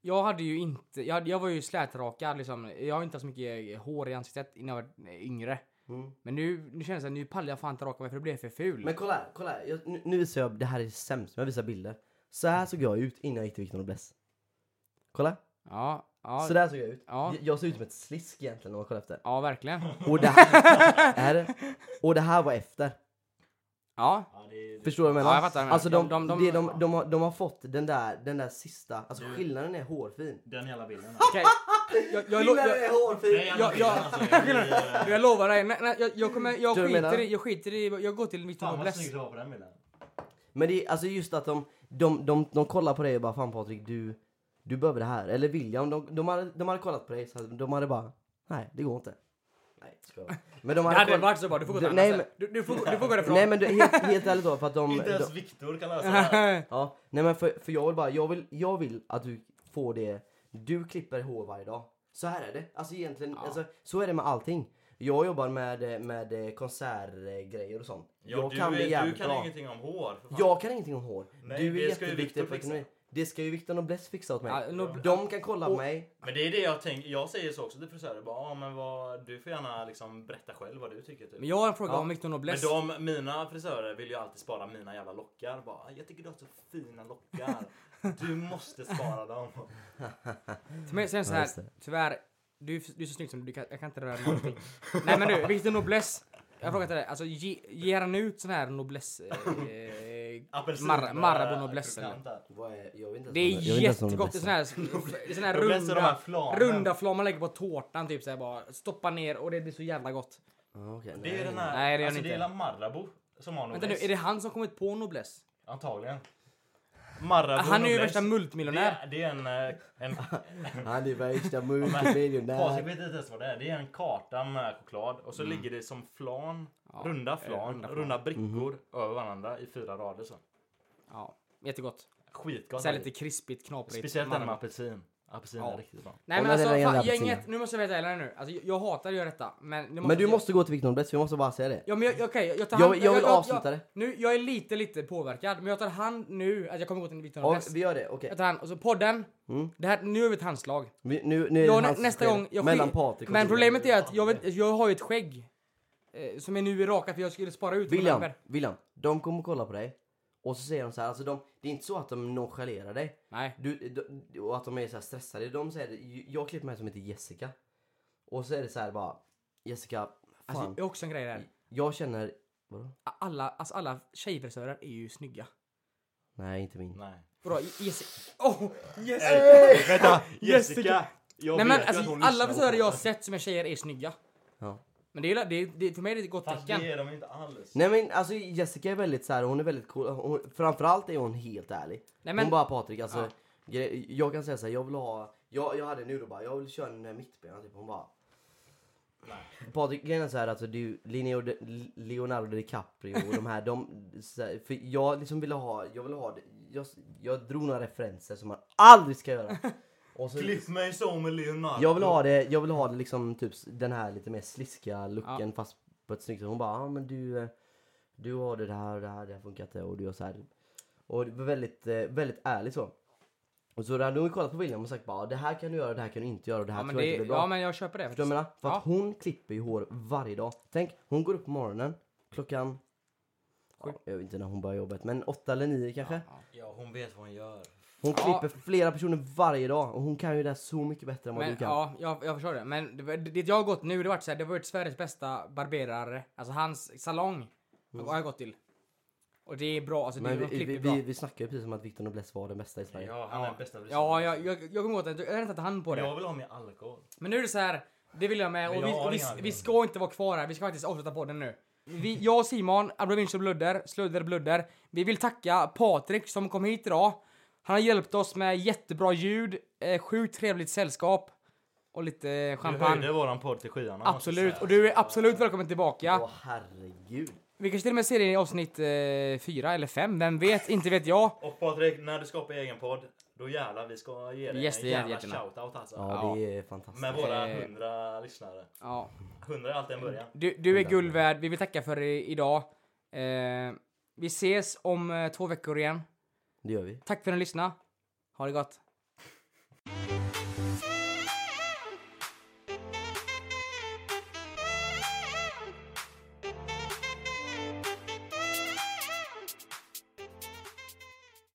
[SPEAKER 1] jag hade ju inte, jag, hade- jag var ju slätrakad liksom. Jag har inte haft så mycket hår i ansiktet innan jag var yngre.
[SPEAKER 3] Mm.
[SPEAKER 1] Men nu, nu känns det att nu pallar jag fan inte raka mig för det blev för ful.
[SPEAKER 3] Men kolla här, kolla här. Jag, nu, nu visar jag, det här är sämst, men jag visar bilder. Så här såg jag ut innan jag gick till Victor Noblesse. Kolla,
[SPEAKER 1] Ja, ja,
[SPEAKER 3] så där såg jag ut.
[SPEAKER 1] Ja.
[SPEAKER 3] Jag, jag såg ut som ett slisk egentligen när man kollar efter.
[SPEAKER 1] ja verkligen.
[SPEAKER 3] Och det här, är, och det här var efter.
[SPEAKER 1] Ja,
[SPEAKER 2] Ja, det, det,
[SPEAKER 3] Förstår du vad jag menar?
[SPEAKER 1] Ja, jag fattar vad du
[SPEAKER 3] alltså de,
[SPEAKER 1] menar. De-
[SPEAKER 3] de, de,
[SPEAKER 1] de- Mm.
[SPEAKER 3] de, de, har, de har fått den där, den där sista, alltså skillnaden är hårfin.
[SPEAKER 2] den jävla bilden. alltså.
[SPEAKER 1] okej. Jag, jag, lo-
[SPEAKER 3] Skillnaden
[SPEAKER 1] jag,
[SPEAKER 3] är hårfin!
[SPEAKER 2] Nej,
[SPEAKER 1] jag- jag-
[SPEAKER 2] alltså, jag blir, eh,
[SPEAKER 1] jag lovar dig, nej, nej, jag, jag, kommer, jag,
[SPEAKER 3] Du menar-
[SPEAKER 1] skiter i, jag skiter i, jag går till mitt
[SPEAKER 2] Fan vad
[SPEAKER 1] nobless.
[SPEAKER 2] snygg du var på den bilden.
[SPEAKER 3] Men det är alltså just att de, de, de, de kollar på dig och bara fan Patrik du, du behöver det här. Eller William, de, de, hade, de hade kollat på dig så hade- de hade bara nej det går inte. Nej ska jag vara. Men de
[SPEAKER 1] Det
[SPEAKER 3] hade,
[SPEAKER 1] hade
[SPEAKER 3] koll-
[SPEAKER 1] varit så bra, du får gå till
[SPEAKER 3] Du- nej,
[SPEAKER 1] annat ställe. du, du, får, gå- du får gå därifrån.
[SPEAKER 3] Nej men du, helt, helt ärligt då för att de...
[SPEAKER 2] Inte
[SPEAKER 3] de
[SPEAKER 2] ens Viktor kan lösa det här.
[SPEAKER 3] ja, nej men för, för jag vill bara, jag vill, jag vill att du får det, du klipper hår varje dag. Så här är det, alltså egentligen, alltså, så är det med allting. Jag jobbar med, med konsertgrejer och sånt.
[SPEAKER 2] Ja,
[SPEAKER 3] jag
[SPEAKER 2] du,
[SPEAKER 3] kan det
[SPEAKER 2] är-
[SPEAKER 3] jävligt
[SPEAKER 2] du kan
[SPEAKER 3] bra.
[SPEAKER 2] ingenting om hår. för fan.
[SPEAKER 3] Jag kan ingenting om hår.
[SPEAKER 2] Nej,
[SPEAKER 3] du är
[SPEAKER 2] det ska ju Victor
[SPEAKER 3] jätteduktig på
[SPEAKER 2] fixa.
[SPEAKER 3] ekonomi. Det ska ju Victor Noblesse fixa åt mig.
[SPEAKER 1] Ja, Nob-
[SPEAKER 3] De kan kolla på mig.
[SPEAKER 2] Men det är det jag tänker. Jag säger så också till frisörer. Bara, ah, men vad, du får gärna liksom berätta själv vad du tycker. Typ.
[SPEAKER 1] Men jag har en fråga
[SPEAKER 3] Ja.
[SPEAKER 1] om Victor
[SPEAKER 2] Men
[SPEAKER 1] Nobless.
[SPEAKER 2] de, mina frisörer vill ju alltid spara mina jävla lockar. Bara, jag tycker du har så fina lockar. Du måste spara dem.
[SPEAKER 1] Till mig säger så här,
[SPEAKER 3] just det.
[SPEAKER 1] tyvärr, du, är- du är så snygg som du, kan, jag kan inte röra någonting. Nej men du, Victor Noblesse. Jag frågar till dig, alltså ge, ger han ut sån här eh, Noblesse... Eh,
[SPEAKER 2] Apelsin-
[SPEAKER 1] Mar- Marabou Noblesse,
[SPEAKER 2] krokant där.
[SPEAKER 3] Vad är, jag vet inte ens
[SPEAKER 1] det
[SPEAKER 3] vad
[SPEAKER 1] är
[SPEAKER 3] jag vet inte ens vad
[SPEAKER 1] jättegott, det är
[SPEAKER 3] Noblesse
[SPEAKER 1] sån här, det är sån här
[SPEAKER 2] Noblesse är de här
[SPEAKER 1] runda,
[SPEAKER 2] flanen.
[SPEAKER 1] runda flam man lägger på tårtan typ såhär bara. Stoppa ner och det blir så jävla gott.
[SPEAKER 3] Ja, okej, nej.
[SPEAKER 2] Det är den här,
[SPEAKER 1] Nej, det
[SPEAKER 2] det
[SPEAKER 1] är
[SPEAKER 2] är
[SPEAKER 1] den
[SPEAKER 2] alltså det är
[SPEAKER 1] inte.
[SPEAKER 2] la Marabou som har
[SPEAKER 1] Vänta nu,
[SPEAKER 2] Noblesse.
[SPEAKER 1] är det han som kommit på Noblesse?
[SPEAKER 2] Antagligen. Marabou
[SPEAKER 1] Han är ju
[SPEAKER 2] Noblesse.
[SPEAKER 1] värsta multimiljonär.
[SPEAKER 2] Det är, det är en... eh, en
[SPEAKER 3] Han är värsta
[SPEAKER 2] Patrik
[SPEAKER 3] multimiljonär.
[SPEAKER 2] vet inte ens vad det är. Det är en karta med choklad och så ligger det som flan,
[SPEAKER 1] Mm. Ja,
[SPEAKER 2] runda
[SPEAKER 1] eh,
[SPEAKER 2] flan,
[SPEAKER 1] runda
[SPEAKER 2] runda,
[SPEAKER 1] flan.
[SPEAKER 2] brickor
[SPEAKER 3] Mhm.
[SPEAKER 2] över varandra i fyra rader så.
[SPEAKER 1] Ja, jättegott.
[SPEAKER 2] Skitgott.
[SPEAKER 1] Såhär lite krispigt, knaprigt.
[SPEAKER 2] Speciellt den med
[SPEAKER 1] Marabou.
[SPEAKER 2] apelsin. Apelsin
[SPEAKER 1] Ja.
[SPEAKER 2] är riktigt bra.
[SPEAKER 1] Nej men
[SPEAKER 3] Kolla
[SPEAKER 1] alltså
[SPEAKER 3] den där
[SPEAKER 1] fan,
[SPEAKER 3] jävla
[SPEAKER 1] gänget,
[SPEAKER 3] apelsinen.
[SPEAKER 1] nu måste jag vara helt ärlig nu. Alltså, jag, jag hatar att göra detta. Men, nu
[SPEAKER 3] Men du
[SPEAKER 1] jag-
[SPEAKER 3] måste gå till Victor Noblesse, vi måste bara säga det.
[SPEAKER 1] Ja men jag- jag- okej, jag tar
[SPEAKER 3] Jag-
[SPEAKER 1] hand...
[SPEAKER 3] jag vill avsluta
[SPEAKER 1] jag,
[SPEAKER 3] det.
[SPEAKER 1] Nu, jag är lite, lite påverkad, men jag tar hand nu, att jag kommer gå till Victor
[SPEAKER 3] Ja,
[SPEAKER 1] Noblesse.
[SPEAKER 3] vi gör det, okej.
[SPEAKER 1] Jag tar hand, och så podden, det här, nu är vi ett handslag.
[SPEAKER 3] Vi- Nu, nu är det
[SPEAKER 1] Jag, nä,
[SPEAKER 3] hans
[SPEAKER 1] nästa
[SPEAKER 3] sked.
[SPEAKER 1] gång, jag
[SPEAKER 3] Mellan
[SPEAKER 1] skil-
[SPEAKER 3] Patrik och
[SPEAKER 1] Men
[SPEAKER 3] William.
[SPEAKER 1] problemet är att jag, vet, jag har ju ett skägg. Eh, som är nu är rakat för jag skulle spara ut
[SPEAKER 3] William,
[SPEAKER 1] William.
[SPEAKER 3] William, de kommer kolla på dig. Och så säger de så här, alltså de, det är inte så att de nonchalerar dig.
[SPEAKER 1] Nej.
[SPEAKER 3] Du, du, och att de är så här stressade. De säger, det, jag klipper mig som heter Jessica. Och så är det så här bara, Jessica, fan.
[SPEAKER 1] Alltså, det är också en grej där.
[SPEAKER 3] jag känner, vadå?
[SPEAKER 1] Alla, alltså, alla tjejfrisörer är ju snygga.
[SPEAKER 3] Nej, inte min.
[SPEAKER 2] Nej.
[SPEAKER 1] Vadå? Jessica? Oh, Jessica!
[SPEAKER 2] Vänta!
[SPEAKER 1] Jessica!
[SPEAKER 2] Jag
[SPEAKER 1] Nej
[SPEAKER 2] vet
[SPEAKER 1] men
[SPEAKER 2] ju att
[SPEAKER 1] alltså,
[SPEAKER 2] hon lyssnar
[SPEAKER 1] alla
[SPEAKER 2] på
[SPEAKER 1] frisörer jag har
[SPEAKER 2] podden.
[SPEAKER 1] sett som är tjejer är snygga.
[SPEAKER 3] Ja.
[SPEAKER 1] Men det är, ju la- det är, det, för mig är det ett gott
[SPEAKER 2] Fast
[SPEAKER 1] tecken.
[SPEAKER 2] det är de inte alls.
[SPEAKER 3] Nej men alltså Jessica är väldigt så här, hon är väldigt cool. Hon, framförallt är hon helt ärlig.
[SPEAKER 1] Nej,
[SPEAKER 3] Hon
[SPEAKER 1] men-
[SPEAKER 3] bara Patrik alltså, gre- jag kan säga så här, jag vill ha, jag, jag hade nu då bara, jag vill köra en eh, mittbena typ. Hon bara, Patrik grejen är så här, alltså du, Leonardo, Leonardo DiCaprio och de här, de, så här, för jag liksom ville ha, jag ville ha, det- jag, jag drog några referenser som man aldrig ska göra. Och så,
[SPEAKER 2] Klipp mig som med Leonardo.
[SPEAKER 3] jag vill ha det, jag vill ha det liksom typ s- den här lite mer sliska looken
[SPEAKER 1] Ja.
[SPEAKER 3] fast på ett snyggt sätt. Hon bara, ja ah, men du, eh, du har det här och det här, det här funkar inte och du gör så här. Och det var väldigt, eh, väldigt ärligt så. Och så hade hon kollat på William och sagt bara, det här kan du göra, det här kan du inte göra, det här
[SPEAKER 1] Ja men,
[SPEAKER 3] tror jag
[SPEAKER 1] det,
[SPEAKER 3] inte blir bra.
[SPEAKER 1] ja men jag köper det.
[SPEAKER 3] Förstår du vad jag menar? För att
[SPEAKER 1] Ja.
[SPEAKER 3] hon klipper ju hår varje dag. Tänk, hon går upp på morgonen klockan...
[SPEAKER 1] Sju.
[SPEAKER 3] Ja, jag vet inte när hon börjar jobbet, men åtta eller nio kanske.
[SPEAKER 2] Ja, hon vet vad hon gör.
[SPEAKER 3] Hon
[SPEAKER 1] Ja.
[SPEAKER 3] klipper flera personer varje dag och hon kan ju det här så mycket bättre än vad
[SPEAKER 1] Men,
[SPEAKER 3] du kan.
[SPEAKER 1] ja, jag, jag förstår det. Men det, var- dit jag har gått nu, det har varit så här, det har varit Sveriges bästa barberare. Alltså hans salong har jag gått till. Och det är bra, alltså det,
[SPEAKER 3] Mm. men vi,
[SPEAKER 1] de klipper
[SPEAKER 3] vi,
[SPEAKER 1] bra.
[SPEAKER 3] vi, vi snackar ju precis om att Victor Nobles var den bästa i Sverige.
[SPEAKER 2] Ja, han är den bästa frisören.
[SPEAKER 1] Ja, jag, jag, jag kommer ihåg att jag har inte tagit hand på det.
[SPEAKER 2] Jag vill ha mer alkohol.
[SPEAKER 1] Men nu är det så här, det vill jag med
[SPEAKER 2] Men
[SPEAKER 1] och
[SPEAKER 2] jag
[SPEAKER 1] vi,
[SPEAKER 2] har
[SPEAKER 1] och vi,
[SPEAKER 2] inga
[SPEAKER 1] vi
[SPEAKER 2] argument.
[SPEAKER 1] ska inte vara kvar här, vi ska faktiskt avsluta podden nu. Vi, jag och Simon, Abrovinci Bludder, Sludder Bludder, vi vill tacka Patrik som kom hit idag. Han har hjälpt oss med jättebra ljud, eh, sjukt trevligt sällskap och lite
[SPEAKER 2] Champagne. Du
[SPEAKER 1] champagne.
[SPEAKER 2] höjde våran podd till skyarna. måste jag
[SPEAKER 1] Absolut,
[SPEAKER 2] säga.
[SPEAKER 1] och du är absolut välkommen tillbaka.
[SPEAKER 3] Åh herregud.
[SPEAKER 1] Vi kanske till och med ser dig i avsnitt eh, fyra eller fem, vem vet, inte vet jag.
[SPEAKER 2] Och Patrik, när du skapar egen podd, då jävlar vi ska ge dig
[SPEAKER 1] Yes,
[SPEAKER 2] en
[SPEAKER 1] det gör vi
[SPEAKER 2] jävla
[SPEAKER 1] jättegärna.
[SPEAKER 2] shoutout alltså.
[SPEAKER 3] Ja,
[SPEAKER 1] Ja.
[SPEAKER 3] det är fantastiskt.
[SPEAKER 2] Med våra
[SPEAKER 1] Eh.
[SPEAKER 2] hundra lyssnare.
[SPEAKER 1] Ja.
[SPEAKER 2] Hundra är alltid en början.
[SPEAKER 1] Du, du är guld värd. Vi vill tacka för i- idag. Eh, vi ses om eh, två veckor igen.
[SPEAKER 3] Det gör vi.
[SPEAKER 1] Tack för att ni lyssnade. Ha det gott.